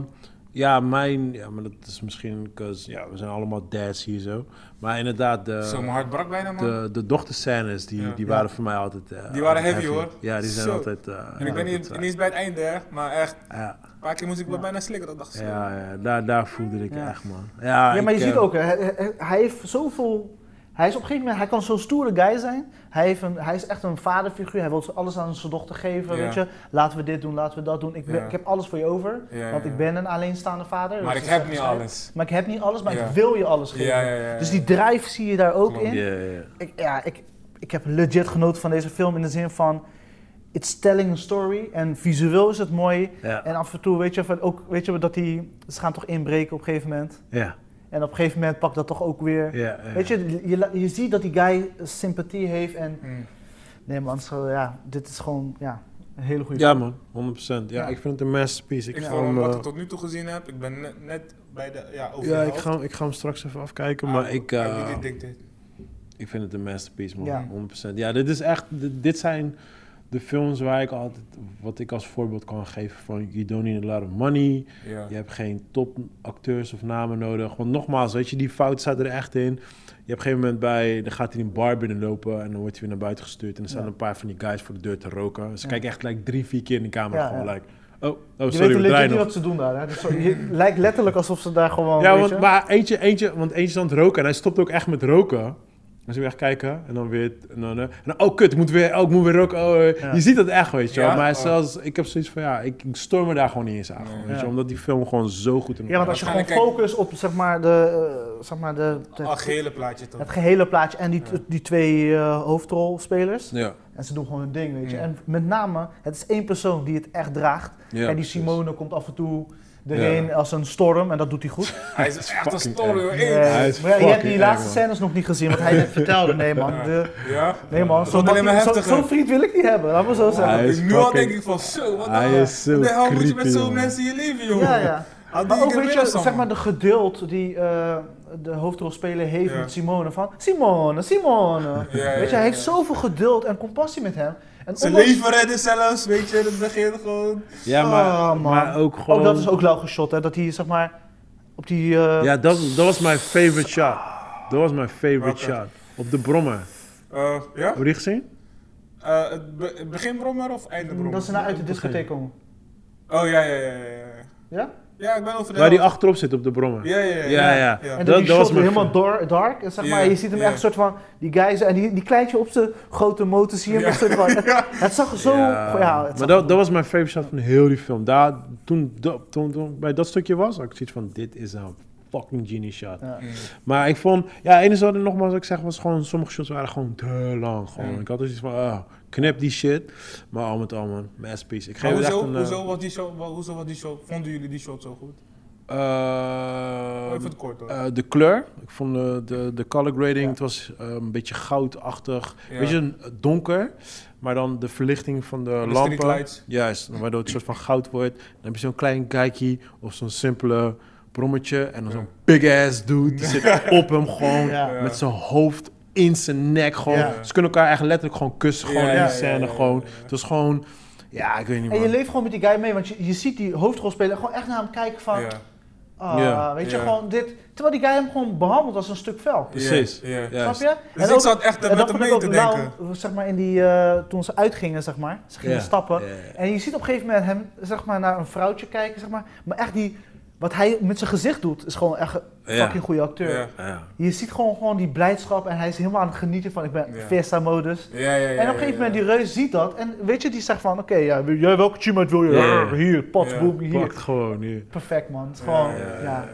ja, mijn, ja, maar dat is misschien, 'cause, ja, we zijn allemaal dads hier zo. Maar inderdaad, de, Zo, mijn hart brak bijna, man. de, de dochterscènes, die, Ja. die Ja. waren voor mij altijd... eh, Die waren altijd heavy, hoor. Ja, die zijn Zo. altijd... eh, en ik ben altijd, niet, eh, niet eens bij het einde, hè, maar echt, Ja, een paar keer moest ik wel bijna slikken. Dat dacht ik zo. ja, ja, daar, daar voelde ik Ja. echt, man. Ja, ja, maar ik, je ziet eh, ook, hè, hij, hij- hij heeft zoveel. Hij is op een gegeven moment, hij kan zo'n stoere guy zijn. Hij, heeft een, hij is echt een vaderfiguur. Hij wil alles aan zijn dochter geven. Ja. Weet je, laten we dit doen, laten we dat doen. Ik, ben- Ja. ik heb alles voor je over. Ja, want ja, ik ja. ben een alleenstaande vader. Dus Maar Dat ik is heb echt niet gezegd. alles. Maar ik heb niet alles, maar Ja. ik wil je alles geven. Ja, ja, ja. Dus die drive zie je daar ook Klopt. in. Ja, ja, ja. Ik, ja, ik, ik heb legit genoten van deze film in de zin van. It's telling a story en visueel is het mooi. Ja, En af en toe weet je, van, ook, weet je dat die. Ze gaan toch inbreken op een gegeven moment. ja, En op een gegeven moment pakt dat toch ook weer. ja, ja. Weet je, je, la- je ziet dat die guy sympathie heeft en... Hmm. Nee man, zo, ja, dit is gewoon, ja... Een hele goede Ja film. man, 100%. Ja, Ja. ik vind het een masterpiece. Ik, Ik ga vond hem, wat eh, ik tot nu toe gezien heb, ik ben net, net bij de, ja, over ja, de ik helft. ga, hem- ik ga hem straks even afkijken, Ah, maar ik, I eh, really dig this. ik vind het een masterpiece man, Ja. 100%. Ja, dit is echt, dit, dit zijn de films waar ik altijd, wat ik als voorbeeld kan geven van You don't need a lot of money, Ja. je hebt geen topacteurs of namen nodig. Want nogmaals, weet je, die fout staat er echt in. Je hebt op een gegeven moment bij, dan gaat hij een bar binnenlopen en dan wordt hij weer naar buiten gestuurd. En er staan Ja. een paar van die guys voor de deur te roken. Ze Ja. kijken echt like, drie, vier keer in de camera Ja, gewoon ja. like, oh, oh je sorry, weet we legit draaien niet nog. wat ze doen daar. Hè? Dus zo- je (laughs) lijkt letterlijk alsof ze daar gewoon. Ja, weet want, je- maar eentje, eentje, want eentje is aan het roken en hij stopt ook echt met roken. Dan zie je echt kijken en dan weer, en dan, eh, en dan, oh kut, ik moet weer, oh, ik moet weer roken. Oh, eh. Ja. Je ziet dat echt, weet je wel. Ja? Maar Oh. zelfs, ik heb zoiets van, ja, ik, ik stoor me daar gewoon niet eens aan. Nee. gewoon, weet je, Ja. Omdat die film gewoon zo goed in ja, want als je gewoon Waarschijnlijk kijk- focust op zeg maar, de, eh, zeg maar de, de- Ach, gele plaatje toch? het gehele plaatje en die, Ja. die twee eh, hoofdrolspelers. Ja, En ze doen gewoon hun ding, weet je. Ja. En met name, het is één persoon die het echt draagt. ja. en die precies. Simone komt af en toe erin Ja. als een storm en dat doet hij (laughs) goed. (laughs) Hij is echt een fucking story hoor. Eh, Hey. Hij is maar ja, je hebt die fucking laatste eng, man. scènes nog niet gezien, wat hij (laughs) net vertelde. Nee man, de- Ja? nee, man zo'n wordt alleen maar mattie- zo- heftiger. zo'n vriend wil ik niet hebben, laat me zo zeggen. Hij is nu al fucking- denk ik van zo, wat Hij de- is zo Oh, de hel moet je creepy, met zo'n man. mensen in je leven, jongen? Ja, ja. Had die Maar ook keer weet weer je, zo'n- zeg maar de geduld die eh, de hoofdrolspeler heeft Ja. met Simone van Simone, Simone. Ja, ja, Weet je, hij ja, heeft ja. zoveel geduld en compassie met hem. En Zijn ondanks- leven redden zelfs, weet je, dat begint gewoon. Ja, maar, Ah, man. maar ook gewoon... Ook dat is ook lauw geshot, hè? Dat hij zeg maar op die. eh, Ja, dat, dat was mijn favorite shot. Dat was mijn favorite shot. Welke? Op de brommer. Eh, ja? Heb je die gezien? Eh, het be- het begin brommer of einde brommer? dat ze nou uit de discotheek komen. Oh ja, ja, ja, ja. ja. Ja? Ja, ik ben over de Waar die helft. achterop zit op de brommer. Ja, ja, ja. Ja, ja. En Dat- dat, die dat shot was mijn helemaal door, dark. En zeg Ja, maar, je ziet hem ja. echt een soort van. Die guys en die, die kleintje op zijn grote motor zie je hem Ja. een soort (laughs) van. Het, het zag er zo. Ja, het maar zag dat, dat was mijn favorite shot van heel die film. Daar, toen, dat- toen, toen ik bij dat stukje was, had ik zoiets van, dit is een fucking genie shot. Ja. Mm. Maar ik vond, ja, enerzijds nogmaals, wat ik zeg, was gewoon, sommige shots waren gewoon te lang. Gewoon. Mm. Ik had dus iets van, ah, knip die shit. Maar al met al, man, masterpiece. Ik geef Maar het echt hoezo, een... eh, hoezo, was die shot, wa- hoezo was die shot, vonden jullie die shot zo goed? eh, Even het kort hoor. Ah. eh, de kleur, ik vond eh, de, de color grading, Ja. het was eh, een beetje goudachtig. Ja. Weet je, een- eh, donker, maar dan de verlichting van de, lampen. streetlights. Juist, waardoor het een soort van goud wordt. Dan heb je zo'n klein kijkje of zo'n simpele brommetje. En dan Ja. zo'n big ass dude die (laughs) zit op hem gewoon Ja. Ja. met zijn hoofd in zijn nek. Gewoon. Ja. Ze kunnen elkaar eigenlijk letterlijk gewoon kussen gewoon Ja, in ja, die ja, scène. ja, ja, gewoon. ja. Het was gewoon, ja, ik weet niet En je man. leeft gewoon met die guy mee, want je, je ziet die hoofdrolspeler gewoon echt naar hem kijken van. Ja. ah, Ja. Weet je, Ja. gewoon dit. Terwijl die guy hem gewoon behandelt als een stuk vel. Precies. Ja, ja. Juist. Snap je? Dus En ik ook- zat echt En met Eh, dat hem vond ik mee ook te lauw, denken. zeg maar, in die, eh, toen ze uitgingen, zeg maar. Ze gingen Ja. stappen. Ja, ja. En je ziet op een gegeven moment hem, zeg maar, naar een vrouwtje kijken, zeg maar. Maar echt die, wat hij met zijn gezicht doet, is gewoon echt een Ja. fucking goede acteur. Ja. Ja. Je ziet gewoon, gewoon die blijdschap en hij is helemaal aan het genieten van, ik ben Ja. Fiesta-modus. Ja, ja, ja, en op een gegeven ja, moment, ja. die reus ziet dat en weet je, die zegt van, oké, ja, wil- jij welke teammate wil je? Ja, ja, ja. Hier, pot, Ja, boem, hier. Pakt gewoon nu. Perfect, man. Het is gewoon, Ja, ja. ja,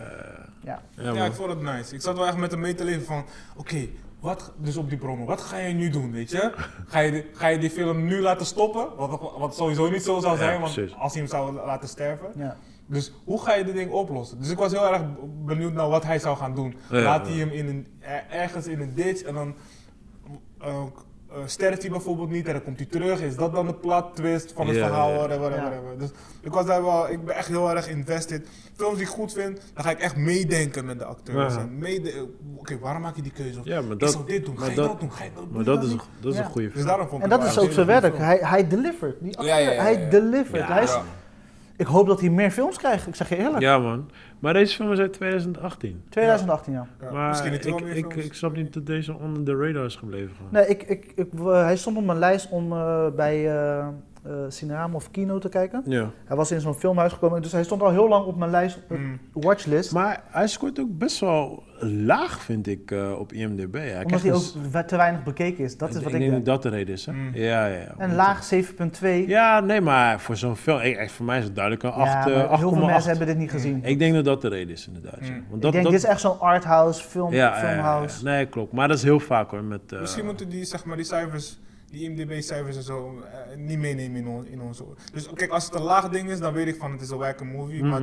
Ja, Ja, man. ik vond het nice. Ik zat wel echt met hem mee te leven van, oké, wat, dus op die brommen, wat ga je nu doen, weet je? Ga je, die- ga je die film nu laten stoppen? Wat, wat sowieso niet zo zou Ja, zijn, want precies. als hij hem zou laten sterven. Ja. Dus hoe ga je dit ding oplossen? Dus ik was heel erg benieuwd naar wat hij zou gaan doen. Ja, Laat ja. hij hem in een, er- ergens in een ditch en dan eh, eh, sterft hij bijvoorbeeld niet en dan komt hij terug. Is dat dan de plot twist van het Ja, verhaal? ja. Whatever, whatever, Ja. whatever. Dus ik was daar wel, ik ben echt heel erg invested. Films die ik goed vind, dan ga ik echt meedenken met de acteurs. Ja. En meede- eh, Oké, waarom maak je die keuze? Of, Ja, maar ik dat- zou dit doen, maar ga je dat- dat, doen, ga je dat doen. Maar dat is, een- dat is Ja. een goede Dus film. daarom vond En ik dat het is wel ook een zijn hele werk. goede Hij, hij delivered. Die Ja, ja, ja, acteur, ja, Hij ja. delivered. Ja. Hij is, film. Ik hoop dat hij meer films krijgt, ik zeg je eerlijk. Ja, man. Maar deze film is uit 2018. 2018, ja. Ja, ja. maar Misschien niet ik, wel meer ik, films. ik snap niet dat deze onder de radar is gebleven. gewoon. Nee, ik, ik, ik, eh, hij stond op mijn lijst om eh, bij eh eh, Cinerama of Kino te kijken. Ja. Hij was in zo'n filmhuis gekomen, dus hij stond al heel lang op mijn lijst, op Mm. watchlist. Hmm. Maar hij scoort ook best wel laag, vind ik, eh, op IMDb. Hij omdat krijgt hij een ook s- we- te weinig bekeken is. Dat is wat dus- ik denk dat dat denk. de reden is, hè? Mm. Ja, ja, ja. En laag 7,2. Ja, Ja, nee, maar voor zo'n film... eh, echt, voor mij is het duidelijk een acht, maar eh, heel veel 8,8. mensen hebben dit niet gezien. Ik, Ik denk dat dat de reden is, inderdaad. ja. Mm. Want dat, denk, dat... dit is echt zo'n arthouse film, ja, ja, ja, filmhouse. ja. Nee, klopt. Maar dat is heel vaak, hoor. Met, eh, Misschien moeten die, zeg maar, die cijfers, die IMDb-cijfers en zo, eh, niet meenemen in, on- in onze... Dus kijk, als het een laag ding is, dan weet ik van het is een wacker movie, mhm. maar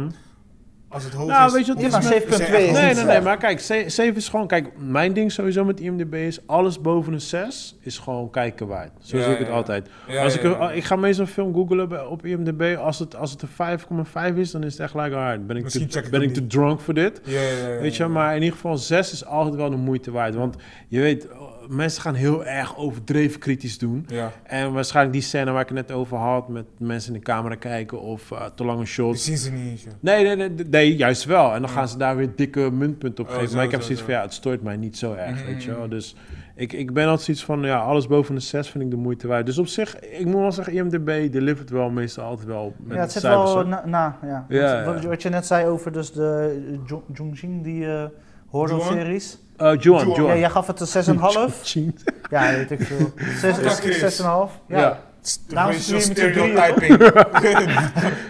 Als het hoog Nou, is, weet je wat hoeft het is het niet met- per se 7,2 echt is Nee, goed nee, te nee, maar kijk, 7 is gewoon, kijk, mijn ding sowieso met IMDb is, alles boven een 6 is gewoon kijken waard. Zo Ja, zie ik ja, het ja. altijd. Ja, als ja, ik, ja. ik ga meestal een film googlen bij- op IMDb, als het, als het een 5,5 is, dan is het echt like, alright, ben ik, Misschien check te, ik ben het ik te drunk voor dit? zijn. Ja, ja, ja, ja, Weet je, ja. maar in ieder geval 6 is altijd wel de moeite waard. Want je weet, oh, mensen gaan heel erg overdreven kritisch doen. Ja. En waarschijnlijk die scène waar ik het net over had, met mensen in de camera kijken of eh, te lange Die shots. zien ze niet eens, joh. Nee, nee, nee, nee, juist wel. En dan gaan ze daar weer dikke muntpunten op Oh, geven. zo, maar ik heb zo, zoiets zo. van, ja, het stoort mij niet zo erg, Mm, weet je mm, wel. mm. Dus ik, ik ben altijd zoiets van, ja, alles boven de 6 vind ik de moeite waard. Dus op zich, ik moet wel zeggen, IMDB delivert wel meestal altijd wel met Ja, het zit cijfers, wel hoor. na, na, ja. Ja, Wat- wat, ja. wat je net zei over dus de eh, Jong- Jongjin, die eh, horror-series. Eh, Johan, Johan. Johan. Ja, jij gaf het (laughs) een 6,5. Ching. Ja, weet ik (laughs) veel. Ja, Chris. 6,5. Ja. Ja. De Nou, Daarom racial streamen ze drieën, stereotyping. (laughs) Ja, (laughs)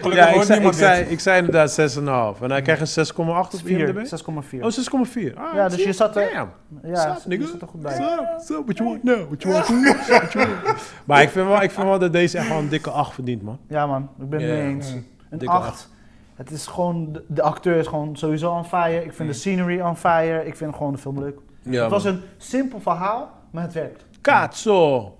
Gelukkig ik hoort zei, ik, niemand zei, dit. ik zei inderdaad 6,5. Mm. En hij krijgt een 6,8 op IMDb? 4, 6,4. Oh, 6,4. Ah, Ja, dus je zat er- Damn. ja, Zat, die nigga. zit er goed bij. Zo, zo, what you want now? What you want now? What you want? Maar ik vind, wel, ik vind wel dat deze echt wel een dikke 8 verdient, man. Ja man, ik ben het Ja, mee ja. eens. Mm. Een Dikke 8. Het is gewoon, de, de acteur is gewoon sowieso on fire. Ik vind de scenery on fire. Ik vind gewoon de film leuk. Mm. Ja, het was een simpel verhaal, maar het werkt. Katso!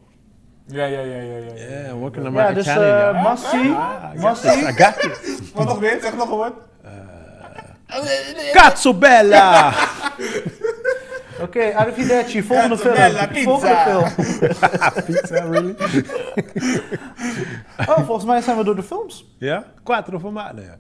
Ja, ja, ja, ja, ja, ja. Yeah, working on ja, my dus Italian, eh ja. Massie, Ah, I got Massie. this, I got this. Wat nog meer? Zeg nog een woord. Katso bella! Oké, arrivederci, volgende film. Catonella pizza. Volgende film. Pizza, really? Oh, volgens mij zijn we door de films. Ja? Quattro formale, ja.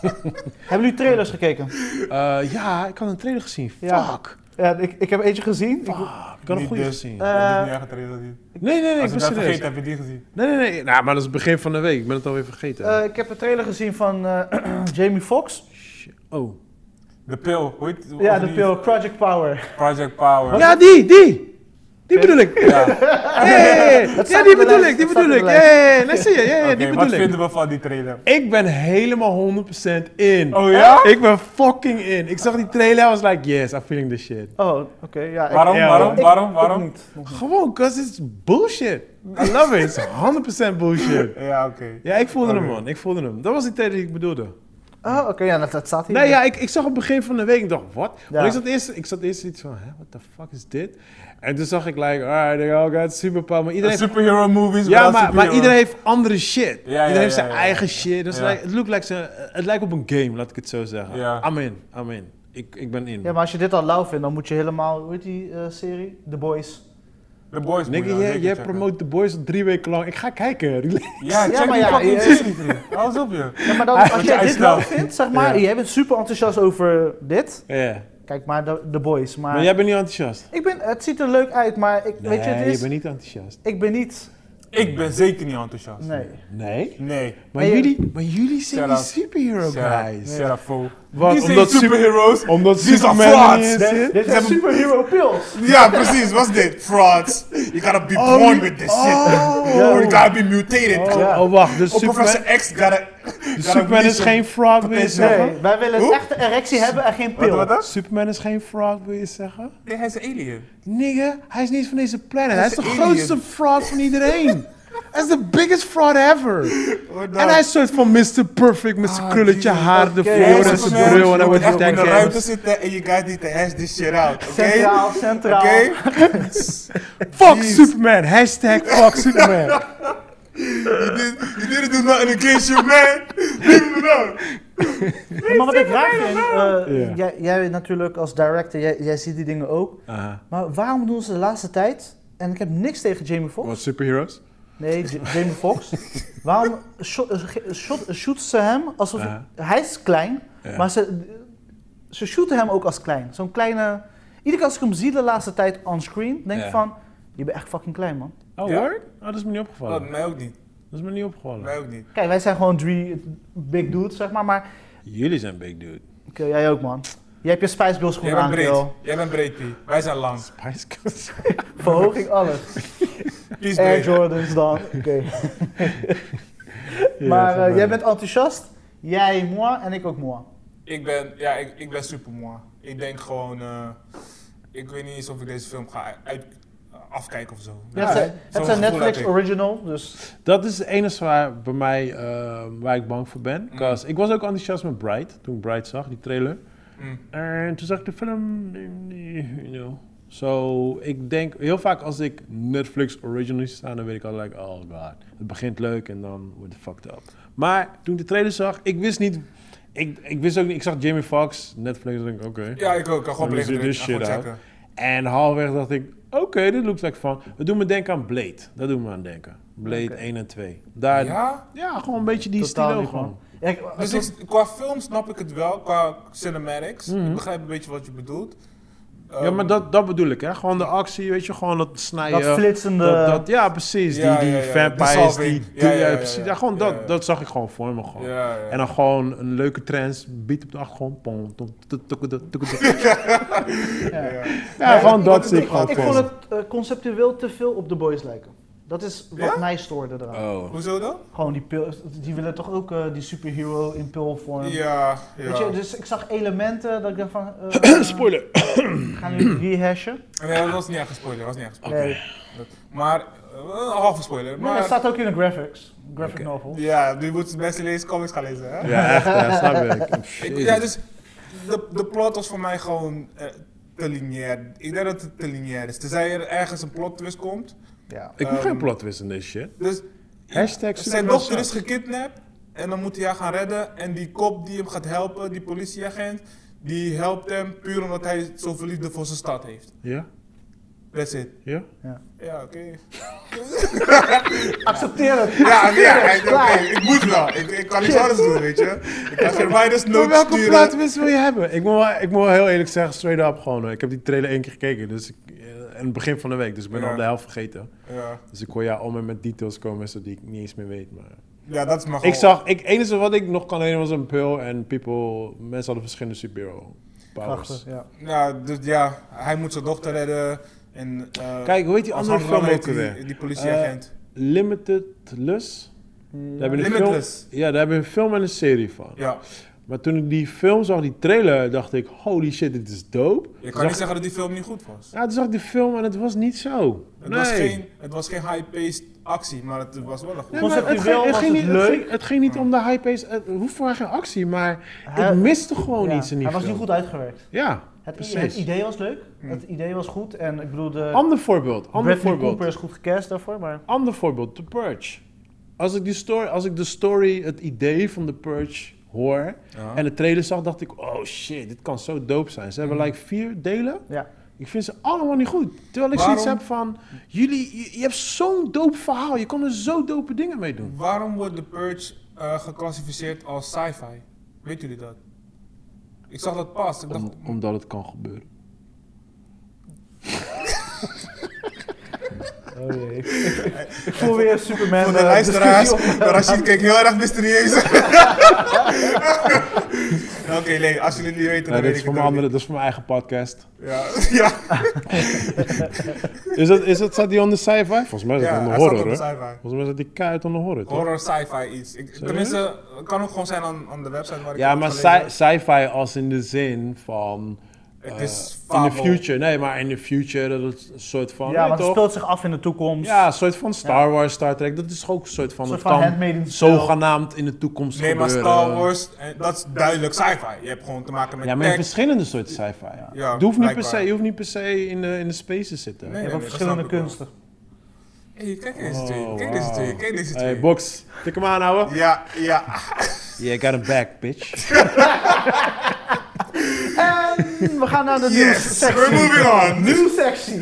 Hebben jullie trailers gekeken? Eh, ja, ik had een trailer gezien. Ja. Fuck. Ja, ik, ik heb eentje gezien. Ik, Fuck. Ik had een Niet goede dus. gezien. Eh, Dat doet niet echt reden dat je- nee, nee, nee, Als ik ben je dat serieus. vergeet, heb je die gezien. Nee, nee, nee. Nou, maar dat is het begin van de week. Ik ben het alweer vergeten. eh, ik heb een trailer gezien van eh, (clears throat) Jamie Foxx. Shit. oh. De pil, hoe heet Ja, of de Oh, die- pil, Project Power. Project Power. Ja, die, die! Die bedoel ik. Ja. Hey, Het staat ja, op de die bedoel lijst, ik, die het staat bedoel op ik. de Ja, lijst. ja, ja, nee, zie je, ja, ja, Oké, die wat bedoel ik. vinden we van die trailer? Ik ben helemaal 100% in. Oh ja? Ik ben fucking in. Ik zag die trailer, I was like, yes, I'm feeling this shit. Oh, oké, ja. ik- Waarom, Ja, waarom, hoor. ik- waarom, ik waarom? niet, nog niet. Gewoon, cause it's bullshit. I love it, it's 100% bullshit. Ja, oké. Ja, ik voelde hem Oké. man, ik voelde hem. Dat was die trailer die ik bedoelde. Oh, oké, ja, dat, dat staat hier. Nee, ja, ik, ik zag op het begin van de week, ik dacht, wat? Ja. Want ik zat eerst, ik zat eerst iets van, hè, what the fuck is dit? En toen zag ik like, alright, they all got superpower. Maar iedereen Superhero movies. Ja, wel maar, maar superhero. iedereen heeft andere shit. ja, iedereen heeft ja, zijn ja, ja. eigen shit. Dus Ja. het, lijkt, het look lijkt ze- het lijkt op een game, laat ik het zo zeggen. Ja. Amen, amen. Ik, ik ben in. Ja, maar als je dit al lauw vindt, dan moet je helemaal, hoe heet die eh, serie? The Boys. De boys moet Nicky, je dan jij, zeker jij checken. promoot The Boys al drie weken lang. Ik ga kijken. (laughs) relax. Ja, Ja, check maar die ja, fucking je- serie, vriend. Alles op je. Ja, maar dan, als Wat jij jij dit uitstelt. lauw vindt, zeg maar, Ja. jij bent super enthousiast over dit. Ja. Kijk maar, The, The Boys. Maar, Maar jij bent niet enthousiast. ik ben, het ziet er leuk uit, maar ik, weet je, Nee, het is, bent niet enthousiast. ik ben niet, Ik ben zeker niet enthousiast. nee. Nee? Nee. Maar, Nee, jullie, maar jullie zijn Shout die out. superhero Sarah, guys. Sarah Faux. Wat, Die zijn omdat super- superheroes. Omdat Die zijn Superman er niet in frauds. zit? Dit zijn superhero pills. Ja, precies. Wat is dit? Frauds. You gotta be Oh, born die- with this Oh. shit. Or you gotta be mutated. Oh, Ja. oh, wacht. Dus Of Superman, Professor X gotta... dus gotta Superman is release geen fraud, wil je potential. zeggen? Nee, wij willen een Hoe? echte erectie hebben en geen Wat, pil. wat, wat? Superman is geen fraud, wil je zeggen? Nee, hij is een alien. Nigga, hij is niet van deze planet. Hij is is de een grootste alien. fraud van iedereen. Hij is de biggest fraud ever. En En hij is een soort van Mr. Perfect met Ah, zijn krulletje haar ervoor en zijn bril en hij wordt in de ruimte dekken. zitten en je guys need to hash this shit out, (laughs) oké? Centraal, centraal. Oké? Fuck Jeez. Superman, hashtag fuck Superman. (laughs) You did- you didn't do nothing against your man. (laughs) Leave him alone. Maar wat ik raar vind, eh, Ja. jij, jij natuurlijk als director, jij, jij ziet die dingen ook. Uh-huh. Maar waarom doen ze de laatste tijd, en ik heb niks tegen Jamie Foxx. Wat, superheroes? Nee, J- Jamie Foxx. Waarom shot, eh, ge- shot, shooten ze hem alsof... Ja. Hij is klein, Ja. maar ze, ze shooten hem ook als klein. Zo'n kleine... Iedere keer als ik hem zie de laatste tijd onscreen, denk ik Ja. van... Je bent echt fucking klein, man. Oh, Ja? word? Oh, dat is me niet opgevallen. Oh, Mij ook niet. Dat is me niet opgevallen. Mij ook niet. Kijk, wij zijn gewoon drie big dudes, zeg maar. Maar Jullie zijn big dude. oké, jij ook, man. Jij hebt je spijsbils Jij gewoon bent aan, breed. Kiel. Jij bent breed, P. Wij zijn lang. Spice Girls. Verhoging, alles. Peace Air breed. Jordans dan. Oké. maar eh, jij bent enthousiast. Jij, moi, en ik ook moi. Ik ben, ja, ik, ik ben super mooi. Ik denk gewoon, eh, ik weet niet eens of ik deze film ga uit, eh, afkijk of zo. Ja, het zijn- zo'n het zijn gevoel Netflix had ik. original, dus Dat is het enige waar, bij mij, eh, waar ik bang voor ben. 'Cause Ik was ook enthousiast met Bright, toen ik Bright zag, die trailer. Mm. En toen zag ik de film, eh, you know. Zo, ik denk, heel vaak als ik Netflix originals staan, dan weet ik al, like, oh god. Het begint leuk en dan wordt het fucked up. Maar toen ik de trailer zag, ik wist niet, ik, ik wist ook niet, ik zag Jamie Foxx, Netflix, en denk ik, oké. Ja, ik ook. Ik kan gewoon Dan belichten zie je erin en dus gewoon shit checken. En halverwege dacht ik, oké, dit looks like fun. Het doet me denken aan Blade, dat doet me aan denken. Blade 1 en 2. Daar, ja. Ja, gewoon een beetje die totaal stilo niet gewoon. gewoon. Ja, ik- dus ik- qua film snap ik het wel, qua cinematics. Mhm. Ik begrijp een beetje wat je bedoelt. Ja, Ehm, maar dat, dat bedoel ik, hè. Gewoon de actie, weet je, gewoon dat snijden. dat flitsende... Dat, dat, ja, precies. Ja, die die ja, ja, ja. De vampires, die salving. Ja, ja, ja, ja, ja, precies. ja. Ja, gewoon Ja, dat, ja. dat zag ik gewoon voor me gewoon. Ja, ja. En dan gewoon een leuke trance, beat op de achtergrond. Pom, tom, tuk, tuk, tuk, tuk, tuk. (laughs) Ja, gewoon dat zie ik gewoon ik voor vond me. het eh, conceptueel te veel op The Boys lijken. Dat is wat Ja? mij stoorde eraan. Eh. Oh. Hoezo dan? Gewoon die pil, die willen toch ook eh, die superhero in pilvorm. Ja, ja. Weet je, dus ik zag elementen dat ik dacht van... (coughs) eh, Spoiler! (coughs) Gaan jullie rehashen? Nee, dat was niet echt een spoiler. Dat was niet echt een spoiler. Nee. Maar, eh, een halve spoiler. Maar dat Maar, staat ook in de graphics. Graphic novel. ja, nu moeten het mensen lezen, comics gaan lezen, hè? Ja, echt, ja, snap ik. Ik- Jezus. ja, dus de, de plot was voor mij gewoon eh, te lineair. Ik denk dat het te lineair is. Tenzij er ergens een plot twist komt. Ja. Ik moet geen Ehm, plot twist in deze shit. Dus Hashtag zijn Superman dochter is sucks. gekidnapt en dan moet hij haar gaan redden. En die kop die hem gaat helpen, die politieagent, die helpt hem puur omdat hij zoveel liefde voor zijn stad heeft. Ja? That's it. Ja? Ja, oké. Accepteer het. Ja, Ah, (laughs) ja, hij- oké, Klaar. ik moet wel. Ik, ik kan niks anders doen, weet je. Ik kan geen (laughs) riders Maar notes welke plot sturen. twist wil je hebben? Ik moet, wel, ik moet wel heel eerlijk zeggen, straight up gewoon. eh, Ik heb die trailer één keer gekeken, dus ik, eh, in het begin van de week. Dus ik ben Ja. al de helft vergeten. Ja, Dus ik hoor jou al met details komen zo die ik niet eens meer weet. Maar... ja, dat is maar gewoon. Ik zag, het enige wat ik nog kan herinneren was een pil en people, mensen hadden verschillende superhero powers. Prachtig, ja. Ja, dus ja, hij moet zijn dochter redden. En, eh, Kijk, hoe heet die als andere film handlanger ook heet die- alweer? Eh, Die politieagent. Limited Lus? Daar hebben we een film- Limitless. ja, daar hebben we een film en een serie van. ja. Maar toen ik die film zag, die trailer, dacht ik, holy shit, dit is dope. Je Toen kan niet zag, zeggen dat die film niet goed was. ja, toen zag ik die film en het was niet zo. Het, nee. was, geen, het was geen high-paced actie, maar het was wel een goed. Nee, maar het, Conceptueel ging, het, was ging het niet, het, leuk. ging, het ging niet om de high pace, het hoeft voor mij geen actie, maar Hij- ik miste gewoon Oh, Ja, iets in die Hij was film. niet goed uitgewerkt. Ja, Het, i- precies. het idee was leuk. Hm. Het idee was goed. En ik bedoel, de Ander voorbeeld, ander Bradley voorbeeld. Cooper is goed gecast daarvoor, maar... Ander voorbeeld, The Purge. Als ik, die story, als ik de story, het idee van The Purge hoor Ja. en de trailer zag, dacht ik, oh shit, dit kan zo dope zijn. Ze hebben like vier delen. Ja. Ik vind ze allemaal niet goed. Terwijl ik zoiets Waarom? heb van, jullie, je, je hebt zo'n dope verhaal, je kon er zo dope dingen mee doen. Waarom wordt The Purge eh, geclassificeerd als sci-fi? Weet jullie dat? Ik zag dat pas. Ik dacht, Om- omdat het kan gebeuren. Oh jee. ik, ik voel weer Superman. voor de eh, luisteraars, discussie (laughs) op- Rashid keek heel erg (laughs) mysterieus. Oké, nee, als jullie het niet weten, Nee, dan dit, weet is ik voor het mijn ook andere, niet. dit is voor mijn eigen podcast. Ja, ja, Is dat, is dat, staat die onder sci-fi? Volgens mij is dat ja, onder hij zat op horror, de hè? sci-fi. Volgens mij zat die keihard onder horror, toch? Horror, sci-fi iets. Ik, tenminste, het kan ook gewoon zijn aan, aan de website waar ik Ja, het maar heb gelezen. sci- sci-fi als in de zin van... Het eh, is in the fabel. future. Nee, maar in the future, dat is een soort van... Ja, Oh, nee, want het toch? speelt zich af in de toekomst. Ja, een soort van Star Wars, Star Trek. Dat is ook een soort van... Een soort het van kan handmade in stijl. zogenaamd in de toekomst Nee, maar gebeuren. Star Wars, eh, dat is duidelijk sci-fi. Je hebt gewoon te maken met Ja, maar in tech. verschillende soorten sci-fi. Ja, je, hoeft niet per se, blijkbaar. je hoeft niet per se in de, in de space te zitten. Nee. Je hebt ook dat verschillende snap ik wel. kunsten. Hey, kijk eens Oh, twee, kijk eens wauw. twee, kijk eens twee. Hey, box. Tik hem aan, ouwe. Ja, ja. Ah, Yeah, I got him back, (laughs) bitch. En we gaan naar (laughs) de Yes, we're nieuwssectie. moving (laughs) (laughs) on. Nieuwssectie.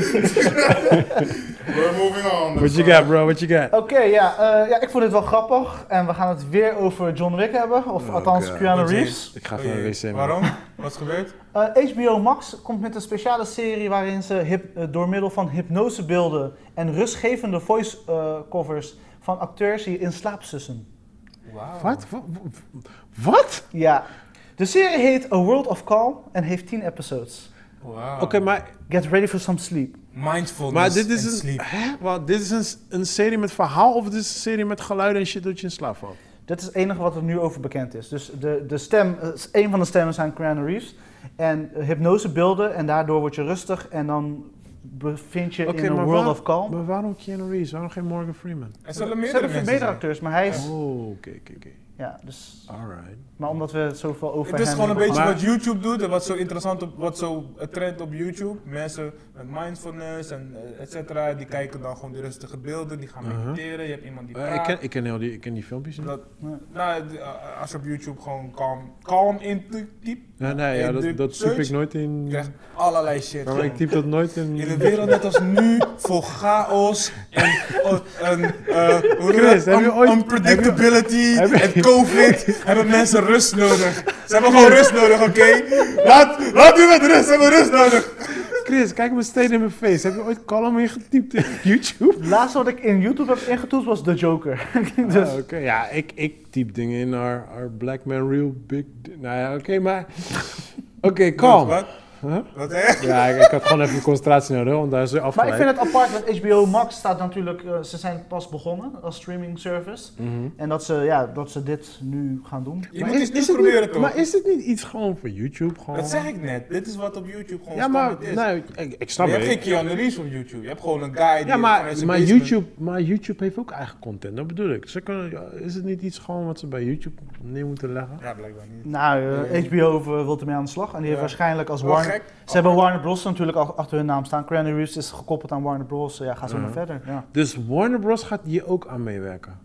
We're moving on. What you got, bro? What you got? Oké, ja, eh, ja, ik vond dit wel grappig. En we gaan het weer over John Wick hebben. Of althans, God. Keanu Wat is- Reeves. Ik ga even naar de wc, man. Oh, Waarom? Wat is gebeurd? Eh, HBO Max komt met een speciale serie waarin ze hyp- eh, door middel van hypnosebeelden en rustgevende voice-covers van acteurs je in slaap sussen. Wauw. Wat? Wa- wa- Wat? Ja. De serie heet A World of Calm en heeft 10 episodes. Wauw. Oké, maar Get ready for some sleep. Mindfulness Maar dit is, and een, dus sleep. hè? Wat, dit is een, s- een serie met verhaal of dit is een serie met geluiden en shit dat je in slaap valt? Dat is het enige wat er nu over bekend is. Dus de, de stem, eh, een van de stemmen zijn Keanu Reeves. En eh, hypnosebeelden en daardoor word je rustig en dan bevind je Oké, in een maar world waar- of calm. Maar waarom Keanu Reeves? Waarom geen Morgan Freeman? Er Ze zullen hebben meerdere veel mensen betere zijn. acteurs, maar hij is... Oh, oké, oké, oké. Ja, dus, Alright. maar omdat we het zoveel over Het is hem gewoon een hebben. beetje Maar- wat YouTube doet en wat zo interessant op, wat zo een trend op YouTube. Mensen met mindfulness en eh, et cetera, die kijken dan gewoon die rustige beelden, die gaan Mhm. mediteren. Je hebt iemand die Eh, ik, praat. ken, ik, ken heel die, ik ken die filmpjes niet. dat, nou, d- eh, als je op YouTube gewoon kalm, kalm intypt, Ja, nee, ja, in de dat, dat zoek ik search nooit in... je krijgt allerlei shit. Maar ik gewoon. typ dat nooit in... In een wereld net als nu, vol chaos en, o- Oh, en eh, hoe noem je Chris, dat? heb je Un- ooit- unpredictability heb je- en (laughs) covid, hebben mensen rust nodig. Ze hebben gewoon rust nodig, oké? Laat, laat u met rust, ze hebben rust nodig. Chris, kijk me steen in mijn face. Heb je ooit column ingetypt in (laughs) YouTube? Het laatste wat ik in YouTube heb ingetoetst was The Joker. (laughs) (laughs) dus, Ah, oké. Ja, ik, ik typ dingen in our, our black man real big... di- Nou ja, oké, (laughs) maar... Oké, kalm. Wat? Huh? Wat hè? (laughs) Ja, ik, ik had gewoon even concentratie nodig, want daar is ze maar ik afgeleid. vind het apart, want HBO Max staat natuurlijk... eh, ze zijn pas begonnen als streaming service. Mhm. En dat ze, ja, dat ze dit nu gaan doen. Je Maar moet is- iets is nieuws het proberen niet- toch? Maar is het niet iets gewoon voor YouTube? Gewoon... Dat zeg ik net, dit is wat op YouTube gewoon Ja, maar standaard is. nee, ik, ik snap je hebt het. geen Keanu Reeves op YouTube, je hebt gewoon een guy die Ja, maar, vanuit zijn maar, basement- YouTube, maar YouTube heeft ook eigen content, dat bedoel ik. Ze kunnen, ja, is het niet iets gewoon wat ze bij YouTube neer moeten leggen? Ja, blijkbaar Mm. niet. Nou, eh, Nee. HBO wil wil ermee aan de slag. En die heeft Ja. waarschijnlijk als Wel Warner... Oh, gek. Ze hebben Warner Bros. natuurlijk al achter hun naam staan. Keanu Reeves is gekoppeld aan Warner Bros. Ja, ga zo maar Mhm. verder. Ja. Dus Warner Bros. gaat hier ook aan meewerken.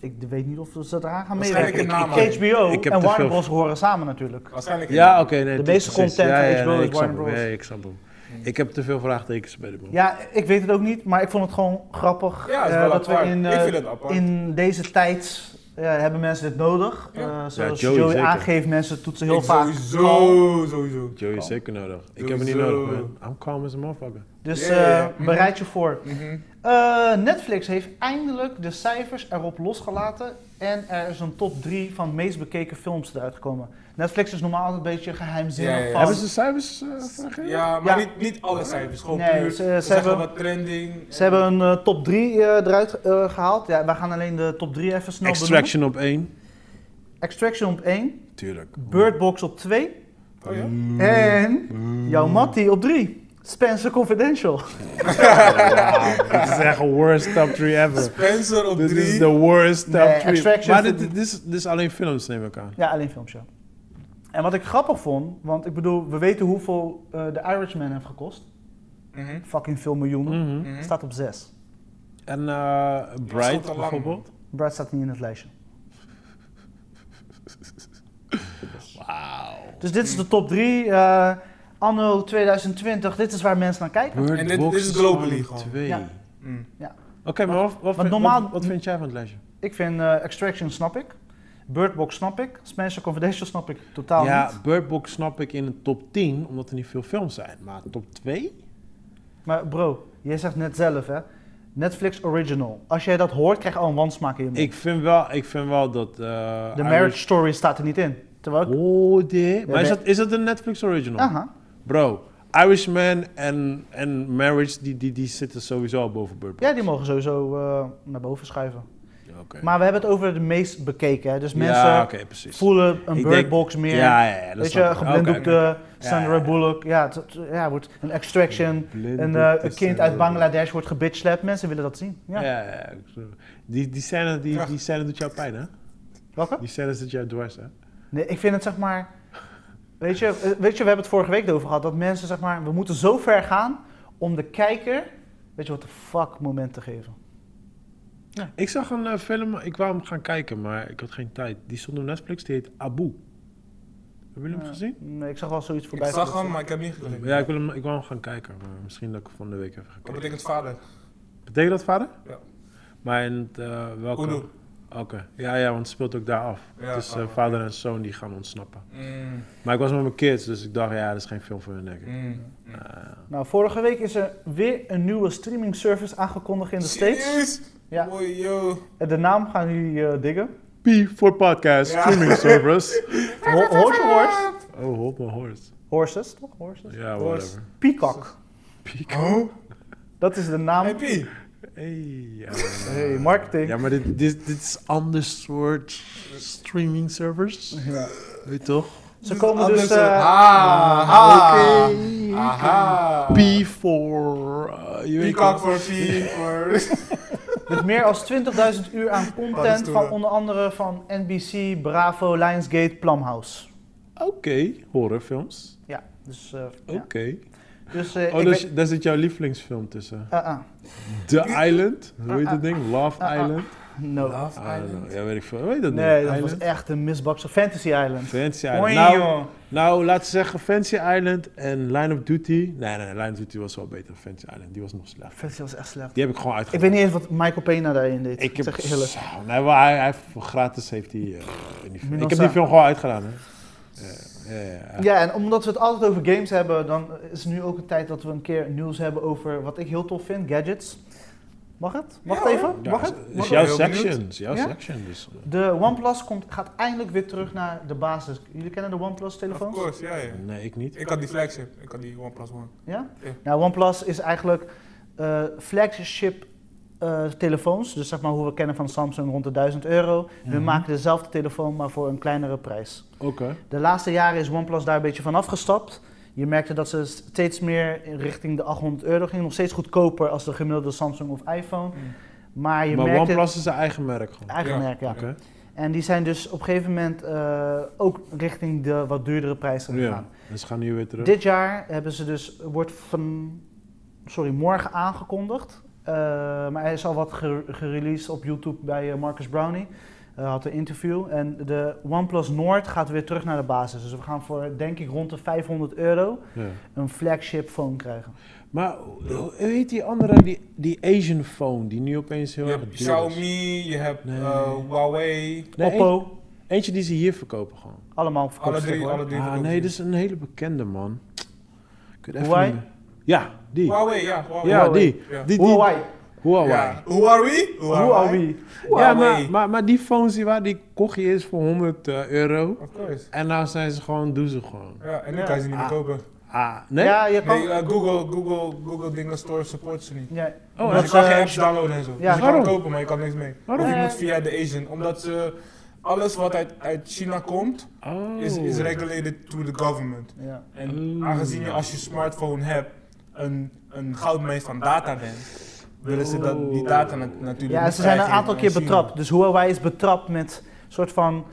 Ik weet niet of ze eraan gaan Waarschijnlijk meewerken. een naam. HBO Ik heb en te Warner veel- Bros. horen samen natuurlijk. Waarschijnlijk Ja, oké. nee, De dat- meeste precies. content van HBO is ik snap Warner hem. Bros. Ja, ik snap hem. Hmm. Ik heb te veel vraagtekens bij de bron. Ja, ik weet het ook niet, maar ik vond het gewoon grappig Ja, is eh, wel dat we apart. in, ik eh, vind het apart. in deze tijd eh, hebben mensen dit nodig. Ja. Eh, Ja, zoals Joey Joey, zeker. aangeeft, mensen toetsen heel Ik vaak. kalm. Sowieso, sowieso. Joey is Kalm. zeker nodig. Ik heb hem niet Sowieso. nodig, man. I'm calm as a motherfucker. Dus Ja, ja, ja. eh, bereid je voor. Mhm. Eh, Netflix heeft eindelijk de cijfers erop losgelaten. En er is een top 3 van de meest bekeken films eruit gekomen. Netflix is normaal altijd een beetje geheimzinnig. Ja, ja, ja. van- Hebben ze cijfers eh, gegeven? Ja, maar Ja. Niet, niet alle cijfers. Gewoon Nee, puur. ze- Ze, ze hebben- hebben wat trending. Ze hebben een eh, top 3 eruit eh, gehaald. Ja, wij gaan alleen de top 3 even snel Extraction op één. benoemen. Extraction op 1, Tuurlijk. Bird Box op 2 Oh, ja? en jouw Matty op 3. Spencer Confidential. Ja, dit is echt de worst top 3 ever. Spencer op Dit is 3. de worst top Nee, 3. Extraction maar vind dit, ik- dit, is, dit is alleen films, neem ik aan. Ja, alleen filmshow. En wat ik grappig vond, want ik bedoel, we weten hoeveel eh The Irishman heeft gekost. Mhm, Fucking veel miljoenen. Mhm. mhm. Staat op 6. En eh goed Bright te lang, bijvoorbeeld. Brad staat niet in het lijstje. Wauw. Dus dit is de top 3. eh anno 2020, dit is waar mensen naar kijken. En dit- dit is globally gewoon. Twee. Ja. Mm. Oké, maar wat, wat, want vind- normaal- wat, wat vind jij van het lijstje? Ik vind eh, Extraction snap ik. Bird Box snap ik. Spencer Confidential snap ik totaal ja, niet. Bird Box snap ik in de top 10, omdat er niet veel films zijn. Maar top 2? Maar bro, jij zegt net zelf hè. Netflix Original. Als jij dat hoort, krijg je al een wansmaak in je mond. Ik vind wel, ik vind wel dat... eh De Marriage Story staat er niet in. Terwijl ik... Oh, dit. Maar is nee. dat, is dat een Netflix original? Aha. Bro, Irishman en, en Marriage, die, die, die zitten sowieso al boven Bird Box. Ja, die mogen sowieso eh, naar boven schuiven. Ja, oké. Maar we hebben het over de meest bekeken hè. Dus mensen ja, oké, precies. voelen een Ik Bird denk- Box meer. Ja, ja, ja, dat Weet snap je, ik. Oké, geblinddoekte oké. Sandra Ja, ja, ja. Bullock. Ja, het, het- ja, wordt een extraction. Een eh, Blinddoekte een kind Sandra uit Bangladesh wordt gebitchlapt. Mensen willen dat zien. Ja, Ja. ja, ja. ik snap het. Die, die, scène, die, die scène doet jou pijn, hè? Welke? Die scène zit jou dwars, hè? Nee, ik vind het zeg maar. Weet je, eh, weet je, we hebben het vorige week over gehad. Dat mensen zeg maar. We moeten zo ver gaan om de kijker. Weet je wat de fuck moment te geven. Ik zag een eh, film, ik wou hem gaan kijken, maar ik had geen tijd. Die stond op Netflix, die heet Abu. Hebben jullie hem Ja. gezien? Nee, ik zag wel zoiets Ik voorbij. zag komen. hem, maar ik heb niet gezien. Ja, ik, wil hem, ik wou hem gaan kijken, maar misschien dat ik van de week even ga Wat kijken. betekent vader? Betekent dat, vader? Ja. Maar in het, eh, welke? Oedoe. Oké. Ja, ja, want het speelt ook daar af. Ja, het is ah, eh, vader en zoon die gaan ontsnappen. Mm, Maar ik was met mijn kids, dus ik dacht, ja, dat is geen film voor hun, denk ik. mm. Nou, vorige week is er weer een nieuwe streaming service aangekondigd in de States. Serieus? Ja. Oei, yo. En De naam gaan jullie eh, diggen. P voor podcast, Ja. streaming (laughs) service. Ho- Horse Awards. Oh, hop mijn horse. Horses, toch? Horses. Ja, Horse. whatever. Peacock. Oh, Dat is de naam. hey P. Hey, ja, Hey, marketing. Ja, maar dit, dit, dit is ander soort streaming servers. Weet je toch? Ze komen eh, Anders dus. dan- eh, Aha. Oké. Aha. P eh, voor Peacock for (laughs) (laughs) Peacock. Met Dus meer dan 20.000 uur aan Dat is content toen, van hè. onder andere van NBC, Bravo, Lionsgate, Plumhouse. Oké, horrorfilms. Ja, dus... eh, Oké. ja. Dus, eh, Oh, ik daar weet- zit- daar zit jouw lievelingsfilm tussen. Ah, ah. The Island? Hoe heet dat ding? Love Ah, ah. Island? No. Love I don't Island. know. Ja, weet ik veel. Hoe heet dat ding? Nee, dat was Island? echt een misbakse Fantasy Island. Fancy Island. Mooi, Nou, joh. nou, laten we zeggen Fancy Island en Line of Duty. Nee, nee, nee, Line of Duty was wel beter dan Fancy Island. Die was nog slecht. Fantasy was echt slecht. Die heb ik gewoon Ik uitgehaald. weet niet eens wat Michael Pena daarin deed. Ik heb, zeg je eerlijk. Zo, nee, maar hij, hij heeft voor gratis heeft hij, eh, in die film. Ik heb Minossa. die film gewoon uitgedaan. Hè. Ja, ja, ja, ja. Ja, en omdat we het altijd over games hebben, dan is het nu ook een tijd dat we een keer nieuws hebben over wat ik heel tof vind, gadgets. Mag het? Mag het Ja, even? Ja, Mag is- het? is Mag jouw het? Heel section. benieuwd. Is jouw Ja? section. Dus. eh, De OnePlus komt, gaat eindelijk weer terug naar de basis. Jullie kennen de OnePlus Of telefoons? course, ja, ja. eh, Nee, ik niet. Ik had die flagship. Ik had die OnePlus One. Ja? Ja. Nou, OnePlus is eigenlijk eh, flagship eh, telefoons. Dus zeg maar hoe we kennen van Samsung rond de 1000 euro. We Mhm. maken dezelfde telefoon, maar voor een kleinere prijs. Oké. De laatste jaren is OnePlus daar een beetje van afgestapt. Je merkte dat ze steeds meer in richting de 800 euro ging. Nog steeds goedkoper als de gemiddelde Samsung of iPhone. Maar je Mhm. Maar merkte... OnePlus is zijn eigen merk gewoon. Eigen Ja, merk, ja. Oké. En die zijn dus op een gegeven moment eh, ook richting de wat duurdere prijzen Ja. gegaan. Dus ze gaan nu weer terug. Dit jaar hebben ze dus, wordt van, sorry, morgen aangekondigd. Eh, maar hij is al wat ge- gereleased op YouTube bij eh, Marcus Brownie. Eh, had een interview. En de OnePlus Nord gaat weer terug naar de basis. Dus we gaan voor, denk ik, rond de 500 euro Ja. een flagship phone krijgen. Maar hoe hoe heet die andere, die, die Asian phone, die nu opeens heel Je erg hebt duur is? Xiaomi, je hebt Nee. eh, Huawei. Nee, een- Oppo, eentje die ze hier verkopen gewoon. allemaal verkocht. Alle drie, alle drie. Ah, verkopen nee, ze. dit is een hele bekende man. Ik weet even Huawei? niet meer. Ja, die. Huawei, ja. Huawei. Ja, die. die, Ja. die, Huawei, Huawei. Ja. Who are we? Who Huawei. Ja, Huawei. maar, maar, maar die phones die, waar die kocht je is voor 100 eh, euro. Of course. En nou zijn ze gewoon, doen ze gewoon. Ja, en nu Ja. Oh. kan je ze niet meer kopen. Ah, nee? Ja, je kan... Nee, eh, Google, Google, Google dingen store support ze niet. Ja, Oh, dus dat je kan ze- geen apps downloaden en zo. dus je kan waarom? het kopen, maar je kan niks mee. Waarom? Of je Eh. moet via de Asian. Omdat ze, alles wat uit, uit China komt, Oh. is, is regulated through the government. ja. En Oh. aangezien je als je smartphone hebt een, een goudmijn van data bent, willen ze dat, die data na- natuurlijk Ja, niet ze zijn een vrijgeven aantal aan keer China. betrapt. Dus Huawei is betrapt met een soort van,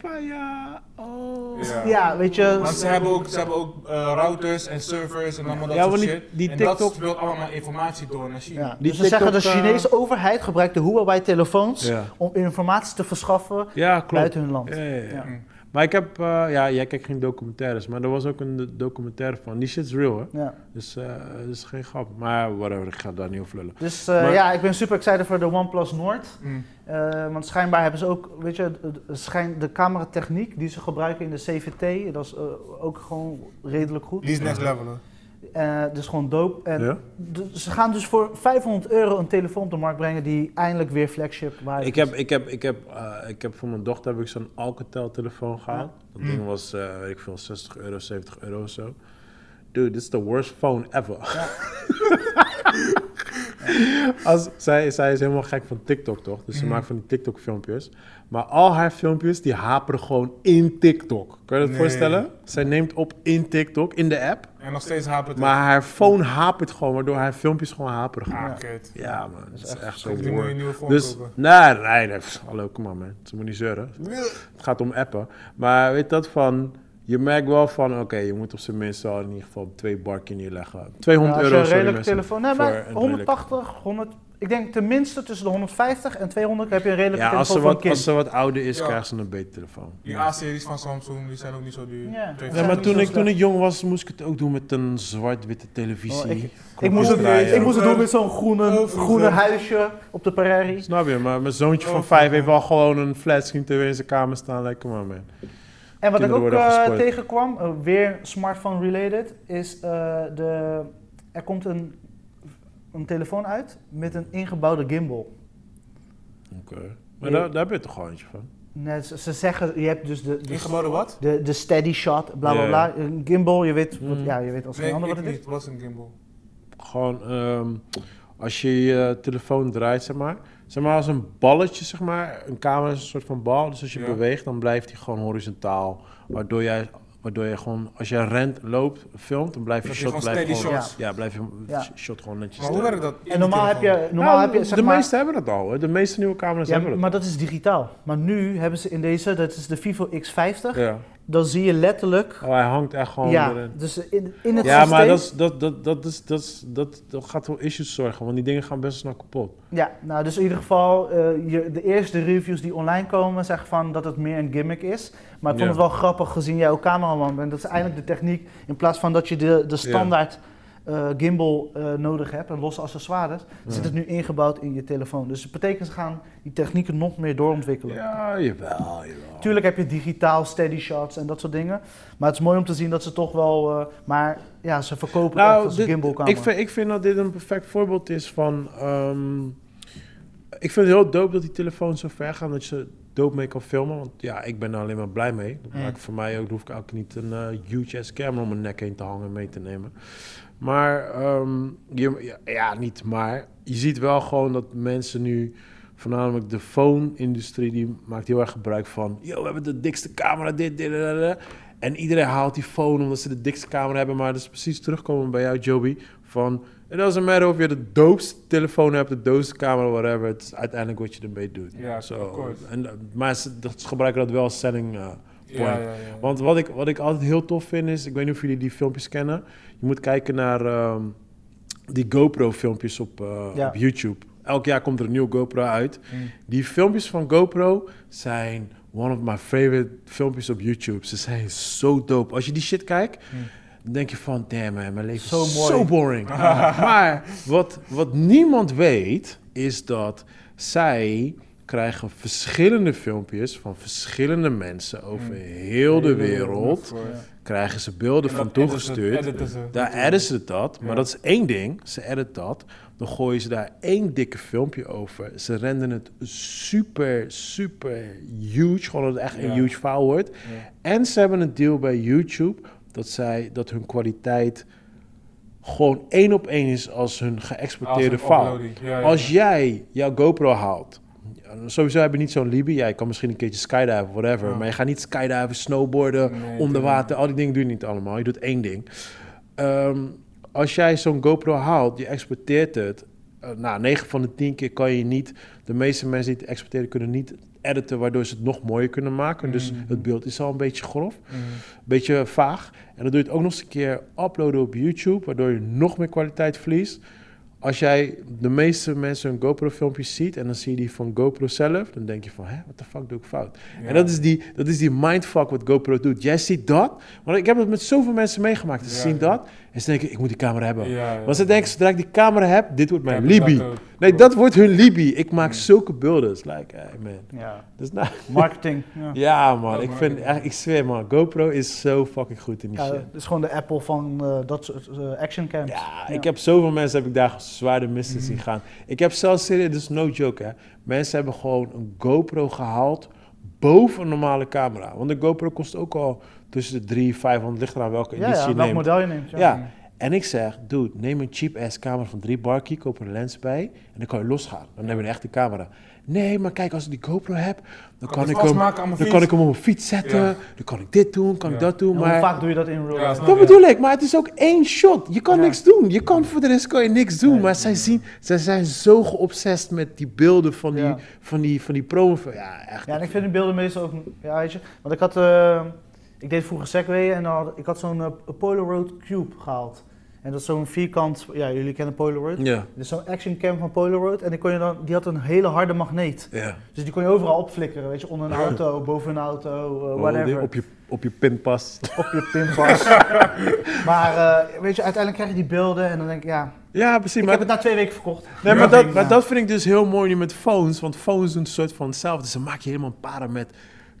Fire. Oh. Ja. ja, weet je... Want ze hebben ook, ze hebben ook eh, routers en servers en allemaal dat Ja, soort want die- shit. die en TikTok- dat speelt allemaal informatie door naar China. Ja, Die dus ze zeggen de TikTok, eh, Chinese overheid gebruikt de Huawei-telefoons Ja. om informatie te verschaffen Ja, klopt. buiten hun land. Ja, ja, ja. Ja. Mm. Maar ik heb, eh, ja, jij kijkt geen documentaires, maar er was ook een do- documentaire van. Die shit's real, hè? Ja. Dus eh, dat is geen grap. Maar whatever, ik ga daar niet over lullen. Dus eh, Maar- ja, ik ben super excited voor de OnePlus Nord. Mm. Eh, want schijnbaar hebben ze ook, weet je, het- het schijn, de cameratechniek die ze gebruiken in de CVT, dat is eh, ook gewoon redelijk goed. Die is next level hoor. Eh, dus gewoon dope. En Ja? d- ze gaan dus voor 500 euro een telefoon op de markt brengen die eindelijk weer flagship waardig Ik is. heb, ik, heb, ik, heb, eh, ik heb voor mijn dochter heb ik zo'n Alcatel-telefoon gehaald. Dat ding was, eh, weet ik veel, 60 euro, 70 euro of zo. Dude, this is the worst phone ever. (laughs) Als, zij, zij is helemaal gek van TikTok, toch? Dus ze maakt van die TikTok-filmpjes. Maar al haar filmpjes, die haperen gewoon in TikTok. Kun je dat Nee. voorstellen? Zij neemt op in TikTok, in de app. En nog steeds hapert het. Maar haar phone hapert gewoon, waardoor haar filmpjes gewoon haperig gaan. Ah, kut. Ja, man. Dat is echt zo Ik moet je een hoor. nieuwe phone Dus, kopen. nee, nee, nee, pff, hallo, kom maar man. Ze moet niet zeuren. Het gaat om appen. Maar weet dat van, je merkt wel van, oké, je moet op zijn minst al in ieder geval twee barken neerleggen. 200 Ja, als je euro, een sorry redelijke mensen. telefoon. Nee, voor maar een redelijk- 180, 100. Ik denk tenminste tussen de 150 en 200 heb je een redelijke Ja, als telefoon ze, voor een wat, kind. als ze wat ouder is, Ja. krijgt ze een betere telefoon. Die A-series van Samsung, die zijn ook niet zo duur. Ja. Twee- Nee, maar niet toen zo ik, toen slecht. ik jong was, moest ik het ook doen met een zwart-witte televisie. Oh, ik- ik, Knopjes moest het, draaien. ik moest het doen met zo'n groene, Vroeger. groene huisje op de prairie. Snap je, maar mijn zoontje Oh, van vijf vroeger. heeft wel gewoon een flatscreen tv in zijn kamer staan. Like, come on man. En wat ik Kinderen ook worden eh, gespoord. tegenkwam, eh, weer smartphone related, is eh, de, er komt een, een telefoon uit met een ingebouwde gimbal. Oké. Maar Nee. daar, daar heb je toch gewoon eentje van? Net, ze, ze zeggen, je hebt dus de, de, Ingebouwde wat? de, de steady shot, bla bla Ja. bla. Een gimbal, je weet, wat, Mm. ja, je weet als geen Nee, ander ik wat het niet. is. Het was een gimbal. Gewoon, ehm, als je je telefoon draait, zeg maar. Zeg maar als een balletje, zeg maar. Een camera is een soort van bal. Dus als je Ja. beweegt, dan blijft hij gewoon horizontaal. Waardoor jij Waardoor je gewoon, als je rent, loopt, filmt, dan blijft je Dat je shot... gewoon blijft steady gewoon- shots. Ja, blijft je Ja. shot gewoon netjes. Maar hoe staan. werkt dat? En normaal heb je, normaal Nou, heb je zeg de maar, meeste hebben dat al. Hè. De meeste nieuwe camera's ja, hebben dat. maar dat is digitaal. Maar nu hebben ze in deze, dat is de Vivo X50, Ja. dan zie je letterlijk, Oh, hij hangt echt gewoon ja, erin. dus in, in het Ja, systeem, maar dat, is, dat, dat, dat, is, dat, is, dat, dat gaat wel issues zorgen, want die dingen gaan best snel kapot. ja, nou dus in ieder geval, eh, je, de eerste reviews die online komen zeggen van dat het meer een gimmick is. Maar ik vond Ja. het wel grappig gezien jij ook cameraman bent, dat is eigenlijk de techniek, in plaats van dat je de, de standaard eh, gimbal eh, nodig hebt en losse accessoires, zit het nu ingebouwd in je telefoon. Dus het betekent ze gaan die technieken nog meer doorontwikkelen. Ja, jawel, jawel. Tuurlijk heb je digitaal steady shots en dat soort dingen. Maar het is mooi om te zien dat ze toch wel. eh, maar ja, ze verkopen het echt Nou, als een dit- gimbalcamera. ik vind, ik vind dat dit een perfect voorbeeld is van... ehm, ik vind het heel dope dat die telefoons zo ver gaan dat je er dope mee kan filmen. Want ja, ik ben er alleen maar blij mee. Dat Mm. maakt voor mij ook, dan hoef ik ook niet een eh, huge ass camera om mijn nek heen te hangen en mee te nemen. Maar, ehm, je, ja, ja, niet maar. Je ziet wel gewoon dat mensen nu... Voornamelijk de phone-industrie, die maakt heel erg gebruik van... Yo, we hebben de dikste camera, dit, dit, dit, dit, dit. En iedereen haalt die phone omdat ze de dikste camera hebben. Maar dat is precies terugkomen bij jou, Joby. Van, it doesn't matter of je de doopste telefoon hebt, de doopste camera, whatever. Het is uiteindelijk wat je ermee doet. Ja, Zo, of course. En, eh, maar ze, dat, ze gebruiken dat wel als selling eh, point. Ja, ja, ja. Want wat ik, wat ik altijd heel tof vind is, ik weet niet of jullie die filmpjes kennen. Je moet kijken naar ehm, die GoPro filmpjes op, eh, Ja. op YouTube. Elk jaar komt er een nieuwe GoPro uit. Die filmpjes van GoPro zijn one of my favorite filmpjes op YouTube. Ze zijn zo dope. Als je die shit kijkt, dan denk je van, damn man, mijn leven Zo is mooi. zo (laughs) boring. maar wat, wat niemand weet, is dat zij krijgen verschillende filmpjes van verschillende mensen over Mm. heel de wereld. Krijgen ze beelden van toegestuurd. Daar editen ze dat, maar Ja. dat is één ding. Ze edit dat. Dan gooien ze daar één dikke filmpje over. Ze renderen het super, super huge. Gewoon dat het echt een Ja. huge file wordt. En ze hebben een deal bij YouTube dat, zij, dat hun kwaliteit gewoon één op één is als hun geëxporteerde file. Als jij jouw GoPro haalt. Sowieso heb je niet zo'n Libby. Ja, je kan misschien een keertje skydiven, whatever. Ja. Maar je gaat niet skydiven, snowboarden, Nee, onder tuurlijk. water. Al die dingen doe je niet allemaal. Je doet één ding. Ehm, als jij zo'n GoPro haalt, je exporteert het. eh, nou, 9 van de 10 keer kan je niet. De meeste mensen die het exporteren kunnen niet editen, waardoor ze het nog mooier kunnen maken. Dus Mhm. het beeld is al een beetje grof beetje vaag. En dan doe je het ook nog eens een keer uploaden op YouTube, waardoor je nog meer kwaliteit verliest. Als jij de meeste mensen hun GoPro-filmpjes ziet en dan zie je die van GoPro zelf, dan denk je van, hè, wat de fuck doe ik fout? En dat is, die, dat is die mindfuck wat GoPro doet. Jij ziet dat, want ik heb het met zoveel mensen meegemaakt. Ze Ja, zien ja. dat en ze denken, ik moet die camera hebben. Ja, ja, Want ze ja. denken, zodra ik die camera heb, dit wordt mijn Ja, dat Libby. ook. Nee, dat wordt hun Libby. Ik maak zulke beelden. It's like, hey man, Ja. dat is nou... Marketing. ja. Ja, man. Ja, Ik, maar- vind, echt- ik zweer, man. GoPro is zo fucking goed in die Ja, shit. het is gewoon de Apple van eh, dat soort eh, action cams. Ja, ik heb zoveel mensen heb ik daar zwaar de mist Mhm. in zien gaan. Ik heb zelfs serieus, dus no joke hè. Mensen hebben gewoon een GoPro gehaald boven een normale camera. Want een GoPro kost ook al tussen de 3 500 ligt eraan welke Ja, editie ja, je welk neemt. model je neemt. Ja. Ja. En ik zeg, dude, neem een cheap ass camera van 3 bar key, koop er een lens bij en dan kan je losgaan. Dan heb je een echte camera. Nee, maar kijk, als ik die GoPro heb, dan kan, ik ik, hem, vastmaken aan mijn dan kan fiets. ik hem op mijn fiets zetten. Ja. Dan kan ik dit doen, kan ik Ja. dat doen. En Maar Hoe vaak doe je dat in real Ja, life? snap dat je? bedoel ik, maar het is ook één shot. Je kan Ja. niks doen. Je kan voor de rest kan je niks doen. maar zij, zien, zij zijn zo geobsessed met die beelden van die, Ja. van die, van die promo. Ja, echt. Ja, en ik vind die beelden meestal ook, ja, weet je, want ik had, eh, ik deed vroeger Segway en dan had, ik had zo'n eh, Polaroid Cube gehaald. En dat is zo'n vierkant, ja, jullie kennen Polaroid. Ja, Dit is zo'n action cam van Polaroid en die, kon je dan, die had een hele harde magneet. ja. Dus die kon je overal opflikkeren, weet je, onder (laughs) een auto, boven een auto, eh, whatever. Oh, (laughs) op, je, op je pinpas. op je pinpas. maar eh, weet je, uiteindelijk krijg je die beelden en dan denk ik, ja, Ja, precies. ik Maar, heb het na twee weken verkocht. nee, Ja, maar, dat, ik- maar ja. dat vind ik dus heel mooi nu met phones. Want phones doen een soort van hetzelfde. Ze maken je helemaal paren met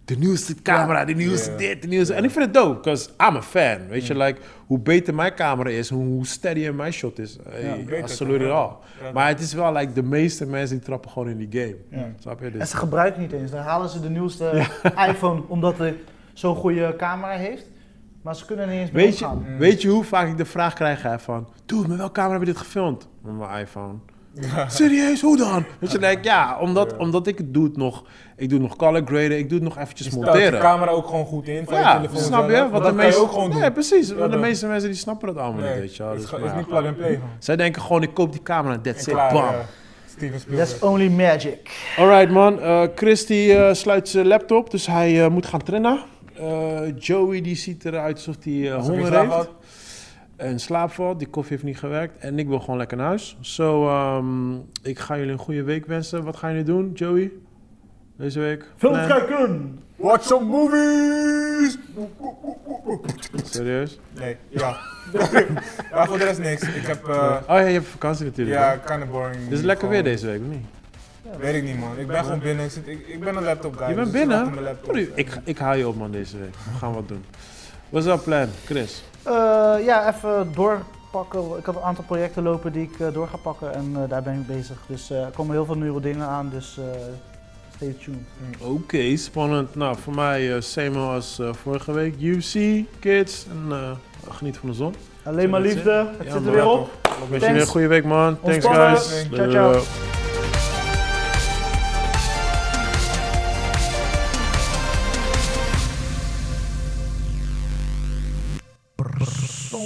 de nieuwste camera, de nieuwste Ja. dit, de nieuwste... En ik vind het dope, because I'm a fan. Weet je, like, hoe beter mijn camera is, hoe, hoe steadier mijn shot is. Hey, beter, absoluut ja. it all. Ja. Maar het is wel, like, de meeste mensen die trappen gewoon in die game. Snap je? En Dus, ze gebruiken niet eens. Dan halen ze de nieuwste (laughs) iPhone omdat hij zo'n goede camera heeft. Maar ze kunnen er niet eens mee weet, je, omgaan. (laughs) weet je hoe vaak ik de vraag krijg hè, van... Dude, met welke camera heb je dit gefilmd? Met mijn iPhone. Serieus, hoe dan? Dus je denkt, ja, omdat, omdat ik het doe het nog. Ik doe nog color graden, ik doe het nog eventjes Stel de monteren. camera ook gewoon goed in. Van je Ja, telefoon snap zelf, je? want Want de dat kan je meeste, ook gewoon doen. nee, precies. Ja, want de dat- meeste mensen die snappen dat allemaal Nee, niet, weet je wel. het Dus, is, ge- maar is ja. niet plug and play. gewoon. Zij denken gewoon, ik koop die camera en that's En it, klaar, bam. ja. Steven Spielberg. That's only magic. Alright man, Eh Chris die eh, sluit zijn laptop, dus hij eh, moet gaan trainen. Eh, Joey die ziet eruit alsof hij eh, Als er geen honger slaap heeft had, en slaap valt. Die koffie heeft niet gewerkt en ik wil gewoon lekker naar huis. So, ehm, ik ga jullie een goede week wensen. Wat gaan jullie doen, Joey? Deze week? Film Plan? kijken! Watch some movies! Serieus? Nee, (laughs) ja. (laughs) ja, voor de rest niks. Ik heb, eh, oh ja, je hebt vakantie natuurlijk. ja, hè? kind of boring. Het is lekker weer Gewoon- deze week, of niet? Weet ik niet, man. Ik ben gewoon binnen. Ik, zit, ik, ik ben een laptop guy. Je dus bent ik binnen? zit achter mijn laptop. Broer, Ik, ik haal je op man deze week. We gaan wat doen. What's up plan, Chris? Eh, ja, even doorpakken. Ik had een aantal projecten lopen die ik eh, door ga pakken en eh, daar ben ik bezig. Dus eh, er komen heel veel nieuwe dingen aan, dus eh, stay tuned. Oké, spannend. Nou, voor mij eh, same als eh, vorige week. UFC, kids en eh, geniet van de zon. Alleen maar Zo, dat liefde, is het Ja, zit er man. weer op. Ik wens je weer een Thanks. goede week man. Thanks Ontspannen. guys. Ciao, ciao. Doei.